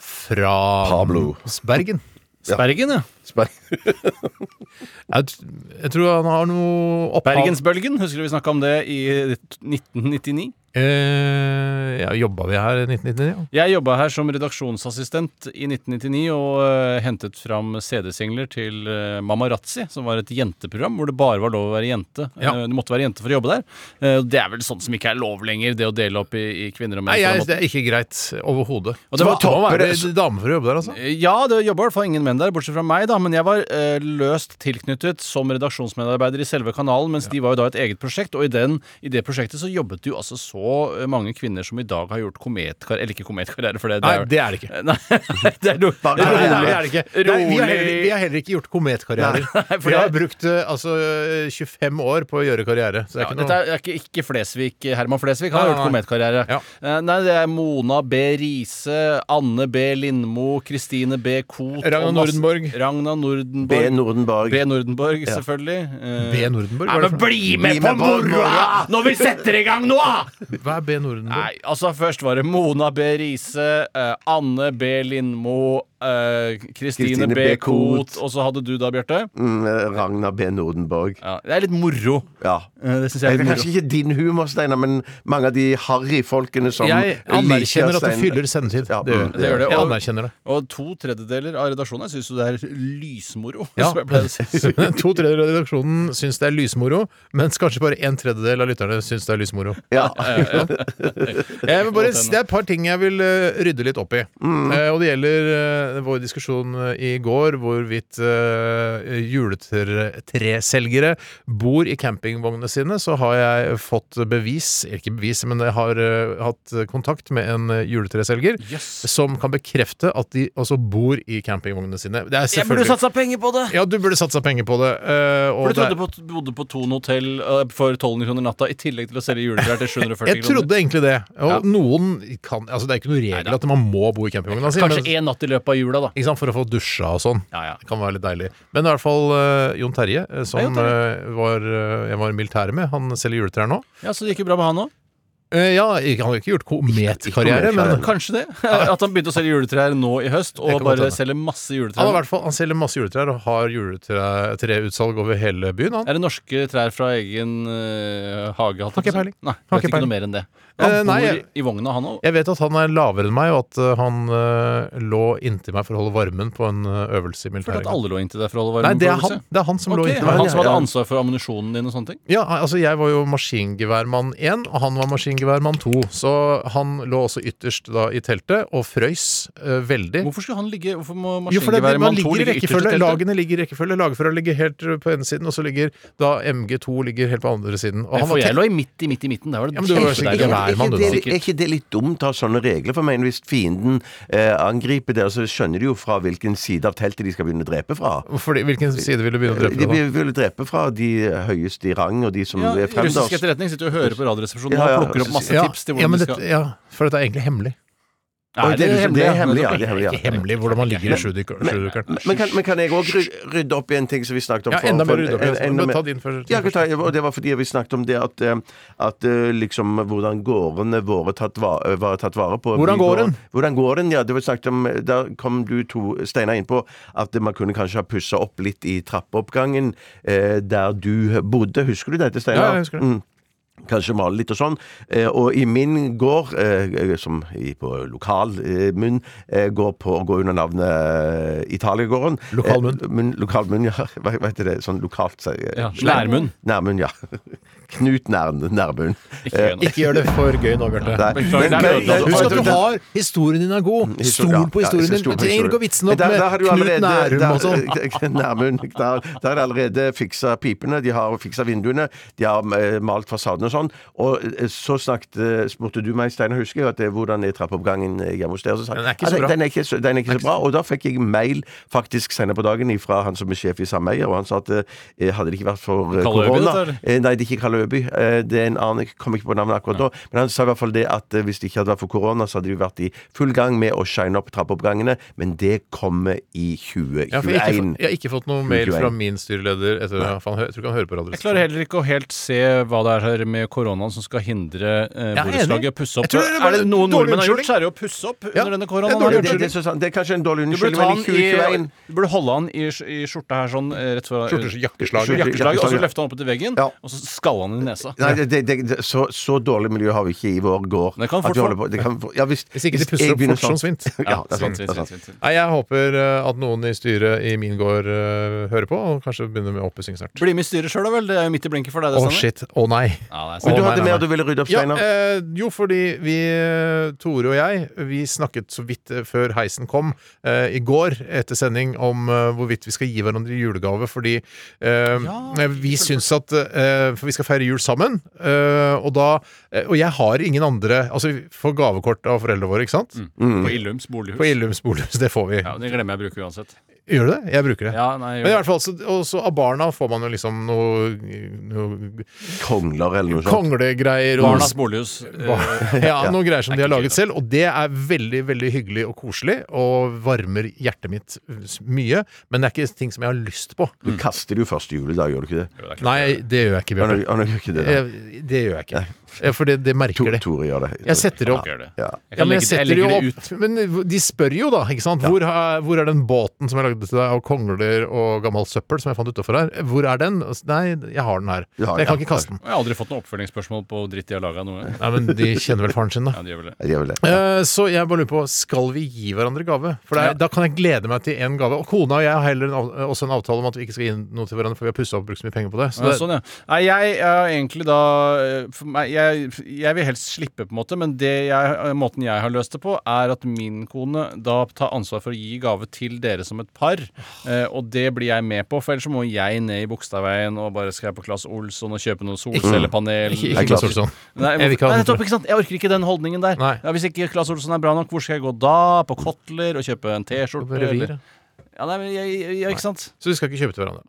Speaker 1: fra
Speaker 2: Pablo.
Speaker 1: Bergen.
Speaker 3: Spergen, ja.
Speaker 1: Jeg, t- jeg tror han har noe opphav
Speaker 3: Bergensbølgen, husker du vi snakka om det i 1999?
Speaker 1: Eh, ja, jobba vi her i 1999? Ja.
Speaker 3: Jeg jobba her som redaksjonsassistent i 1999 og eh, hentet fram CD-singler til uh, Mamarazzi, som var et jenteprogram hvor det bare var lov å være jente.
Speaker 1: Ja.
Speaker 3: Eh, du måtte være jente for å jobbe der. Eh, det er vel sånn som ikke er lov lenger, det å dele opp i, i kvinner og menn.
Speaker 1: Nei,
Speaker 3: på den
Speaker 1: jeg,
Speaker 3: måten.
Speaker 1: det er ikke greit overhodet.
Speaker 3: Og
Speaker 1: Og
Speaker 3: det
Speaker 1: det
Speaker 3: var
Speaker 1: må må
Speaker 3: topper,
Speaker 1: være
Speaker 2: det-
Speaker 1: dame for å jobbe der, altså.
Speaker 3: Eh, Ja, det jobba i hvert fall ingen menn der, bortsett fra meg, da. Men jeg var eh, løst tilknyttet som redaksjonsmedarbeider i selve kanalen, mens de var jo da et eget prosjekt. Og i, den, i det prosjektet så jobbet det jo altså så eh, mange kvinner som i dag har gjort kometkarriere Eller ikke kometkarriere, for det, det
Speaker 1: Nei,
Speaker 3: er
Speaker 1: det er det ikke.
Speaker 3: Eh, Nei, det er rolig.
Speaker 1: Nei, nei, nei, det er det ikke. Nei, vi, har heller, vi
Speaker 3: Rolig.
Speaker 1: har heller ikke gjort kometkarrierer.
Speaker 3: for
Speaker 1: Vi har
Speaker 3: det-
Speaker 1: brukt eh, altså, 25 år på å gjøre karriere. Så det
Speaker 3: Ja,
Speaker 1: er ikke
Speaker 3: dette
Speaker 1: noe
Speaker 3: er ikke, ikke Flesvig, eh, Herman Flesvig. Han
Speaker 1: Nei,
Speaker 3: har gjort
Speaker 1: nei,
Speaker 3: kometkarriere.
Speaker 1: Ja.
Speaker 3: Eh, Nei, det er Mona B. Riise, Anne B. Lindmo, Kristine B. Koht
Speaker 1: Ragna
Speaker 3: og masse-
Speaker 1: Nordenborg.
Speaker 3: Ragna Nordenborg.
Speaker 2: B. Nordenborg.
Speaker 3: B. Nordenborg, selvfølgelig. Eh,
Speaker 1: B. Nordenborg? Hva
Speaker 3: Nei,
Speaker 1: er det
Speaker 3: men
Speaker 1: for-
Speaker 3: bli med på moroa når vi setter i gang nå! ah!
Speaker 1: Hva er B. Nordenborg?
Speaker 3: Nei, altså først var det Mona B. Riise, eh, Anne B. Lindmo, eh, Kristine
Speaker 2: Kristine
Speaker 3: B.
Speaker 2: B. Koht.
Speaker 3: Koht, og så hadde du da, Bjarte?
Speaker 2: Mm, Ragnar B. Nordenborg.
Speaker 3: Ja, det er litt moro.
Speaker 2: Ja.
Speaker 3: Eh, Det syns
Speaker 2: Det
Speaker 3: jeg er
Speaker 2: er
Speaker 3: litt
Speaker 2: kanskje
Speaker 3: moro.
Speaker 2: ikke din humor, Steinar, men mange av de harryfolkene som
Speaker 1: Jeg
Speaker 2: liker
Speaker 1: anerkjenner at det
Speaker 2: Stein-
Speaker 1: fyller sendetid.
Speaker 2: Ja,
Speaker 1: Det gjør
Speaker 2: mm,
Speaker 1: det.
Speaker 3: gjør det.
Speaker 1: Jeg
Speaker 3: Og-
Speaker 1: anerkjenner det.
Speaker 3: Og to tredjedeler av redaksjonen syns jo det er lysmoro.
Speaker 1: Ja.
Speaker 3: som jeg pleier å si.
Speaker 1: To tredjedeler av redaksjonen syns det er lysmoro, mens kanskje bare en tredjedel av lytterne syns det er lysmoro.
Speaker 2: Ja.
Speaker 1: Jeg vil bare, det er et par ting jeg vil eh, rydde litt opp i.
Speaker 3: Mm.
Speaker 1: Eh, og det gjelder eh, vår diskusjon eh, i går hvorvidt uh, juletreselgere bor i campingvognene sine. Så har jeg fått bevis, eller ikke bevis, men jeg har eh, hatt kontakt med en eh, juletreselger som kan bekrefte at de også bor i campingvognene sine. Det er
Speaker 3: Jeg burde
Speaker 1: selvfølgelig
Speaker 3: satsa penger på det!
Speaker 1: ja, du burde satsa penger på det. eh, og
Speaker 3: For du
Speaker 1: det er-
Speaker 3: trodde på, bodde på Thon hotell eh, for 1200 kroner natta, i tillegg til å selge juletrær til 740
Speaker 1: jeg trodde egentlig det. Og
Speaker 3: Ja.
Speaker 1: noen kan Altså, det er ikke noen regel
Speaker 3: Neida.
Speaker 1: at man må bo i campingvogna si.
Speaker 3: Kanskje
Speaker 1: men-
Speaker 3: én natt i løpet av jula, da.
Speaker 1: Ikke sant? For å få dusja og sånn.
Speaker 3: Ja, ja.
Speaker 1: Det kan være litt deilig. Men i hvert fall eh, Jon Terje, eh, som
Speaker 3: Ja, Jon Terje.
Speaker 1: eh, var, eh, jeg var i militæret med, han selger juletrær nå.
Speaker 3: Ja, Så det gikk jo bra med han òg.
Speaker 1: Eh, ja, ikke, han har jo ikke gjort kometkarriere, men han,
Speaker 3: Kanskje det. At han begynte å selge juletrær nå i høst,
Speaker 1: Det
Speaker 3: og
Speaker 1: kan godt
Speaker 3: bare
Speaker 1: hende.
Speaker 3: selger masse
Speaker 1: har i
Speaker 3: juletrær.
Speaker 1: hvert fall, han selger masse juletrær og har juletreutsalg over hele byen. Han.
Speaker 3: Er det norske trær fra egen eh, hage? holdt
Speaker 1: Har ikke
Speaker 3: jeg på å si?
Speaker 1: peiling. Har
Speaker 3: Nei, vet
Speaker 1: ikke
Speaker 3: ikke
Speaker 1: peiling.
Speaker 3: noe mer enn det.
Speaker 1: Eh,
Speaker 3: Han
Speaker 1: nei,
Speaker 3: bor
Speaker 1: jeg-
Speaker 3: i vogna, han òg.
Speaker 1: Jeg vet at han er lavere enn meg, og at eh, han eh, lå inntil meg for å holde varmen på en eh, øvelse i
Speaker 3: Følte
Speaker 1: militæret.
Speaker 3: at alle lå inntil deg for å
Speaker 1: Nei,
Speaker 3: holde varmen.
Speaker 1: det er
Speaker 3: på
Speaker 1: han,
Speaker 3: huset.
Speaker 1: det er han som lå
Speaker 3: Ok,
Speaker 1: inntil
Speaker 3: var
Speaker 1: meg.
Speaker 3: det han som hadde
Speaker 1: Ja.
Speaker 3: ansvar for ammunisjonen din og sånne ting?
Speaker 1: Ja, altså jeg var jo maskingeværmann 1, og han var maskingeværmann 2. Så han lå også ytterst da i teltet og frøys eh, veldig.
Speaker 3: Hvorfor skulle han ligge Hvorfor må
Speaker 1: Jo, for det, det,
Speaker 3: maskingeværet
Speaker 1: man
Speaker 3: mann 2
Speaker 1: ligger i
Speaker 3: ligge ytterst i
Speaker 1: rekkefølge.
Speaker 3: teltet?
Speaker 1: Lagene ligger i rekkefølge. Lagfører ligger helt eh, på ene siden, og så ligger da MG2 ligger helt på andre siden. Og
Speaker 3: Nei,
Speaker 1: han
Speaker 3: for
Speaker 1: var
Speaker 3: jeg
Speaker 1: tett-
Speaker 3: lå i midt i midt i midten. Der var det
Speaker 1: Ja, men du var sikkert
Speaker 3: kjempedeilig.
Speaker 1: hver mann, du, da.
Speaker 2: Er ikke det- er ikke det litt dumt å ha sånne regler? For meg, Hvis fienden eh, angriper dere, så skjønner de jo fra hvilken side av teltet de skal begynne å drepe fra.
Speaker 1: Fordi, hvilken side vil du begynne å drepe?
Speaker 2: De
Speaker 1: deg, da?
Speaker 2: vil vil drepe fra de høyeste i rang og de som
Speaker 3: Ja,
Speaker 2: er fremst.
Speaker 3: russisk etterretning sitter jo og hører på Radioresepsjonen
Speaker 2: Ja, ja,
Speaker 3: og plukker opp masse
Speaker 1: Ja,
Speaker 3: tips til
Speaker 1: ja,
Speaker 3: hvordan
Speaker 1: men
Speaker 3: de
Speaker 1: dette,
Speaker 3: skal
Speaker 1: ja, for dette er egentlig hemmelig.
Speaker 3: Nei,
Speaker 2: Oi, det er- det er hemmelig, ja, det er hemmelig, ja.
Speaker 1: Ikke hemmelig hvordan man ligger i sjudykker- sjudykeren.
Speaker 2: Men kan, men kan jeg òg rydde opp i en ting som vi snakket om?
Speaker 1: Ja,
Speaker 2: for-
Speaker 1: enda mer
Speaker 2: for-
Speaker 1: rydde opp.
Speaker 2: en-
Speaker 1: i det.
Speaker 2: enda
Speaker 1: Men
Speaker 2: mer-
Speaker 1: Ta din først.
Speaker 2: Ja, jeg kan ta- og det var fordi vi snakket om det at, eh, at eh, liksom hvordan gårdene våre tatt va- eh, var tatt vare på.
Speaker 1: Hvordan går den?
Speaker 2: Hvordan går den, ja. Det var snakket om, eh, der kom du to, Steinar, inn på at man kunne kanskje ha pussa opp litt i trappeoppgangen eh, der du bodde. Husker du dette, Steinar?
Speaker 1: Ja, jeg husker det.
Speaker 2: Mm. Kanskje male litt og sånn. Eh, og i min gård, eh, som i, på lokal eh, munn, eh, går, på, går under navnet eh, Italiagården.
Speaker 1: Lokal munn.
Speaker 2: Eh, munn lokal munn, ja. Hva hva heter det? Sånn lokalt sier jeg.
Speaker 3: Ja, nærmunn.
Speaker 2: Nærmunn, ja. Knut Nær- Nærbunn.
Speaker 3: Ikke gjøre noe.
Speaker 1: Ikke gjør det for gøy nå, Bjarte.
Speaker 2: Nei,
Speaker 3: Beklager, der ødela
Speaker 1: Husk at du har Historien din er god.
Speaker 2: Mm, Historie- ja,
Speaker 1: Stol
Speaker 2: ja,
Speaker 1: på historien
Speaker 2: jeg skal
Speaker 1: din. Du
Speaker 2: stole på
Speaker 1: trenger ikke å
Speaker 2: historien.
Speaker 1: vitse den opp
Speaker 2: Der- der har
Speaker 1: med
Speaker 2: du allerede-
Speaker 1: Knut Nærum og sånn.
Speaker 2: der- Nærum, der, der er allerede fiksa pipene, de har fiksa vinduene, de har eh, malt fasaden og sånn. Og eh, så snakket, eh, spurte du meg, Steinar, husker jeg, at det, hvordan er trappeoppgangen eh, hjemme hos dere? Så sa jeg,
Speaker 1: Den er ikke
Speaker 2: "Ja,
Speaker 1: så bra."
Speaker 2: Den er ikke, så- den er ikke så bra. Og da fikk jeg mail faktisk senere på dagen fra han som er sjef i sameiet, og han sa at eh, hadde det ikke vært for eh,
Speaker 3: Kalle Øby,
Speaker 2: korona
Speaker 3: dette, eller?
Speaker 2: Eh, Nei, det er ikke Kalle Øby. Eh, Det er en annen, jeg kommer ikke på navnet akkurat nå. Men han sa i hvert fall det at eh, hvis det ikke hadde vært for korona, så hadde de vært i full gang med å shine opp trappeoppgangene, men det kommer i
Speaker 1: Ja, for jeg, har
Speaker 2: 2021.
Speaker 1: ikke, fått- jeg har ikke fått noe mail
Speaker 2: 21.
Speaker 1: fra min styreleder. Etter, ja, for han hø- jeg tror ikke han hører på
Speaker 3: Jeg klarer
Speaker 1: radioen.
Speaker 3: heller ikke å helt se hva det er her med koronaen som skal hindre eh,
Speaker 1: Jeg er enig.
Speaker 3: borettslaget å pusse opp.
Speaker 1: Jeg tror det er bare
Speaker 3: er det noe
Speaker 1: dårlig
Speaker 3: nordmenn har
Speaker 1: unnskyldning.
Speaker 3: gjort, så er det jo å pusse opp
Speaker 1: Ja,
Speaker 3: under denne
Speaker 1: det er dårlig
Speaker 3: koronaen. har
Speaker 2: det,
Speaker 3: gjort.
Speaker 2: det, det, er så sant. det er kanskje en dårlig
Speaker 3: Du
Speaker 2: unnskyldning,
Speaker 3: burde, ta
Speaker 2: men i
Speaker 3: han
Speaker 2: 2021
Speaker 3: i, du burde holde han i, sk- i skjorta her sånn eh, rett fra
Speaker 1: Skjortes- jakkeslaget.
Speaker 3: jakkeslaget, og så
Speaker 2: Jakkeslaget.
Speaker 3: løfte han opp til veggen,
Speaker 2: Ja.
Speaker 3: og så skalle han i nesa.
Speaker 2: Nei, det, det, det, så, så dårlig miljø har vi ikke i vår gård.
Speaker 3: Det kan
Speaker 2: at vi
Speaker 3: fort-
Speaker 2: holder på- det kan, ja, hvis,
Speaker 1: Hvis ikke de
Speaker 2: hvis
Speaker 1: pusser
Speaker 2: jeg
Speaker 1: opp
Speaker 2: begynner
Speaker 1: fort som
Speaker 2: sånn-
Speaker 1: svint.
Speaker 2: Ja, det er sant.
Speaker 3: Svint,
Speaker 2: Det
Speaker 3: svint,
Speaker 2: er sant.
Speaker 3: svint, svint.
Speaker 1: Nei, jeg håper eh, at noen i styret i min gård eh, hører på, og kanskje begynner med oppussing snart.
Speaker 3: Bli med i styret sjøl, da vel. Det er jo midt i blinken for deg,
Speaker 1: Å,
Speaker 3: det, sånn, Steinar.
Speaker 1: shit. Å, nei.
Speaker 3: Ja, det er
Speaker 2: Men
Speaker 3: sant.
Speaker 2: du
Speaker 1: Å, nei,
Speaker 2: hadde
Speaker 1: nei,
Speaker 2: mer du ville rydde opp,
Speaker 1: Ja,
Speaker 2: Steinar?
Speaker 1: eh, jo, fordi vi, eh, Tore og jeg, vi snakket så vidt eh, før heisen kom eh, i går etter sending om eh, hvorvidt vi skal gi hverandre julegave, fordi eh, vi syns at eh, For vi skal feire jul sammen, eh, og da eh, Og jeg har ingen andre Altså, vi får gavekort av foreldrene våre, ikke sant?
Speaker 2: Mm.
Speaker 3: På Illums bolighus.
Speaker 1: På Illums bolighus, det får vi.
Speaker 3: Mm. Ja, det glemmer jeg å bruke uansett.
Speaker 1: Gjør du det? Jeg bruker det.
Speaker 3: Ja, nei,
Speaker 1: Men i
Speaker 3: gjør det.
Speaker 1: hvert fall, så, og så av barna får man jo liksom noe, noe
Speaker 2: Kongler eller noe sånt?
Speaker 1: konglegreier og
Speaker 3: Barnas bolighus. eh,
Speaker 1: ja, noen greier som de har
Speaker 3: ikke
Speaker 1: laget selv. Og det er veldig veldig hyggelig og koselig, og varmer hjertet mitt mm, s- mye. Men det er ikke ting som jeg har lyst på.
Speaker 2: Du kaster det jo første juledag, gjør du ikke det?
Speaker 1: Nei, det gjør jeg ikke,
Speaker 2: Ja, nå-
Speaker 1: Bjørn.
Speaker 2: ja, nå gjør ikke det, da.
Speaker 1: Det gjør jeg ikke. Eh, For det, det merker
Speaker 2: Tor-
Speaker 1: det.
Speaker 2: Tore gjør det.
Speaker 1: Jeg setter det opp.
Speaker 3: gjør det.
Speaker 2: Ja.
Speaker 3: Jeg
Speaker 1: Ja,
Speaker 3: kan
Speaker 1: men jeg
Speaker 3: legge det-
Speaker 1: setter
Speaker 3: jeg
Speaker 1: det jo
Speaker 3: legger det ut.
Speaker 1: opp Men de spør jo, da. ikke sant? Hvor er, hvor er den båten som jeg lagde til deg, og kongler og gammelt søppel som jeg fant utafor her? Hvor er den? Nei, jeg har den her.
Speaker 2: Du har den,
Speaker 1: Jeg
Speaker 2: ja.
Speaker 1: kan ikke kaste den.
Speaker 3: Jeg har aldri fått noe oppfølgingsspørsmål på dritt de har laga noe.
Speaker 1: Nei, men de kjenner vel faren sin, da.
Speaker 3: Ja, de gjør vel det.
Speaker 2: Ja, det gjør vel det.
Speaker 1: Eh, Så jeg bare lurer på, skal vi gi hverandre gave? For det er, Da kan jeg glede meg til én gave. Og kona og jeg har heller en, av- eh, også en avtale om at vi ikke skal gi noe til hverandre, for vi har pussa opp og brukt så mye penger på det. Så
Speaker 3: Ja,
Speaker 1: det
Speaker 3: sånn, ja. Nei, jeg er egentlig da eh, for meg, jeg, jeg vil helst slippe, på en måte, men det jeg, eh, måten jeg har løst det på, er at min kone da tar ansvar for å gi gave til dere som et par. Eh, og det blir jeg med på, for ellers så må jeg ned i Bogstadveien og bare skal jeg på Claes Olsson og kjøpe noe solcellepanel.
Speaker 1: Ikke, sånn.
Speaker 3: Nei,
Speaker 1: ikke Klaus Olsson.
Speaker 3: Nei,
Speaker 1: Jeg vil ikke ha
Speaker 3: hvorfor- Nei,
Speaker 1: noe til
Speaker 3: nettopp, ikke sant? Jeg orker ikke den holdningen der.
Speaker 1: Nei.
Speaker 3: Ja, hvis ikke Claes Olsson er bra nok, hvor skal jeg gå da? På Kotler og kjøpe en T-skjorte?
Speaker 1: På revir, ja.
Speaker 3: eller- Ja, nei, men jeg, ja, ikke sant?
Speaker 1: Så vi skal ikke kjøpe til hverandre.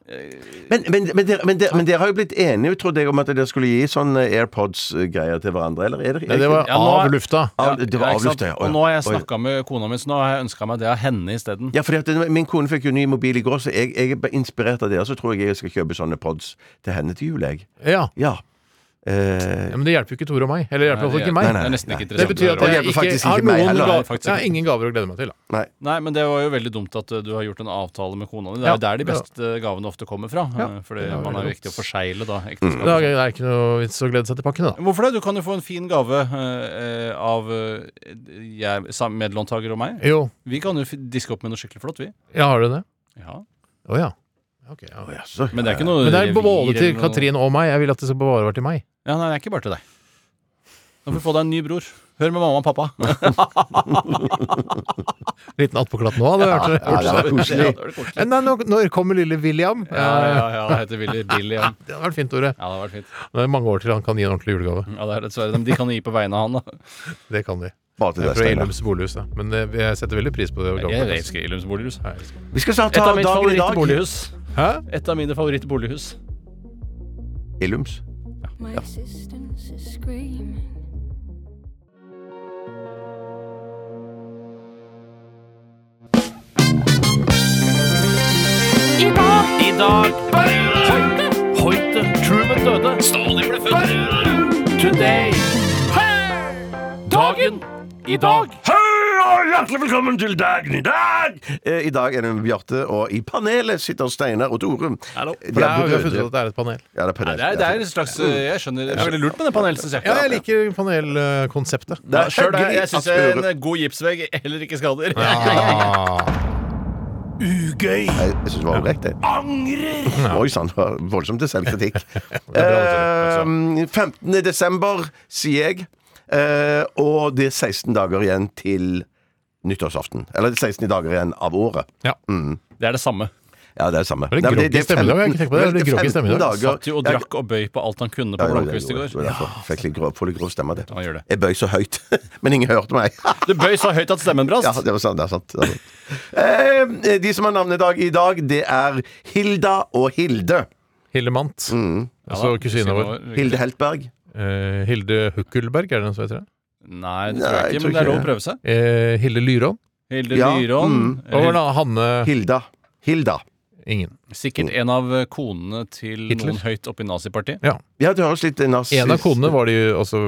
Speaker 2: Men, men, men, dere, men, dere, men dere har jo blitt enige, trodde jeg, om at dere skulle gi sånne AirPods-greier til hverandre, eller? Er dere,
Speaker 1: Nei, det var
Speaker 3: Ja, nå er-
Speaker 1: av lufta.
Speaker 2: Av- det var
Speaker 3: Ja, ikke sant?
Speaker 2: avlufta, ja. Å,
Speaker 3: Og
Speaker 2: ja.
Speaker 3: nå har jeg
Speaker 2: Å, ja.
Speaker 3: snakka med kona mi, så nå har jeg ønska meg det av henne isteden.
Speaker 2: Ja, fordi at det- min kone fikk jo ny mobil i går, så jeg, jeg er inspirert av dere, så tror jeg jeg skal kjøpe sånne pods til henne til jul, jeg.
Speaker 1: Ja.
Speaker 2: Ja. Eh,
Speaker 1: ja, Men det hjelper jo ikke Tore og meg. Eller det hjelper altså ikke
Speaker 3: Nei,
Speaker 1: meg.
Speaker 3: Det er nesten ikke
Speaker 1: Det
Speaker 3: interessant.
Speaker 1: betyr at
Speaker 3: å høre.
Speaker 1: jeg
Speaker 2: hjelper
Speaker 1: ikke
Speaker 2: faktisk
Speaker 1: har
Speaker 2: ikke meg
Speaker 1: noen
Speaker 2: heller,
Speaker 3: nei,
Speaker 1: gaver.
Speaker 3: faktisk
Speaker 1: Jeg har ingen gaver å glede meg til. da
Speaker 2: nei.
Speaker 3: Nei, men det var jo veldig dumt at uh, du har gjort en avtale med kona di. Det er
Speaker 1: Ja.
Speaker 3: jo der de beste eh, gavene ofte kommer fra. uh, Fordi man er jo viktig å forsegle da
Speaker 1: Det er
Speaker 3: ekteskapet.
Speaker 1: det er ikke noe vits å glede seg til pakkene, da.
Speaker 3: Hvorfor det? Du kan jo få en fin gave uh, uh, av uh, jeg, sam- medlåntaker og meg.
Speaker 1: Jo,
Speaker 3: Vi kan jo f- diske opp med noe skikkelig flott, vi.
Speaker 1: ja, har du det?
Speaker 3: Ja.
Speaker 1: Å ja. Ok, ja.
Speaker 2: Å, jaså.
Speaker 3: Men det er ikke noe
Speaker 1: Men det er
Speaker 3: revir
Speaker 1: både til
Speaker 3: eller noe-
Speaker 1: Katrin og meg. Jeg vil at det skal bare være til meg.
Speaker 3: Ja, nei, det er ikke bare til deg. Nå får du få deg en ny bror. Hør med mamma og pappa.
Speaker 1: Liten attpåklatt nå, hadde jeg hørt.
Speaker 7: Ja, det er koselig.
Speaker 1: Eh, Nei, nå- når kommer lille William?
Speaker 3: Ja,
Speaker 1: Eh,
Speaker 3: ja, ja, det heter Willy Billy. Ja.
Speaker 1: Det hadde vært fint, Tore.
Speaker 3: ja, det har vært fint.
Speaker 1: Det er mange år til han kan gi en ordentlig julegave.
Speaker 3: Ja, det er dessverre. De- De kan gi på vegne av han, da.
Speaker 1: Det kan de.
Speaker 7: Bare til
Speaker 1: Jeg
Speaker 7: deg,
Speaker 1: er fra
Speaker 7: Steinar.
Speaker 1: Illums bolighus, da. men eh, jeg setter veldig pris på det. altså. gamle.
Speaker 3: Jeg elsker Illums bolighus.
Speaker 2: Vi skal snart
Speaker 3: Et
Speaker 2: ta
Speaker 3: av mine
Speaker 2: dagen i dag.
Speaker 3: favorittbolighus.
Speaker 1: Hæ?
Speaker 3: Et av mine favorittbolighus.
Speaker 7: Illums.
Speaker 10: My existence is screaming.
Speaker 6: I dag Hoite, Hoite, Truman døde Stalin ble født Today Dagen I dag
Speaker 2: Hei og hjertelig velkommen til dagen i dag! Eh, I dag er det Bjarte, og i panelet sitter Steinar og Tore.
Speaker 3: Hallo.
Speaker 2: De
Speaker 1: For det er,
Speaker 2: er
Speaker 1: vi har funnet ut
Speaker 2: døde.
Speaker 1: at det er et panel.
Speaker 2: Ja, det er panel.
Speaker 3: Det er, det er en slags eh, Jeg skjønner Det er veldig lurt med det panelet, syns jeg.
Speaker 1: Ja, jeg liker panelkonseptet.
Speaker 2: Det
Speaker 3: Ja,
Speaker 2: er
Speaker 3: Sjøl
Speaker 2: hyggelig
Speaker 3: syns
Speaker 2: at
Speaker 3: jeg
Speaker 2: Tore-
Speaker 3: en god gipsvegg heller ikke skader.
Speaker 1: Ah,
Speaker 6: Ugøy
Speaker 7: Jeg, jeg syns det var ålreit, det.
Speaker 6: Angrer
Speaker 2: Oi sann, det var voldsomt til selvkritikk.
Speaker 1: Det er bra,
Speaker 2: Eh,
Speaker 1: Altså.
Speaker 2: 15. desember, sier jeg. Eh, og det er 16 dager igjen til nyttårsaften. Eller det er 16 dager igjen av året.
Speaker 1: Ja.
Speaker 3: Det er det samme.
Speaker 2: Ja, det er det samme.
Speaker 1: Det er
Speaker 2: Nei, men
Speaker 1: groggy stemme i dag, jeg har ikke tenkt på det.
Speaker 2: vel,
Speaker 1: Det er groggy stemme i dag.
Speaker 2: dager-
Speaker 3: Satt jo og
Speaker 2: Ja,
Speaker 3: drakk og bøy på alt han
Speaker 2: ja,
Speaker 3: kunne
Speaker 2: jo,
Speaker 3: på
Speaker 2: det
Speaker 3: Blomkvist i
Speaker 2: gjorde jeg. Det var
Speaker 3: går.
Speaker 2: derfor. Fikk litt grov, får litt grov stemme, det.
Speaker 3: Ja, gjør det.
Speaker 2: Jeg bøy så høyt, men ingen hørte meg.
Speaker 3: Du bøy så høyt at stemmen
Speaker 2: Ja,
Speaker 3: brast.
Speaker 2: det var sant. Det er sant. Det er sant. Eh, de som har navnedag i dag, det er Hilda og Hilde. Mm.
Speaker 1: Hillemant. Altså kusina vår.
Speaker 2: Hilde Heltberg.
Speaker 1: Eh, Hilde Hukkelberg, er det den som heter det?
Speaker 3: Nei, det tror
Speaker 2: Nei,
Speaker 3: jeg
Speaker 2: jeg tror
Speaker 3: ikke, men det er
Speaker 2: ikke
Speaker 3: lov å
Speaker 2: det.
Speaker 3: prøve seg.
Speaker 1: Eh, Hilde Lyrån.
Speaker 3: Hilde
Speaker 2: Ja,
Speaker 3: Dyrån.
Speaker 2: mm.
Speaker 1: Og hva var det, Hanne
Speaker 2: Hilda. Hilda.
Speaker 1: Ingen.
Speaker 3: Sikkert en av konene til
Speaker 1: Hitler.
Speaker 3: noen høyt oppe i nazipartiet.
Speaker 1: Ja.
Speaker 2: Ja, det høres litt narsist
Speaker 1: En av konene var de altså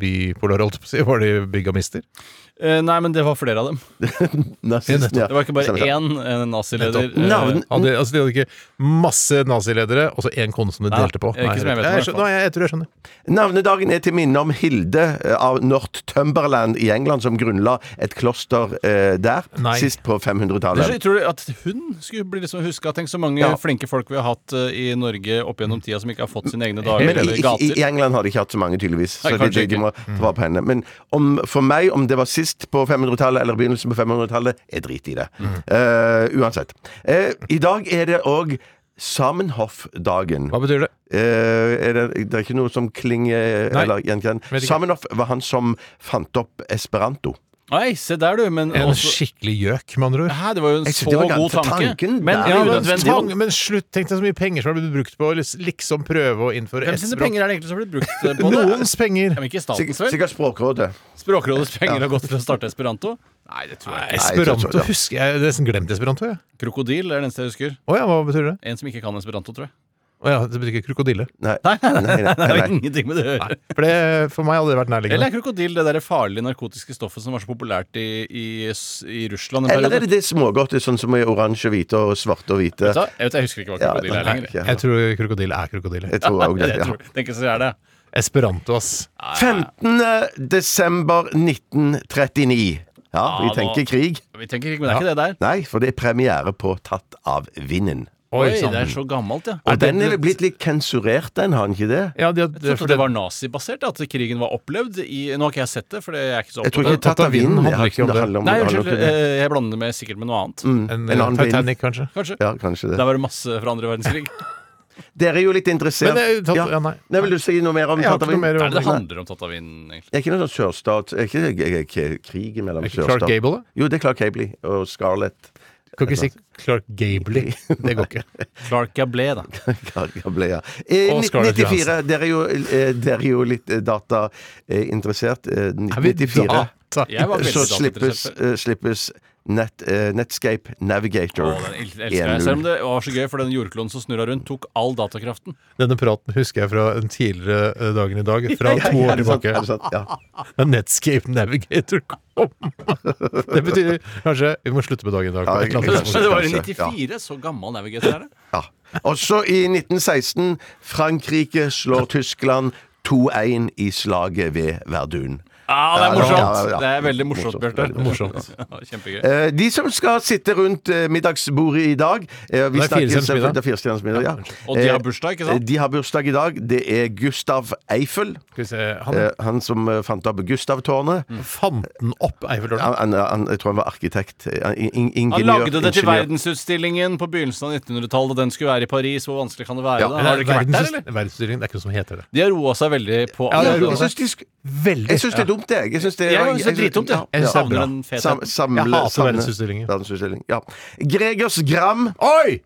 Speaker 1: bipolar, holdt jeg på å si. Var de bigamister?
Speaker 3: Eh, nei, men det var flere av dem.
Speaker 2: Narsist, ja.
Speaker 3: Det var ikke bare
Speaker 2: Stemmer det.
Speaker 3: én eh, nazileder.
Speaker 2: Nettopp. Navn-
Speaker 1: Hadde, altså, de hadde ikke masse naziledere, og så én kone som de
Speaker 3: Nei,
Speaker 1: delte på.
Speaker 3: ikke som jeg vet om, i hvert fall.
Speaker 1: skjønner, nei, jeg, jeg tror jeg skjønner.
Speaker 2: Navnedagen er til minne om Hilde eh, av Northumberland i England, som grunnla et kloster eh, der
Speaker 1: Nei.
Speaker 2: sist på
Speaker 3: Det er så
Speaker 2: 500-tallet.
Speaker 3: utrolig at hun skulle bli liksom huska. Tenk så mange
Speaker 2: Ja.
Speaker 3: flinke folk vi har hatt eh, i Norge opp gjennom tida som ikke har fått sine egne dager
Speaker 2: Mm. Men i, i,
Speaker 3: eller
Speaker 2: i-
Speaker 3: gater.
Speaker 2: I England har de ikke hatt så mange, tydeligvis.
Speaker 3: Nei,
Speaker 2: Så de, de,
Speaker 3: kanskje
Speaker 2: de må ta vare på henne. Men om, for meg, om det var sist på 500-tallet eller begynnelsen på 500-tallet, jeg driter i det. Eh, uansett. Eh, I dag er det òg Samenhoff-dagen.
Speaker 1: Hva betyr det?
Speaker 2: Eh, er det, det er ikke noe som klinger
Speaker 1: Nei,
Speaker 2: eller gjenkjenner.
Speaker 1: vet ikke.
Speaker 2: Samenhoff var han som fant opp esperanto.
Speaker 3: Nei, se der, du. Men
Speaker 1: En
Speaker 3: også,
Speaker 1: skikkelig gjøk, med andre ord.
Speaker 3: Hæ, det var jo en
Speaker 2: Jeg synes
Speaker 3: så
Speaker 2: det var
Speaker 3: god
Speaker 2: galt, for
Speaker 3: tanke.
Speaker 2: tanken
Speaker 3: Men
Speaker 2: der-
Speaker 1: Ja,
Speaker 3: ja,
Speaker 1: men,
Speaker 3: unødvendig.
Speaker 1: tvang, men slutt, tenk deg så mye penger som har blitt brukt på å lis- liksom prøve å innføre
Speaker 3: Hvem sine
Speaker 1: S-språk.
Speaker 3: penger er det egentlig som har blitt brukt eh, på det?
Speaker 1: Noens penger.
Speaker 3: Ja, men ikke
Speaker 2: Sik-
Speaker 3: statens, vel?
Speaker 2: Sikkert Språkrådet.
Speaker 3: Språkrådets penger har gått til å starte esperanto? Nei, det tror jeg ikke.
Speaker 2: jeg
Speaker 1: Esperanto,
Speaker 2: tror- ja.
Speaker 1: husker jeg. Jeg har nesten glemt esperanto, jeg.
Speaker 3: Krokodil er det eneste jeg husker.
Speaker 1: Å ja, hva betyr det?
Speaker 3: En som ikke kan esperanto, tror jeg.
Speaker 1: Å ja, det betyr ikke krokodille.
Speaker 2: Nei, nei, nei.
Speaker 3: Det
Speaker 2: nei,
Speaker 3: har
Speaker 2: nei.
Speaker 3: ingenting med det å gjøre.
Speaker 1: For det for meg hadde det vært
Speaker 3: Eller
Speaker 1: nærliggende.
Speaker 3: er krokodil det der farlige narkotiske stoffet som var så populært i, i, s- i Russland en
Speaker 2: Eller er
Speaker 3: periode?
Speaker 2: det det smågodtet, sånn som er oransje, hvite og svarte og hvite?
Speaker 3: Vet du hva? Jeg, vet, jeg husker ikke hva
Speaker 2: Ja,
Speaker 3: krokodil
Speaker 2: nei,
Speaker 3: er lenger.
Speaker 2: ikke.
Speaker 1: Jeg tror krokodille er krokodille.
Speaker 2: Jeg tror òg det.
Speaker 3: Jeg
Speaker 2: Ja.
Speaker 3: tror, tenker så er det.
Speaker 1: Esperanto, ass.
Speaker 2: 15. desember 1939. Ja, vi
Speaker 3: nå-
Speaker 2: tenker krig.
Speaker 3: Vi tenker ikke, men det er ikke det der.
Speaker 2: Nei, for det er premiere på Tatt av vinden.
Speaker 3: Oi,
Speaker 1: sant.
Speaker 3: det er så gammelt, ja.
Speaker 2: sånn. Og den er vel blitt litt sensurert, den, har den ikke det?
Speaker 1: Ja, de,
Speaker 3: Jeg trodde det var nazibasert, at krigen var opplevd i Nå har ikke jeg sett det, for det er ikke så
Speaker 2: Jeg tror
Speaker 3: opptatt.
Speaker 2: ikke Tatt av vinden handler ikke om det. handler om-
Speaker 3: Nei,
Speaker 2: handler om
Speaker 3: unnskyld.
Speaker 2: det.
Speaker 3: eh, Jeg blander det med, sikkert med noe annet.
Speaker 1: en, eh,
Speaker 2: en annen
Speaker 1: Titanic, kanskje.
Speaker 3: Kanskje.
Speaker 2: Ja, kanskje
Speaker 3: Der
Speaker 2: det.
Speaker 3: var det masse fra andre verdenskrig.
Speaker 2: Dere er jo litt interessert
Speaker 1: Men det er jo tatt-
Speaker 2: Ja.
Speaker 1: ja, nei.
Speaker 2: Nei, Vil du si noe mer om
Speaker 1: Jeg har
Speaker 2: Tatt av
Speaker 1: ikke noe
Speaker 2: vinden?
Speaker 1: mer
Speaker 3: Hva
Speaker 1: å
Speaker 3: er det det handler om Tatavin, egentlig?
Speaker 2: Er ikke noe sånn sørstat Er ikke det er ikke krigen mellom
Speaker 1: Er ikke Clark
Speaker 2: sørstat
Speaker 1: Gable, da?
Speaker 2: Jo, det er Clark Gable og Scarlett.
Speaker 1: Kan ikke si Clark
Speaker 3: altså.
Speaker 1: Gabley. Det går ikke.
Speaker 3: Clark Gablé, da.
Speaker 2: Clark Gable, ja. Eh,
Speaker 1: Og Scarlett
Speaker 2: 94. Dere er jo, eh, dere er jo litt eh, datainteressert. Eh,
Speaker 1: Er vi
Speaker 2: 94.
Speaker 1: data?
Speaker 3: Jeg var veldig
Speaker 2: Så
Speaker 3: datainteressert
Speaker 2: slippes,
Speaker 3: før.
Speaker 2: eh, slippes net, eh, Netscape Navigator.
Speaker 3: Å, den el- elsker jeg. Selv om
Speaker 2: 1.0.
Speaker 3: det var så gøy, for den jordkloden som snurra rundt, tok all datakraften.
Speaker 1: Denne praten husker jeg fra en tidligere eh, dagen i dag. Fra to år tilbake.
Speaker 2: Er det sant? Ja.
Speaker 1: Da Netscape Navigator kom. Det betyr kanskje vi må slutte med dagen i dag. På
Speaker 2: Ja,
Speaker 1: et eller
Speaker 2: jeg- jeg-
Speaker 1: annet tidspunkt.
Speaker 3: Det var i
Speaker 2: kanskje, ja.
Speaker 3: 94, så gammel navigator er det.
Speaker 2: Ja. Også i 1916. Frankrike slår Tyskland 2-1 i slaget ved Verdun.
Speaker 3: Ah, det er
Speaker 2: Ja,
Speaker 3: morsomt.
Speaker 2: ja, ja, ja.
Speaker 3: Det er veldig morsomt, Bjarte.
Speaker 2: veldig morsomt.
Speaker 3: Ja, Kjempegøy.
Speaker 2: Eh, De som skal sitte rundt eh, middagsbordet i dag eh, vi
Speaker 3: Det er
Speaker 2: snakker
Speaker 3: firestjerners
Speaker 2: selvfølgelig-
Speaker 3: middag.
Speaker 2: Det er firestjerners middag, ja.
Speaker 3: Og de har
Speaker 2: Eh,
Speaker 3: bursdag, ikke sant?
Speaker 2: De har bursdag i dag. Det er Gustav Eiffel.
Speaker 1: han-
Speaker 2: Eh, han som eh, fant opp Gustavtårnet.
Speaker 3: Mhm.
Speaker 1: Fant han opp Eiffeltårnet?
Speaker 2: Han, han, jeg tror han var arkitekt. Eh, In, in, ingeniør.
Speaker 3: Han lagde det til
Speaker 2: ingeniør.
Speaker 3: verdensutstillingen på begynnelsen av 1900-tallet, og den skulle være i Paris. Hvor vanskelig kan det være?
Speaker 1: Ja,
Speaker 3: da? Har dere ikke vært der, eller?
Speaker 1: Verdensutstillingen, det er ikke noe som heter det.
Speaker 3: De har roa seg veldig på
Speaker 1: Ja, det er-
Speaker 2: Jeg syns de sk-
Speaker 1: Veldig.
Speaker 2: Jeg syns det er dumt, jeg. Jeg syns det,
Speaker 3: Jeg synes det er dritdumt, ja. Jeg synes det er bra.
Speaker 2: Sam, samle,
Speaker 1: Jeg hater
Speaker 2: samle-
Speaker 1: verdensutstillingen.
Speaker 2: verdensutstillingen, Ja. Gregers Gram.
Speaker 1: Oi!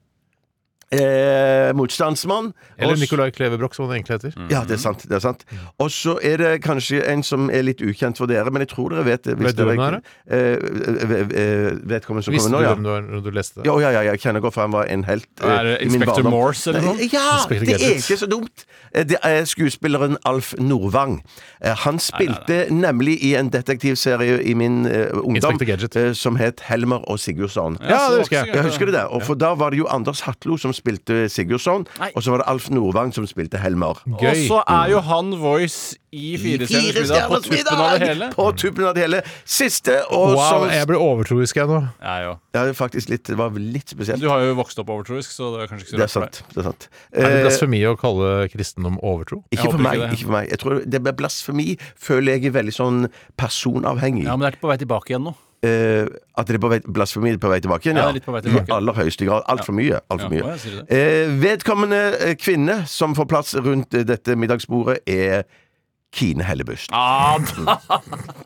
Speaker 2: Eh, motstandsmann.
Speaker 1: Eller
Speaker 2: Og s- Mm.
Speaker 1: Nicolai Kleverbrok, som han egentlig heter.
Speaker 2: Ja, det er sant. det er sant Og så er det kanskje en som er litt ukjent for dere, men jeg tror dere vet det.
Speaker 1: Vet du
Speaker 2: dere,
Speaker 1: hvem det
Speaker 2: eh, eh, eh, Vedkommende som
Speaker 1: Visste
Speaker 2: kommer
Speaker 1: du
Speaker 2: nå, ja.
Speaker 1: hvem du var når du leste det?
Speaker 2: Ja, ja, ja, jeg kjenner godt, for han var en helt eh,
Speaker 3: Er det
Speaker 2: i min
Speaker 3: Inspector
Speaker 2: barndom.
Speaker 3: Morse eller noe?
Speaker 2: Nei, Ja!
Speaker 3: Inspector
Speaker 2: Det er
Speaker 3: Gadget.
Speaker 2: ikke så dumt. Eh, Det er skuespilleren Alf Nordvang. Eh, Han spilte nemlig i en detektivserie i min eh, ungdom
Speaker 1: Inspector Gadget.
Speaker 2: eh, som het Helmer og Sigurdsson.
Speaker 1: Ja, det husker jeg.
Speaker 2: Jeg husker det der. Og for da var det jo Anders Hatlo som spilte Sigurdsson,
Speaker 3: Nei.
Speaker 2: og så var det Alf Nordvang som spilte Helmer.
Speaker 3: Og så er jo han voice i
Speaker 2: Fire stjerners
Speaker 3: Firestjerners middag på tuppen av
Speaker 2: middag!
Speaker 3: det hele.
Speaker 2: På tuppen av det hele. Siste, og
Speaker 1: Wow,
Speaker 2: som
Speaker 1: jeg ble overtroisk jeg nå.
Speaker 3: Ja, jo.
Speaker 2: Ja, det, er faktisk litt, det var litt spesielt.
Speaker 3: Du har jo vokst opp overtroisk, så det er kanskje ikke
Speaker 2: Det er
Speaker 3: så rart for deg.
Speaker 2: sant. Det er sant.
Speaker 1: Er det
Speaker 2: Eh,
Speaker 1: blasfemi å kalle kristendom overtro?
Speaker 2: Ikke
Speaker 3: Jeg
Speaker 2: for,
Speaker 3: håper
Speaker 2: meg,
Speaker 3: ikke
Speaker 2: ikke,
Speaker 3: det.
Speaker 2: for meg. Jeg tror det med blasfemi føler jeg er veldig sånn personavhengig.
Speaker 3: Ja, men det er ikke på vei tilbake igjen nå.
Speaker 2: Eh, at det er på vei, blasfemi er på vei tilbake igjen?
Speaker 3: Ja, det er litt på vei tilbake.
Speaker 2: I aller høyeste grad. Altfor mye. Alt
Speaker 3: Ja,
Speaker 2: for mye.
Speaker 3: hva sier du det?
Speaker 2: Eh, vedkommende eh, kvinne som får plass rundt eh, dette middagsbordet, er Kine Hellebust.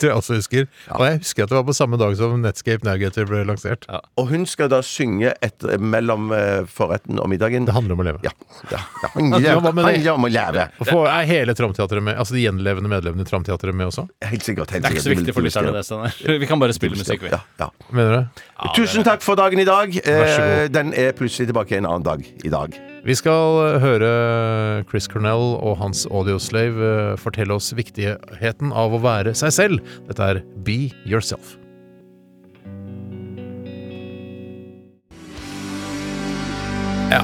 Speaker 1: Tror jeg også husker. Og jeg husker at det var på samme dag som Netscape Navigator ble lansert.
Speaker 2: Og hun skal da synge et, mellom eh, forretten og middagen.
Speaker 1: Det handler om å leve.
Speaker 2: Ja. ja, ja. Han lever.
Speaker 1: hva med det?
Speaker 2: Han lever om å leve.
Speaker 1: Og får- er hele Tramteatret med? Altså de gjenlevende medlemmene i Tramteatret med også?
Speaker 2: Helt sikkert. Helt
Speaker 3: Det er ikke så viktig for lytterne, det. Steinar. Vi kan bare spille musikk, vi.
Speaker 2: Ja, ja.
Speaker 1: Mener du?
Speaker 2: Tusen takk for dagen i dag.
Speaker 1: Vær
Speaker 2: Eh, den er plutselig tilbake en annen dag i dag.
Speaker 1: Vi skal eh, høre Chris Cornell og hans audioslave eh, fortelle oss viktigheten av å være seg selv. Dette er Be Yourself. Ja.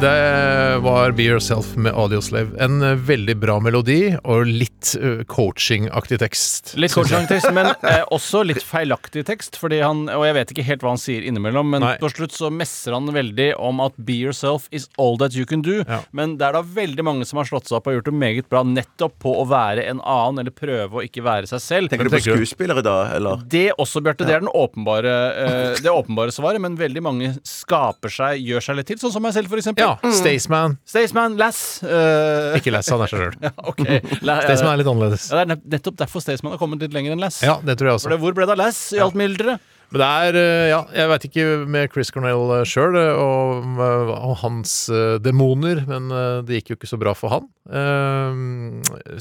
Speaker 1: Det var Be Yourself med Audioslave. En eh, veldig bra melodi og litt eh, coaching-aktig tekst.
Speaker 3: Litt kort lang tekst, men eh, også litt feilaktig tekst. Fordi han, og jeg vet ikke helt hva han sier innimellom, men
Speaker 1: Nei.
Speaker 3: på slutt så messer han veldig om at 'be yourself is all that you can do'.
Speaker 1: Ja.
Speaker 3: Men det er da veldig mange som har slått seg opp og gjort det meget bra nettopp på å være en annen, eller prøve å ikke være seg selv.
Speaker 2: Tenker du på skuespillere da, eller?
Speaker 3: Det også, Bjarte. Det er den åpenbare, eh, det åpenbare svaret, men veldig mange skaper seg, gjør seg litt til. Sånn som meg selv, for eksempel.
Speaker 1: Ja. Staysman.
Speaker 3: Staysman, Lass. eh,
Speaker 1: Ikke les, han er seg sjøl.
Speaker 3: ok. La- ja,
Speaker 1: Staysman er
Speaker 3: det-
Speaker 1: litt annerledes.
Speaker 3: ja, det er nett- nettopp derfor Staysman har kommet litt lenger enn Lass.
Speaker 1: Ja, det tror jeg også.
Speaker 3: For det, hvor ble det av Lass i alt mylderet?
Speaker 1: Men det er, eh, ja, jeg veit ikke med Chris Cornell eh, sjøl og, eh, og hans eh, demoner, men eh, det gikk jo ikke så bra for han. Eh,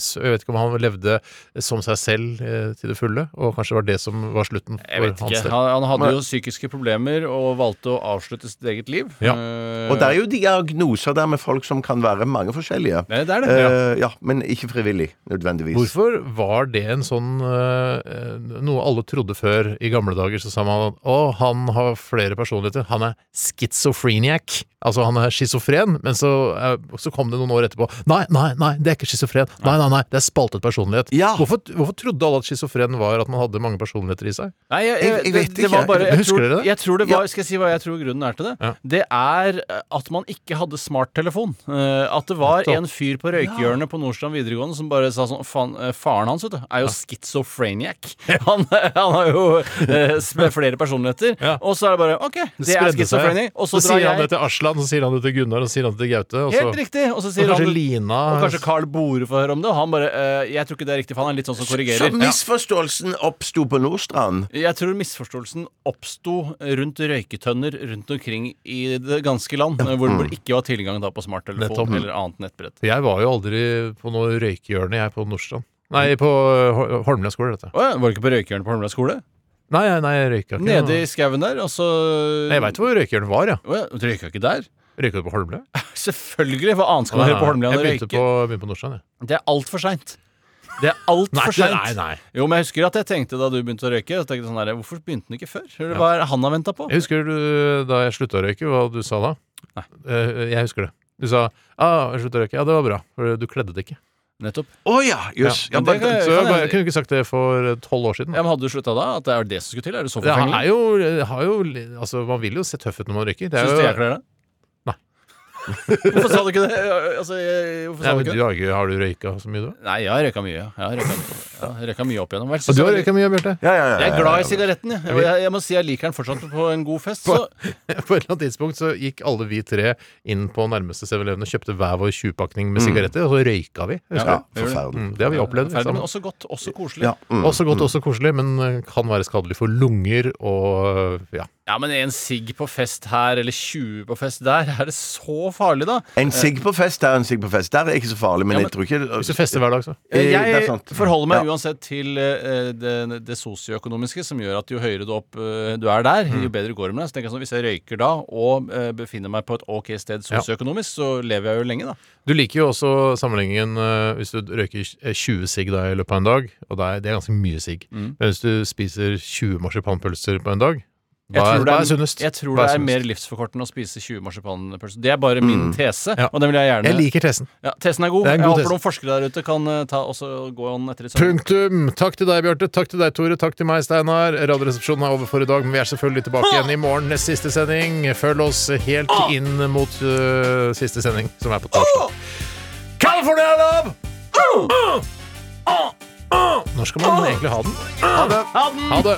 Speaker 1: Så jeg vet ikke om han levde som seg selv eh, til det fulle, og kanskje det var det som var slutten
Speaker 3: Jeg
Speaker 1: for
Speaker 3: vet
Speaker 1: hans
Speaker 3: ikke.
Speaker 1: del.
Speaker 3: Han, han hadde jo psykiske problemer og valgte å avslutte sitt eget liv.
Speaker 1: Ja.
Speaker 3: Eh,
Speaker 2: Og det er jo diagnoser der med folk som kan være mange forskjellige.
Speaker 3: Nei, det er det,
Speaker 2: Eh, ja, men ikke frivillig, nødvendigvis.
Speaker 1: Hvorfor var det en sånn eh, noe alle trodde før i gamle dager? Så sa man at å, han har flere personligheter. Han er schizofreniac. Altså han er schizofren, men så, eh, så kom det noen år etterpå. Nei, nei, nei, det er ikke schizofren. Nei, nei, nei, det er spaltet personlighet.
Speaker 2: Ja.
Speaker 1: Hvorfor, hvorfor trodde alle at schizofren var at man hadde mange personligheter i seg?
Speaker 3: Nei, jeg,
Speaker 2: Jeg- jeg
Speaker 3: det,
Speaker 2: vet
Speaker 3: det
Speaker 2: ikke.
Speaker 3: var bare jeg
Speaker 1: Husker
Speaker 3: tror,
Speaker 1: dere det?
Speaker 3: Jeg tror det var,
Speaker 2: Ja.
Speaker 3: Skal jeg si hva jeg tror grunnen er til det?
Speaker 1: Ja.
Speaker 3: Det er eh, at man ikke hadde smarttelefon. Eh, At det var
Speaker 1: Nettopp.
Speaker 3: en fyr på røykehjørnet på Nordstrand videregående som bare sa sånn Faen, eh, faren hans, vet du, er jo schizofreniac. Han, han har jo eh, sp- flere personligheter.
Speaker 1: Ja.
Speaker 3: Og så er det bare OK, det er
Speaker 1: spredde seg.
Speaker 3: schizofreni. Og
Speaker 1: Så
Speaker 3: så drar
Speaker 1: sier han det
Speaker 3: jeg.
Speaker 1: til Aslan, så sier han det til Gunnar, og så sier han det til Gaute. Og så,
Speaker 3: Helt riktig. Og så
Speaker 1: og
Speaker 3: sier
Speaker 1: kanskje
Speaker 3: han
Speaker 1: Lina
Speaker 3: Og kanskje Carl Bore får høre om det, og han bare eh, Jeg tror ikke det er riktig, for han er litt sånn som
Speaker 2: Så
Speaker 3: korrigerer. Ja.
Speaker 2: misforståelsen oppsto på Nordstrand.
Speaker 3: Jeg tror misforståelsen oppsto rundt røyketønner rundt omkring i det ganske land, hvor
Speaker 1: Mm.
Speaker 3: det ikke var tilgang da på smarttelefon
Speaker 1: Nettopp.
Speaker 3: eller annet nettbrett.
Speaker 1: Jeg var jo aldri på noe røykehjørne, jeg, på Nordstrand. Nei, på Hol- Holmlia skole, dette.
Speaker 3: Å ja, var det ikke på røykehjørnet på Holmlia skole?
Speaker 1: Nei, nei, nei, jeg røyka ikke.
Speaker 3: Nede i skauen der, og så
Speaker 1: Nei, Jeg veit hvor røykehjørnet var, ja.
Speaker 3: Å ja, du røyka ikke der?
Speaker 1: Røyka du på Holmlia?
Speaker 3: Selvfølgelig! Hva annet skal man gjøre på Holmlia enn
Speaker 1: jeg
Speaker 3: å
Speaker 1: begynte
Speaker 3: røyke?
Speaker 1: på, begynte på Nordstrand, jeg.
Speaker 3: Det er altfor seint. Det er altfor seint.
Speaker 1: nei.
Speaker 3: Jo, men jeg husker at jeg tenkte da du begynte å røyke, jeg tenkte sånn der, hvorfor begynte han ikke før? Eller Hva er det han har venta på?
Speaker 1: Jeg husker du, da jeg slutta å røyke, hva du sa da? Eh, Jeg husker det. Du sa ah, 'jeg slutta å røyke'. Ja, det var bra, for du kledde det ikke.
Speaker 3: Nettopp.
Speaker 2: Å ja, jøss. Ja,
Speaker 3: Ja, men
Speaker 2: men-
Speaker 3: det kan-
Speaker 1: Så jeg, bare,
Speaker 3: kan jeg-
Speaker 1: jeg kunne ikke sagt det for eh, tolv år siden.
Speaker 3: Ja, men Hadde du slutta da? At det er det som skulle til? Er det så
Speaker 1: Det er
Speaker 3: forfengelig?
Speaker 1: jo, har jo Altså, man vil jo se tøff ut når man røyker. Det er
Speaker 3: Syns
Speaker 1: jo,
Speaker 3: du jeg kler det?
Speaker 1: Nei.
Speaker 3: Hvorfor sa du ikke det? Altså, jeg- hvorfor
Speaker 1: Nei,
Speaker 3: sa du
Speaker 1: men
Speaker 3: ikke
Speaker 1: du
Speaker 3: det?
Speaker 1: har, ikke- har du røyka så mye, du?
Speaker 3: Nei, jeg har røyka mye. ja. Jeg har røyka mye, ja, jeg har røyka mye opp igjennom. Hva er det som-
Speaker 1: Og du har røyka mye, Bjarte?
Speaker 2: ja, ja, ja, ja,
Speaker 3: Jeg er
Speaker 2: ja.
Speaker 3: glad i sigaretten, jeg. Og jeg, jeg må si jeg liker den fortsatt på en god fest. Så
Speaker 1: På et eller annet tidspunkt så gikk alle vi tre inn på nærmeste 7-Eleven og kjøpte hver vår 20-pakning med sigaretter, og så røyka vi. husker
Speaker 7: Ja,
Speaker 1: du?
Speaker 7: forferdelig.
Speaker 1: Mm, det har vi opplevd.
Speaker 3: Mm. Ferdig, men
Speaker 1: sammen.
Speaker 3: også godt, også koselig.
Speaker 7: Ja.
Speaker 3: Ja,
Speaker 7: Mm.
Speaker 1: Også godt, også koselig, men eh, kan være skadelig for lunger og eh, ja.
Speaker 3: men en sigg på fest her, eller 20 på fest der, er det så farlig, da?
Speaker 2: En sigg på fest der, en sigg på fest der er ikke så farlig, men jeg tror ikke
Speaker 1: Hvis du fester hver dag, så.
Speaker 2: Eh, det er
Speaker 3: Jeg
Speaker 2: sant.
Speaker 3: forholder meg
Speaker 2: Ja.
Speaker 3: uansett til eh, det, det sosioøkonomiske, som gjør at jo høyere du, opp, eh, du er der,
Speaker 1: Mm.
Speaker 3: jo bedre går det med deg. Så tenker jeg sånn, Hvis jeg røyker da, og eh, befinner meg på et ok sted sosioøkonomisk, så lever jeg jo lenge, da.
Speaker 1: Du liker jo også sammenligningen eh, hvis du røyker eh, 20 sigg da i løpet av en dag, og det er, det er ganske mye sigg.
Speaker 3: Mm.
Speaker 1: Men hvis du spiser 20 marsipanpølser på en dag, hva
Speaker 3: Jeg
Speaker 1: er,
Speaker 3: tror det
Speaker 1: hva
Speaker 3: er,
Speaker 1: er sunnest?
Speaker 3: jeg tror
Speaker 1: Hva
Speaker 3: det er
Speaker 1: sunnest? Mm.
Speaker 3: mer livsforkortende å spise 20 marsipanpølser. Det er bare min tese,
Speaker 1: Ja.
Speaker 3: og den vil jeg gjerne
Speaker 1: Jeg liker tesen.
Speaker 3: ja, Tesen er god.
Speaker 1: Det er en
Speaker 3: jeg
Speaker 1: god
Speaker 3: håper
Speaker 1: tese.
Speaker 3: noen forskere der ute kan eh, ta, også gå an etter litt. sånn.
Speaker 1: Punktum! Takk til deg, Bjarte. Takk til deg, Tore. Takk til meg, Steinar. Radioresepsjonen er over for i dag, men vi er selvfølgelig tilbake igjen i morgen. Nest siste sending. Følg oss helt inn mot øh, siste sending, som er på torsdag. Ah! California love! Når skal man egentlig ha den? Ah! Ha det!